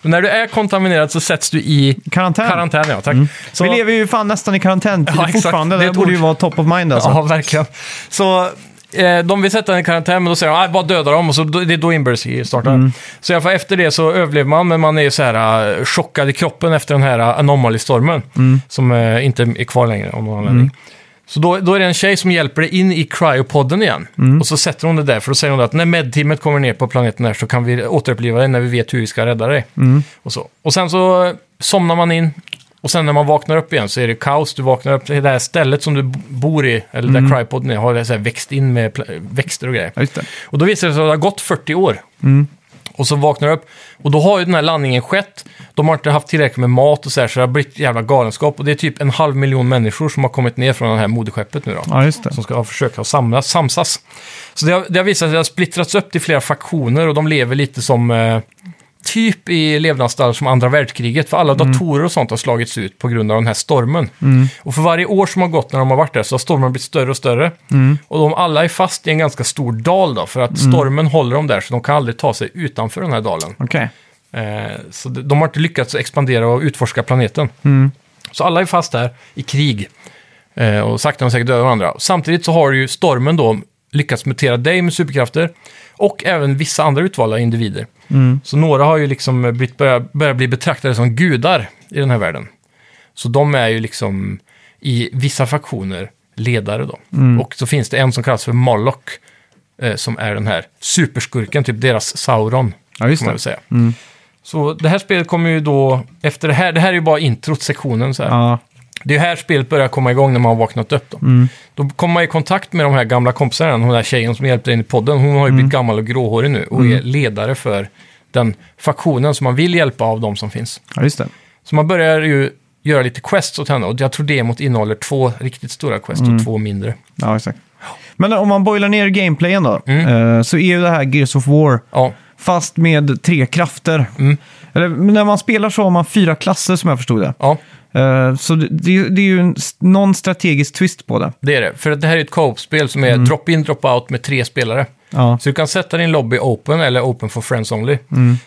Speaker 2: Men när du är kontaminerad så sätts du i
Speaker 1: Karantän.
Speaker 2: karantän. Ja, tack. Så,
Speaker 1: Mm. Vi lever ju fan nästan i karantäntider
Speaker 2: Ja, exakt.
Speaker 1: fortfarande.
Speaker 2: Det är
Speaker 1: Det,
Speaker 2: ett
Speaker 1: borde ju
Speaker 2: ord.
Speaker 1: vara top of mind alltså.
Speaker 2: Ja, verkligen. Så eh, de vill sätta en i karantän, men då säger de "Nej, bara döda dem och så då- det är då inbördeskriget startar.
Speaker 1: Mm.
Speaker 2: Så i alla fall efter det så överlever man, men man är så här eh, chockad i kroppen efter den här eh, anomalystormen
Speaker 1: Mm.
Speaker 2: som eh, inte är kvar längre av någon anledning. Så då, då är det en tjej som hjälper dig in i cryopodden igen. Och så sätter hon det där, för då säger hon att när medteamet kommer ner på planeten här så kan vi återuppliva dig när vi vet hur vi ska rädda dig. Och, så. och sen så somnar man in och sen när man vaknar upp igen så är det kaos. Du vaknar upp till det här stället som du b- bor i, eller där cryopodden är, har så här växt in med pla- växter och grejer.
Speaker 1: Ja, just det.
Speaker 2: Och då visar det sig att det har gått 40 år. Och så vaknar jag upp och då har ju den här landningen skett. De har inte haft tillräckligt med mat och så här, så det har blivit jävla galenskap. Och det är typ en halv miljon människor som har kommit ner från det här moderskeppet nu då.
Speaker 1: Ja, just det.
Speaker 2: Som ska försöka samlas, samsas. Så det har, det har visat sig att det har splittrats upp till flera faktioner och de lever lite som... Eh, typ i levnadsstandard som andra världskriget, för alla datorer och sånt har slagits ut på grund av den här stormen. Och för varje år som har gått när de har varit där så har stormen blivit större och större. Och de alla är fast i en ganska stor dal då, för att stormen håller dem där så de kan aldrig ta sig utanför den här dalen.
Speaker 1: Okej.
Speaker 2: Eh, så de de har inte lyckats expandera och utforska planeten.
Speaker 1: Mm.
Speaker 2: Så alla är fast där i krig. Eh, och sakta men säkert dödar varandra. Och Samtidigt så har ju stormen då lyckats mutera dig med superkrafter. Och även vissa andra utvalda individer.
Speaker 1: Mm.
Speaker 2: Så några har ju liksom eh, blivit- börjat, börjat bli betraktade som gudar i den här världen. Så de är ju liksom i vissa faktioner ledare då.
Speaker 1: Mm.
Speaker 2: Och så finns det en som kallas för Moloch. Eh, som är den här superskurken, typ deras Sauron.
Speaker 1: Ja, just
Speaker 2: får man
Speaker 1: det.
Speaker 2: väl säga. Så det här spelet kommer ju då, efter det här, det här är ju bara introt, sektionen så här.
Speaker 1: Ja.
Speaker 2: Det är ju här spelet börjar komma igång när man har vaknat upp då. Då kommer man i kontakt med de här gamla kompisarna, den här tjejen som hjälpte in i podden, hon har ju blivit gammal och gråhårig nu och är ledare för den faktionen som man vill hjälpa av de som finns.
Speaker 1: ja, just det.
Speaker 2: Så man börjar ju göra lite quests åt henne och jag tror demot innehåller två riktigt stora quest och två mindre.
Speaker 1: Ja, exakt. Men om man boilar ner gameplayen då, eh, så är ju det här Gears of War
Speaker 2: Ja,
Speaker 1: fast med tre krafter. Eller, men när man spelar så har man fyra klasser som jag förstod det.
Speaker 2: ja,
Speaker 1: Eh, Så det, det, det är ju en, s- någon strategisk twist på det.
Speaker 2: det är det. För att det här är ett co-op-spel som är drop-in, drop-out med tre spelare.
Speaker 1: Ja,
Speaker 2: Så du kan sätta din lobby open eller open for friends only.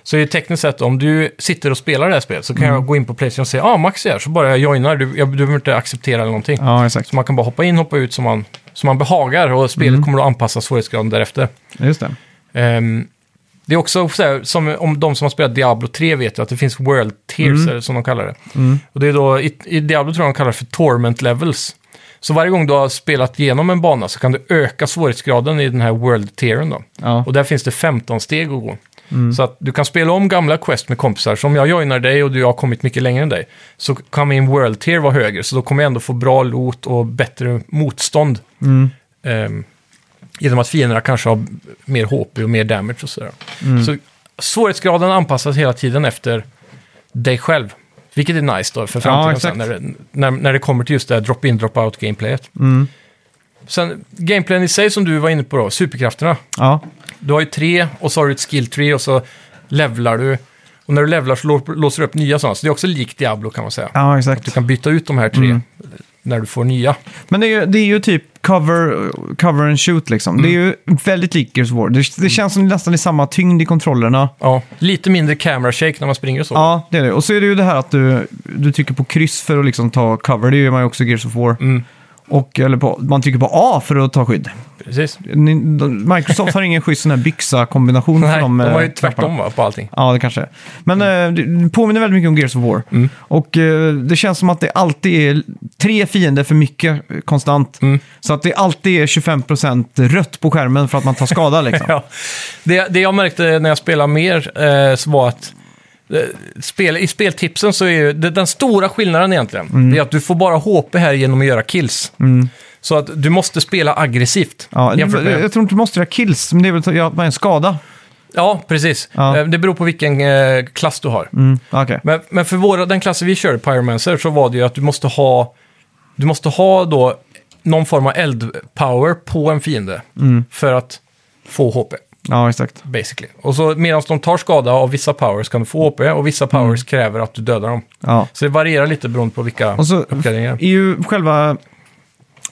Speaker 2: Så det är tekniskt sett, om du sitter och spelar det här spelet så kan jag gå in på Playstation och säga ah, Max är här, så bara jag joinar, du, jag, du behöver inte acceptera eller någonting.
Speaker 1: ja exakt.
Speaker 2: Så man kan bara hoppa in, hoppa ut som man, som man behagar och spelet kommer att anpassa svårighetsgraden därefter.
Speaker 1: Just det.
Speaker 2: Ehm, det är också så här, som om de som har spelat Diablo 3 vet ju att det finns World Tears, eller som de kallar det. Och det är då, i, i Diablo tror jag de kallar det för Torment Levels. Så varje gång du har spelat igenom en bana så kan du öka svårighetsgraden i den här World Tearen då.
Speaker 1: Ja.
Speaker 2: Och där finns det 15 steg att gå. Så att du kan spela om gamla quest med kompisar. Så om jag joinar dig och du har kommit mycket längre än dig så kan min World Tier vara högre. Så då kommer jag ändå få bra loot och bättre motstånd. Ehm, genom att fienderna kanske har mer HP och mer damage och sådär. Så svårighetsgraden anpassas hela tiden efter dig själv. Vilket är nice då för framtiden
Speaker 1: Ja,
Speaker 2: sen när, det- när, när det kommer till just det här drop-in, drop-out gameplayet. Sen gameplayen i sig som du var inne på då, superkrafterna.
Speaker 1: Ja,
Speaker 2: Du har ju tre och så har du ett skill tree och så levlar du. Och när du levlar så lå- låser du upp nya sådana. Så det är också likt Diablo kan man säga.
Speaker 1: ja Mm.
Speaker 2: Du
Speaker 1: exakt.
Speaker 2: kan byta ut de här tre när du får nya.
Speaker 1: Men det är, ju- det är ju typ cover, cover and shoot liksom. Det är ju väldigt likt Gears of War. Det, det känns som nästan i samma tyngd i kontrollerna.
Speaker 2: Ja, lite mindre camera shake när man springer och så.
Speaker 1: Ja, det är det. Och så är det ju det här att du, du trycker på kryss för att liksom ta cover. Det gör man ju också i Gears of War.
Speaker 2: Mm.
Speaker 1: Och, eller på, man trycker på A för att ta skydd.
Speaker 2: Precis.
Speaker 1: Ni, de, Microsoft har ingen schysst sån här byxa-kombination. Mm, för
Speaker 2: Nej, de
Speaker 1: eh,
Speaker 2: var ju
Speaker 1: knapparna.
Speaker 2: tvärtom Mm. va, på allting.
Speaker 1: Ja, det kanske är. Men eh, det det påminner väldigt mycket om Gears of War.
Speaker 2: Mm.
Speaker 1: Och eh, det känns som att det alltid är tre fiender för mycket eh, konstant.
Speaker 2: Mm.
Speaker 1: Så att det alltid är 25% rött på skärmen för att man tar skada liksom.
Speaker 2: (laughs) Ja. Det, det jag märkte när jag spelade mer eh, så var att eh, Spel, I speltipsen så är ju det, den stora skillnaden egentligen,
Speaker 1: Mm.
Speaker 2: det är att du får bara HP här genom att göra kills. Så att du måste spela aggressivt.
Speaker 1: Ja,
Speaker 2: jämfört
Speaker 1: jag,
Speaker 2: med-
Speaker 1: jag tror inte du måste göra kills, men det är väl att göra att man är en skada.
Speaker 2: Ja, precis.
Speaker 1: Ja.
Speaker 2: Eh, Det beror på vilken eh, klass du har.
Speaker 1: Mm. Okej.
Speaker 2: Men, men för våra, den klassen vi körde, Pyromancer, så var det ju att du måste ha, du måste ha då någon form av eldpower på en fiende
Speaker 1: Mm.
Speaker 2: för att få HP.
Speaker 1: Ja, exakt.
Speaker 2: Basically. Och så medan de tar skada av vissa powers kan du få HP och vissa powers kräver att du dödar dem.
Speaker 1: Mm. Ja.
Speaker 2: Så det varierar lite beroende på vilka
Speaker 1: Och så
Speaker 2: uppgraderingar.
Speaker 1: är ju själva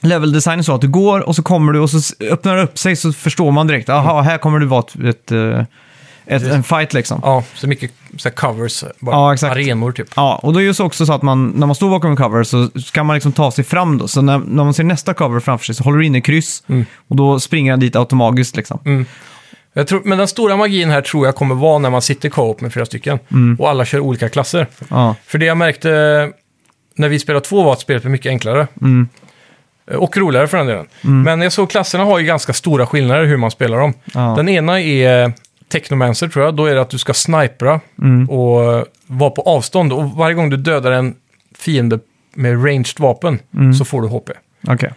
Speaker 1: leveldesignen så att du går och så kommer du och så s- öppnar det upp sig så förstår man direkt. Aha, här kommer det vara ett, ett, eh, ett, en fight liksom.
Speaker 2: Ja, så mycket så här covers, bara
Speaker 1: Ja, exakt.
Speaker 2: arenor typ.
Speaker 1: Ja, och då är det ju så också så att man, när man står bakom en cover så ska man liksom ta sig fram då. Så när, när man ser nästa cover framför sig så håller du inne kryss och då springer han dit automatiskt liksom.
Speaker 2: Jag tror, men den stora magin här tror jag kommer vara när man sitter co-op med fyra stycken
Speaker 1: Mm.
Speaker 2: och alla kör olika klasser.
Speaker 1: Ja,
Speaker 2: För det jag märkte eh, när vi spelade två var att spelet blev mycket enklare. Eh, Och roligare för den delen. Men jag såg klasserna har ju ganska stora skillnader hur man spelar dem.
Speaker 1: Ja.
Speaker 2: Den ena är Technomancer tror jag. Då är det att du ska snipra och eh, vara på avstånd. Och varje gång du dödar en fiende med ranged vapen så får du HP.
Speaker 1: okej.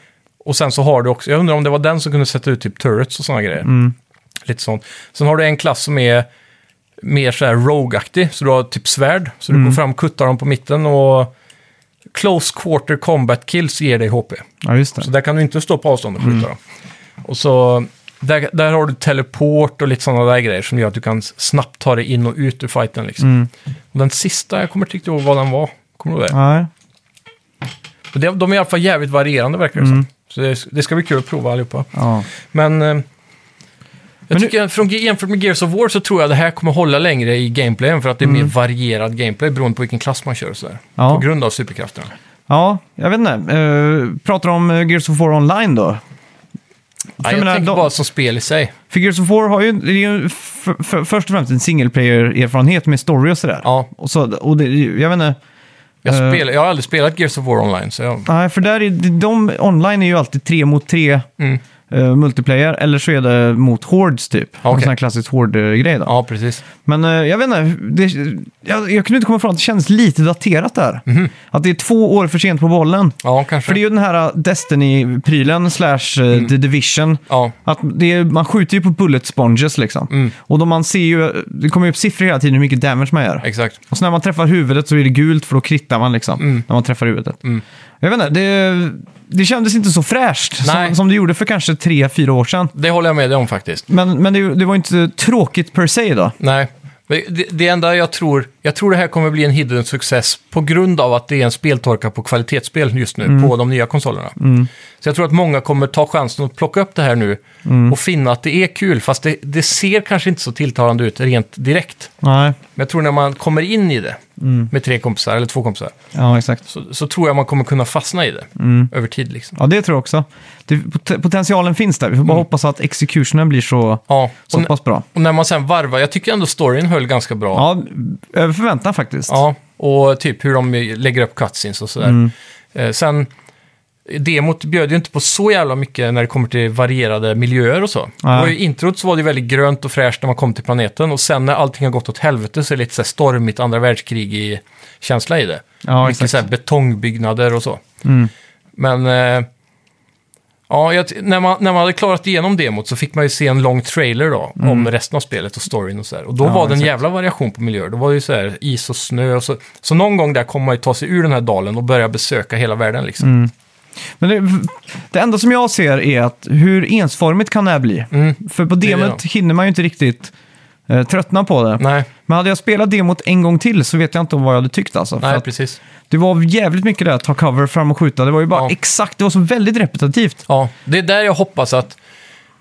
Speaker 2: Och sen så har du också, jag undrar om det var den som kunde sätta ut typ turrets och sådana grejer. Lite sånt. Sen har du en klass som är mer så här rogue-aktig, så du har typ svärd. Så du går fram, kuttar dem på mitten och close quarter combat kills ger dig HP.
Speaker 1: Ja, just det.
Speaker 2: Så där kan du inte stå på avstånd och skjuta dem. Och så, där, där har du teleport och lite sådana där grejer som gör att du kan snabbt ta dig in och ut ur fighten liksom. Och den sista, jag kommer inte riktigt ihåg vad den var. Kommer du ihåg det?
Speaker 1: Nej.
Speaker 2: Och det- De är i alla fall jävligt varierande verkar det som. Så det, det ska bli kul att prova allihopa.
Speaker 1: Ja.
Speaker 2: Men, eh, jag
Speaker 1: nu-
Speaker 2: tycker att från, jämfört med Gears of War så tror jag det här kommer hålla längre i gameplayen för att det är mer varierad gameplay beroende på vilken klass man kör och sådär.
Speaker 1: Mm. Ja.
Speaker 2: På grund av superkrafterna.
Speaker 1: ja, jag vet inte. Eh, pratar om eh, Gears of War Online då?
Speaker 2: Ja,
Speaker 1: jag
Speaker 2: jag
Speaker 1: menar,
Speaker 2: tänker
Speaker 1: de-
Speaker 2: bara som spel i sig.
Speaker 1: För Gears of War har ju, det är ju f- f- först och främst en single player-erfarenhet med story och sådär.
Speaker 2: Ja.
Speaker 1: Och, så, och det, jag vet inte.
Speaker 2: Jag,
Speaker 1: Eh.
Speaker 2: spelar, jag har aldrig spelat Gears of War online så jag...
Speaker 1: Nej, för där är, de online är ju alltid tre mot tre
Speaker 2: Mm.
Speaker 1: eh, multiplayer, eller så är det mot hordes typ.
Speaker 2: Ja,
Speaker 1: En
Speaker 2: okej.
Speaker 1: sån här klassisk horde-grej då.
Speaker 2: Ja, precis.
Speaker 1: Men eh, jag vet inte, det, jag, jag kunde inte komma ifrån att det känns lite daterat där.
Speaker 2: Mhm.
Speaker 1: Att det är två år för sent på bollen.
Speaker 2: Ja, kanske.
Speaker 1: För det är ju den här eh, Destiny-prylen slash eh,
Speaker 2: Mm.
Speaker 1: The Division.
Speaker 2: Ja,
Speaker 1: Att det är, man skjuter ju på bullet sponges liksom.
Speaker 2: Mm.
Speaker 1: Och då man ser ju, det kommer ju upp siffror hela tiden hur mycket damage man gör.
Speaker 2: exakt.
Speaker 1: Och så när man träffar huvudet så är det gult för då krittar man liksom.
Speaker 2: Mm.
Speaker 1: När man träffar huvudet. Jag vet inte, det, det kändes inte så fräscht som,
Speaker 2: Nej.
Speaker 1: som det gjorde för kanske tre, fyra år sedan.
Speaker 2: Det håller jag med dig om faktiskt.
Speaker 1: Men, men det, det var ju inte tråkigt per se då.
Speaker 2: Nej. Men Det, det enda jag tror, jag tror det här kommer bli en hidden success på grund av att det är en speltorka på kvalitetsspel just nu
Speaker 1: Mm.
Speaker 2: på de nya konsolerna. Så jag tror att många kommer ta chansen att plocka upp det här nu
Speaker 1: Mm.
Speaker 2: och finna att det är kul, fast det, det ser kanske inte så tilltalande ut rent direkt.
Speaker 1: Nej,
Speaker 2: Men jag tror när man kommer in i det
Speaker 1: Mm.
Speaker 2: med tre kompisar eller två kompisar
Speaker 1: ja exakt.
Speaker 2: så, så tror jag man kommer kunna fastna i det
Speaker 1: Mm.
Speaker 2: över tid. Liksom.
Speaker 1: Ja, det tror jag också. Det, pot- potentialen finns där. Vi får bara hoppas att executionen blir så,
Speaker 2: Mm. Ja,
Speaker 1: så
Speaker 2: och, n-
Speaker 1: pass bra.
Speaker 2: och när man sen varvar, jag tycker ändå storyn höll ganska bra.
Speaker 1: Ja, över förväntan faktiskt.
Speaker 2: Ja, och typ hur de lägger upp cutscenes och sådär.
Speaker 1: Mm.
Speaker 2: Eh, sen, demot bjöd ju inte på så jävla mycket när det kommer till varierade miljöer och så.
Speaker 1: Nej.
Speaker 2: Det var ju, I introt så var det ju väldigt grönt och fräscht när man kom till planeten och sen när allting har gått åt helvete så är det lite så här stormigt andra världskrig i känsla i det.
Speaker 1: Ja, exakt.
Speaker 2: mycket
Speaker 1: Mm.
Speaker 2: så här betongbyggnader och så. Men... Eh, Ja, jag, t- när, man, när man hade klarat igenom demot så fick man ju se en lång trailer då, om resten av spelet och storyn och sådär. Och då
Speaker 1: Mm. Ja,
Speaker 2: var det en
Speaker 1: exakt.
Speaker 2: jävla variation på miljöer. Då var det ju så här is och snö och så. Så någon gång där kommer man ju ta sig ur den här dalen och börja besöka hela världen liksom.
Speaker 1: Mm. Men det, det enda som jag ser är att hur ensformigt kan det här bli?
Speaker 2: Mm.
Speaker 1: För på
Speaker 2: är det
Speaker 1: demot hinner man ju inte riktigt eh, tröttna på det.
Speaker 2: Nej,
Speaker 1: Men hade jag spelat demot en gång till så vet jag inte om vad jag hade tyckt alltså. För
Speaker 2: nej
Speaker 1: att
Speaker 2: precis.
Speaker 1: det var jävligt mycket där att ta cover fram och skjuta. Det var ju bara
Speaker 2: Ja.
Speaker 1: exakt, det var så väldigt repetitivt.
Speaker 2: Ja, det är där jag hoppas att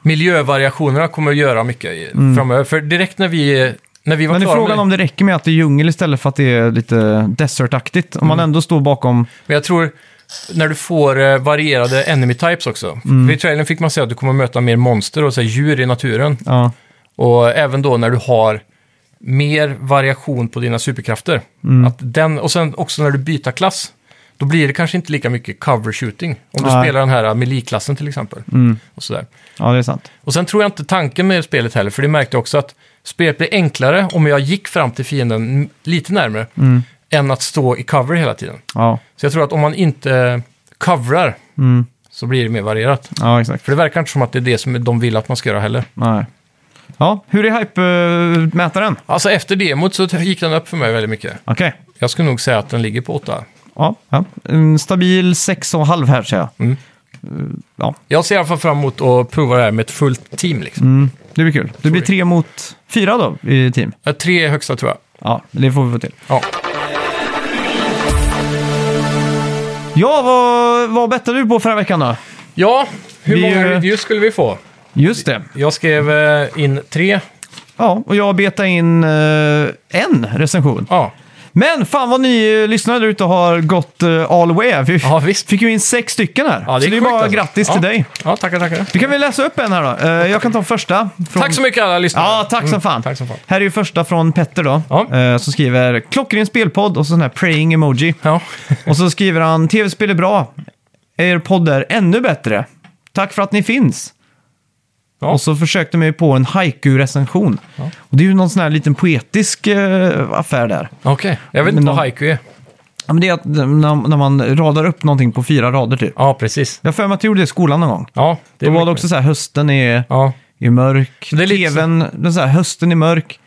Speaker 2: miljövariationerna kommer att göra mycket i- framöver. För direkt när vi, när vi
Speaker 1: Mm.
Speaker 2: var
Speaker 1: Men det är
Speaker 2: klara med
Speaker 1: frågan
Speaker 2: det-
Speaker 1: om det räcker med att det är djungel istället för att det är lite desertaktigt. Om
Speaker 2: Mm.
Speaker 1: man ändå står bakom...
Speaker 2: Men jag tror, när du får eh, varierade enemy types också. För I trailern fick man se att du kommer möta mer monster och så här, djur i naturen.
Speaker 1: Ja,
Speaker 2: Och även då när du har mer variation på dina superkrafter.
Speaker 1: mm.
Speaker 2: Att den, och sen också när du byter klass. Då blir det kanske inte lika mycket cover shooting. Om du
Speaker 1: Nej.
Speaker 2: spelar den här eh, melee-klassen till exempel. Och, sådär.
Speaker 1: ja det är sant.
Speaker 2: och sen tror jag inte tanken med spelet heller, för det märkte jag också att spelet blir enklare om jag gick fram till fienden lite närmare. Än att stå i cover hela tiden.
Speaker 1: Ja,
Speaker 2: Så jag tror att om man inte coverar
Speaker 1: mm.
Speaker 2: så blir det mer varierat.
Speaker 1: ja exakt.
Speaker 2: För det verkar inte som att det är det som de vill att man ska göra heller.
Speaker 1: Nej. Ja, hur är eh, hype-mätaren?
Speaker 2: Alltså efter demot så gick den upp för mig väldigt mycket.
Speaker 1: Okej.
Speaker 2: Jag skulle nog säga att den ligger på 8.
Speaker 1: Ja, ja. En stabil 6,5 här säger jag.
Speaker 2: Mm.
Speaker 1: Eh, Ja,
Speaker 2: Jag ser i alla fall fram emot att prova det här med ett fullt team. Liksom.
Speaker 1: mm. det blir kul. Det blir tre mot fyra då i team.
Speaker 2: Ja, Eh, Tre är högsta tror jag.
Speaker 1: Ja, det får vi få till.
Speaker 2: Ja.
Speaker 1: Ja, vad, vad bettade du på förra veckan då?
Speaker 2: ja, hur
Speaker 1: Vi,
Speaker 2: många
Speaker 1: eh,
Speaker 2: reviews skulle vi få?
Speaker 1: Just det.
Speaker 2: Jag skrev eh, in tre
Speaker 1: Ja, och jag betade in eh, en recension.
Speaker 2: Ja.
Speaker 1: Men fan vad ni eh, lyssnare där ute har gått eh, all way. här. Vi
Speaker 2: Ja, visst.
Speaker 1: fick ju in sex stycken här.
Speaker 2: Ja,
Speaker 1: så det är
Speaker 2: sjukt
Speaker 1: bara
Speaker 2: alltså.
Speaker 1: grattis
Speaker 2: ja.
Speaker 1: till dig.
Speaker 2: Ja, tackar, tackar.
Speaker 1: Du kan väl läsa upp en här då. Eh, jag kan ta första. Från...
Speaker 2: Tack så mycket alla lyssnare.
Speaker 1: Ja, tack som, fan.
Speaker 2: Mm, tack som fan.
Speaker 1: Här är ju första från Petter då.
Speaker 2: Ja.
Speaker 1: eh, som skriver klockren spelpodd och så sån här praying emoji.
Speaker 2: Ja.
Speaker 1: (laughs) Och så skriver han tv-spel är bra. Er podd är ännu bättre. Tack för att ni finns.
Speaker 2: Ja.
Speaker 1: Och så försökte man ju på en haiku-recension. Och det är ju någon sån här liten poetisk eh, affär där.
Speaker 2: Okej, jag vet
Speaker 1: Men
Speaker 2: inte vad
Speaker 1: de-
Speaker 2: haiku är.
Speaker 1: Ja, men det är att när, när man radar upp någonting på fyra rader typ.
Speaker 2: Ja, precis.
Speaker 1: Jag har för mig att jag gjorde det i skolan någon gång.
Speaker 2: Ja, det
Speaker 1: Då var det
Speaker 2: mycket
Speaker 1: också så här, hösten är,
Speaker 2: mer. Ja,
Speaker 1: är mörk,
Speaker 2: Det är lite
Speaker 1: tvn, den så här, hösten är mörk,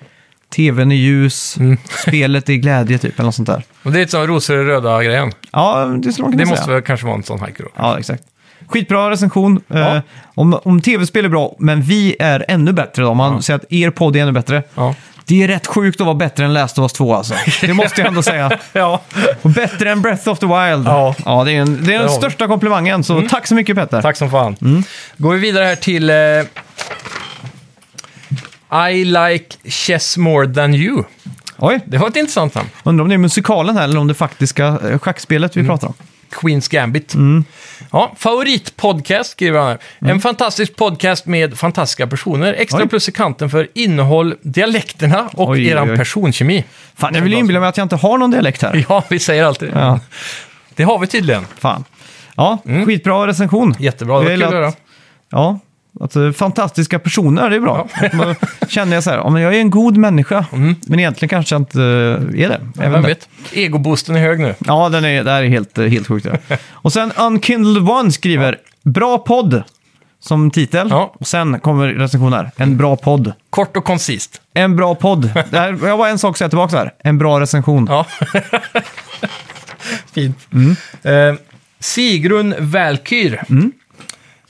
Speaker 1: tvn är ljus,
Speaker 2: Mm.
Speaker 1: spelet är glädje typ, eller något sånt där.
Speaker 2: och det är lite som rosor och röda grejen.
Speaker 1: Ja, det skulle man kunna
Speaker 2: Det
Speaker 1: säga.
Speaker 2: måste väl kanske vara en sån haiku då.
Speaker 1: Ja, exakt. Skitbra recension. Eh, om, om tv-spel är bra, men vi är ännu bättre då. Om man säger att er podd är ännu bättre.
Speaker 2: Ja.
Speaker 1: Det är rätt sjukt att vara bättre än Last of Us 2 alltså. Det måste jag ändå säga.
Speaker 2: Ja.
Speaker 1: Och bättre än Breath of the Wild.
Speaker 2: Ja.
Speaker 1: det är, en, det är
Speaker 2: har
Speaker 1: den
Speaker 2: vi. Mm.
Speaker 1: största komplimangen, så tack så mycket Petter.
Speaker 2: Tack som fan.
Speaker 1: Mm.
Speaker 2: Går vi vidare här till eh, I like chess more than you.
Speaker 1: Oj,
Speaker 2: Det var ett intressant namn.
Speaker 1: undrar om det är musikalen här eller om det faktiska eh, schackspelet vi
Speaker 2: Mm.
Speaker 1: pratar om.
Speaker 2: Queens Gambit.
Speaker 1: Mm.
Speaker 2: Ja, favoritpodcast skriver han här. En fantastisk podcast med fantastiska personer. Extra
Speaker 1: Oj.
Speaker 2: plus i kanten för innehåll, dialekterna och
Speaker 1: Oj,
Speaker 2: eran
Speaker 1: oj, oj.
Speaker 2: personkemi.
Speaker 1: Fan, jag vill ju inbilla mig att jag inte har någon dialekt här.
Speaker 2: Ja, vi säger alltid det.
Speaker 1: Ja,
Speaker 2: Det har vi tydligen.
Speaker 1: fan. Ja, skitbra recension.
Speaker 2: Mm. Jättebra, det var
Speaker 1: Jag
Speaker 2: kul att
Speaker 1: gillar
Speaker 2: höra.
Speaker 1: att- Ja, att, eh, fantastiska personer, det är bra. Att man- känner jag så här, ja, men jag är en god människa, men egentligen kanske jag inte eh, är det. Även
Speaker 2: Vem
Speaker 1: det.
Speaker 2: Mm. vet? Egoboosten är hög nu.
Speaker 1: Ja, den är, det här är helt, eh, helt sjukt. ja. Och sen Unkindled One skriver “Bra podd” som titel.
Speaker 2: Ja.
Speaker 1: Och sen kommer recensionen här. En bra podd.
Speaker 2: Kort och koncist.
Speaker 1: En bra podd. Det här, jag har bara en sak att säga tillbaka här. En bra recension.
Speaker 2: Ja. (laughs) Fint.
Speaker 1: Mm.
Speaker 2: Eh, Sigrun Valkyr.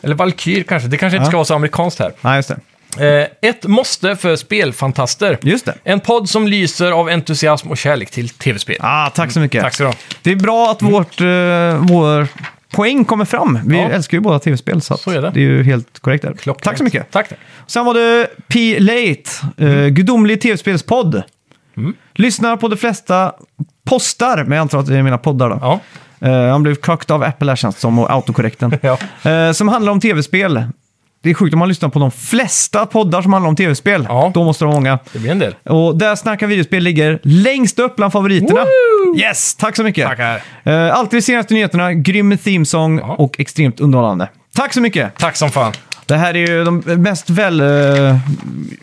Speaker 2: Eller Valkyr kanske. Det kanske inte ska vara så amerikanskt här.
Speaker 1: Nej, just det.
Speaker 2: Eh, ett måste för spelfantaster.
Speaker 1: Just det.
Speaker 2: En podd som lyser av entusiasm och kärlek till tv-spel.
Speaker 1: Ah, tack så mycket.
Speaker 2: Tack så du ha.
Speaker 1: Det är bra att vårt, eh, vår poäng kommer fram. Vi
Speaker 2: Mm. Ja.
Speaker 1: älskar ju båda tv-spel, så, att
Speaker 2: Så är det.
Speaker 1: är ju helt korrekt där.
Speaker 2: Klockrent.
Speaker 1: Tack så mycket.
Speaker 2: Tack. tack.
Speaker 1: Sen var det P. Late, eh,
Speaker 2: Mm.
Speaker 1: gudomlig tv-spelspodd. Lyssnar på de flesta postar, men jag antar att det är mina poddar då.
Speaker 2: Ja.
Speaker 1: Eh, han blev cucked av Apple här känns det som, och autokorrekten.
Speaker 2: (laughs) Ja.
Speaker 1: Eh, som handlar om tv-spel. Det är sjukt om man lyssnar på de flesta poddar som handlar om tv-spel.
Speaker 2: Ja.
Speaker 1: Då måste det vara många.
Speaker 2: Det blir en del.
Speaker 1: Och där Snacka videospel ligger längst upp bland favoriterna.
Speaker 2: Woo!
Speaker 1: Yes, tack så mycket.
Speaker 2: Tackar.
Speaker 1: Eh, alltid de senaste nyheterna, grym themesång
Speaker 2: Ja.
Speaker 1: och extremt underhållande. Tack så mycket!
Speaker 2: Tack som fan.
Speaker 1: Det här är ju de mest väldoftande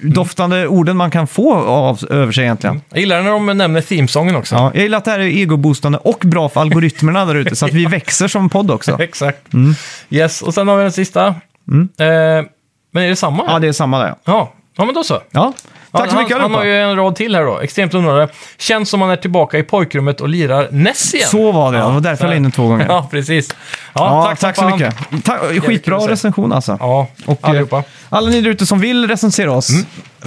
Speaker 1: doftande orden man kan få av, över sig egentligen.
Speaker 2: Jag gillar när de nämner themesången också.
Speaker 1: Ja, jag gillar att det här är egoboostande och bra för algoritmerna där ute, så att vi växer som podd också.
Speaker 2: (laughs) Exakt.
Speaker 1: Mm.
Speaker 2: Yes, och sen har vi den sista. Eh, men är det samma?
Speaker 1: Ja, det är samma där. ja.
Speaker 2: ja. ja, men då så.
Speaker 1: Ja. Tack så
Speaker 2: han,
Speaker 1: mycket
Speaker 2: han, han har ju en rad till här då. Extremt underhållande. Känns som man är tillbaka i pojkrummet och lirar Ness igen.
Speaker 1: Så var det, ja. Det var därför jag la in den två gånger.
Speaker 2: (laughs) Ja, precis.
Speaker 1: Ja,
Speaker 2: Ja,
Speaker 1: tack,
Speaker 2: som
Speaker 1: så
Speaker 2: fan.
Speaker 1: mycket. Ta,
Speaker 2: kul att
Speaker 1: skitbra
Speaker 2: se.
Speaker 1: recension alltså.
Speaker 2: Ja,
Speaker 1: Och, eh,
Speaker 2: allihopa.
Speaker 1: Alla ni där ute som vill recensera oss,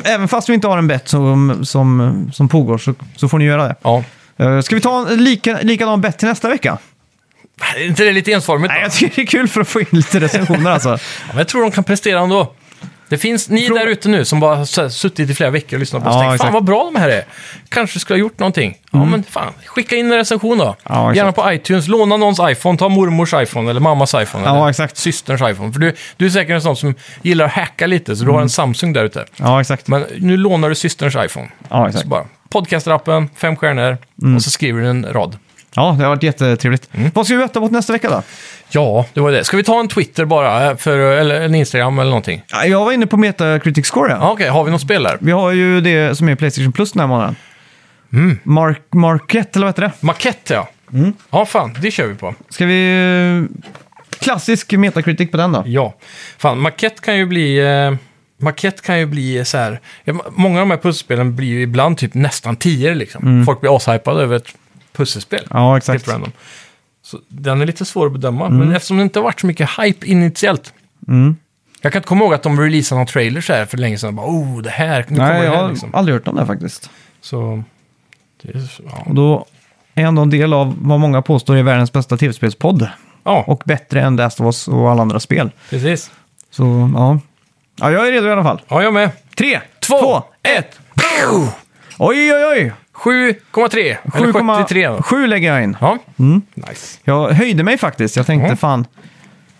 Speaker 1: även fast vi inte har en bet som, som, som pågår, så, så får ni göra det.
Speaker 2: Ja.
Speaker 1: Eh, Ska vi ta en lika, likadan bet till nästa vecka?
Speaker 2: Är inte det lite ensformigt?
Speaker 1: Nej,
Speaker 2: Nej,
Speaker 1: jag tycker det är kul för att få in lite recensioner alltså.
Speaker 2: Men jag tror de kan prestera ändå. Det finns ni
Speaker 1: Frå-
Speaker 2: där ute nu som bara har så här suttit i flera veckor och lyssnat på oss.
Speaker 1: Ja,
Speaker 2: Tänk, fan
Speaker 1: exakt. Mm.
Speaker 2: vad bra de här är. Kanske skulle ha gjort någonting. Ja, men fan. Skicka in en recension då.
Speaker 1: Ja, exakt.
Speaker 2: Gärna på iTunes. Låna någons iPhone. Ta mormors iPhone eller mammas iPhone.
Speaker 1: Ja,
Speaker 2: eller
Speaker 1: exakt.
Speaker 2: systerns iPhone. För du, du är säkert en sån som gillar att hacka lite, så du
Speaker 1: Mm.
Speaker 2: har en Samsung där ute.
Speaker 1: (laughs) Ja, exakt.
Speaker 2: Men nu lånar du systerns iPhone.
Speaker 1: Ja, exakt. Mm.
Speaker 2: Så bara, podcastrappen, fem stjärnor och så skriver du en rad.
Speaker 1: Ja, det har varit jättetrevligt. Vad ska vi veta mot nästa vecka då?
Speaker 2: Ja, det var det. Ska vi ta en Twitter bara, eh, för, eller en Instagram eller någonting?
Speaker 1: Ja, Jag var inne på Metacritic Score, ja.
Speaker 2: Ja, Okej, har vi något spel där?
Speaker 1: Vi har ju det som är Playstation Plus den här månaden. Mm. Mark, Market, eller vad heter det?
Speaker 2: Makett, ja. Ja, fan, det kör vi på.
Speaker 1: Ska vi... eh, Klassisk Metacritic på den då?
Speaker 2: Ja. Fan, makett kan ju bli... Eh, makett kan ju bli så här... Ja, ma- Många av de här pusselspelen blir ju ibland typ nästan tio liksom. Folk blir ashypade över ett pusselspel.
Speaker 1: Mm. Ja, Mm.
Speaker 2: Helt random. Så den är lite svår att bedöma, men eftersom det inte har varit så mycket hype initiellt. Jag kan inte komma ihåg att de releasade någon trailer så här för länge sedan. Bara, oh, det här, nu kommer
Speaker 1: Nej,
Speaker 2: det
Speaker 1: jag
Speaker 2: här
Speaker 1: har
Speaker 2: liksom.
Speaker 1: aldrig hört om det faktiskt.
Speaker 2: Så, det är, så- ja.
Speaker 1: Och då är ändå en del av vad många påstår är världens bästa tv-spelspodd.
Speaker 2: ja,
Speaker 1: Och bättre än Last of Us och alla andra spel.
Speaker 2: precis.
Speaker 1: Så, ja. Ja, jag är redo i alla fall.
Speaker 2: Ja, jag med.
Speaker 1: 3,
Speaker 2: Två,
Speaker 1: 2, 1. Oj, oj, oj!
Speaker 2: 7,3. Eller 73. då.
Speaker 1: 7,7 lägger jag in.
Speaker 2: Ja. Nice.
Speaker 1: Jag höjde mig faktiskt. Jag tänkte
Speaker 2: Mm.
Speaker 1: fan,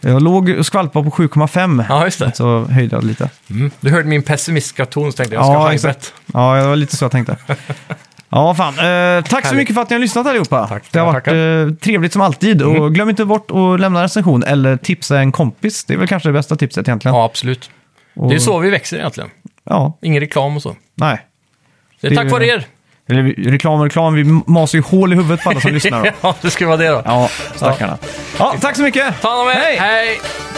Speaker 1: jag låg och skvalpade på 7,5.
Speaker 2: Ja, just det.
Speaker 1: Så höjde jag lite.
Speaker 2: Mm. Du hörde min pessimistiska ton så tänkte jag, jag ska ha exakt.
Speaker 1: Ja, det var lite så jag
Speaker 2: (laughs)
Speaker 1: tänkte. Ja, fan. Eh, tack så
Speaker 2: Härligt.
Speaker 1: mycket för att ni har lyssnat allihopa.
Speaker 2: Tack,
Speaker 1: det har varit
Speaker 2: tackar. Mm.
Speaker 1: eh, trevligt som alltid. Och glöm inte bort att lämna recension eller tipsa en kompis. Det är väl kanske det bästa tipset egentligen.
Speaker 2: Ja, absolut. Det är så vi växer egentligen.
Speaker 1: Ja,
Speaker 2: Ingen reklam och så.
Speaker 1: nej.
Speaker 2: Det är
Speaker 1: Det är
Speaker 2: tack
Speaker 1: ju-
Speaker 2: vare er.
Speaker 1: Eller vi- reklam och reklam, vi masar ju hål i (laughs)
Speaker 2: (laughs)
Speaker 1: huvudet på alla som lyssnar. Då.
Speaker 2: ja, det skulle vara det då.
Speaker 1: Ja, stackarna. Ja, tack så mycket!
Speaker 2: Ta hand om er.
Speaker 1: Hej!
Speaker 2: Hej.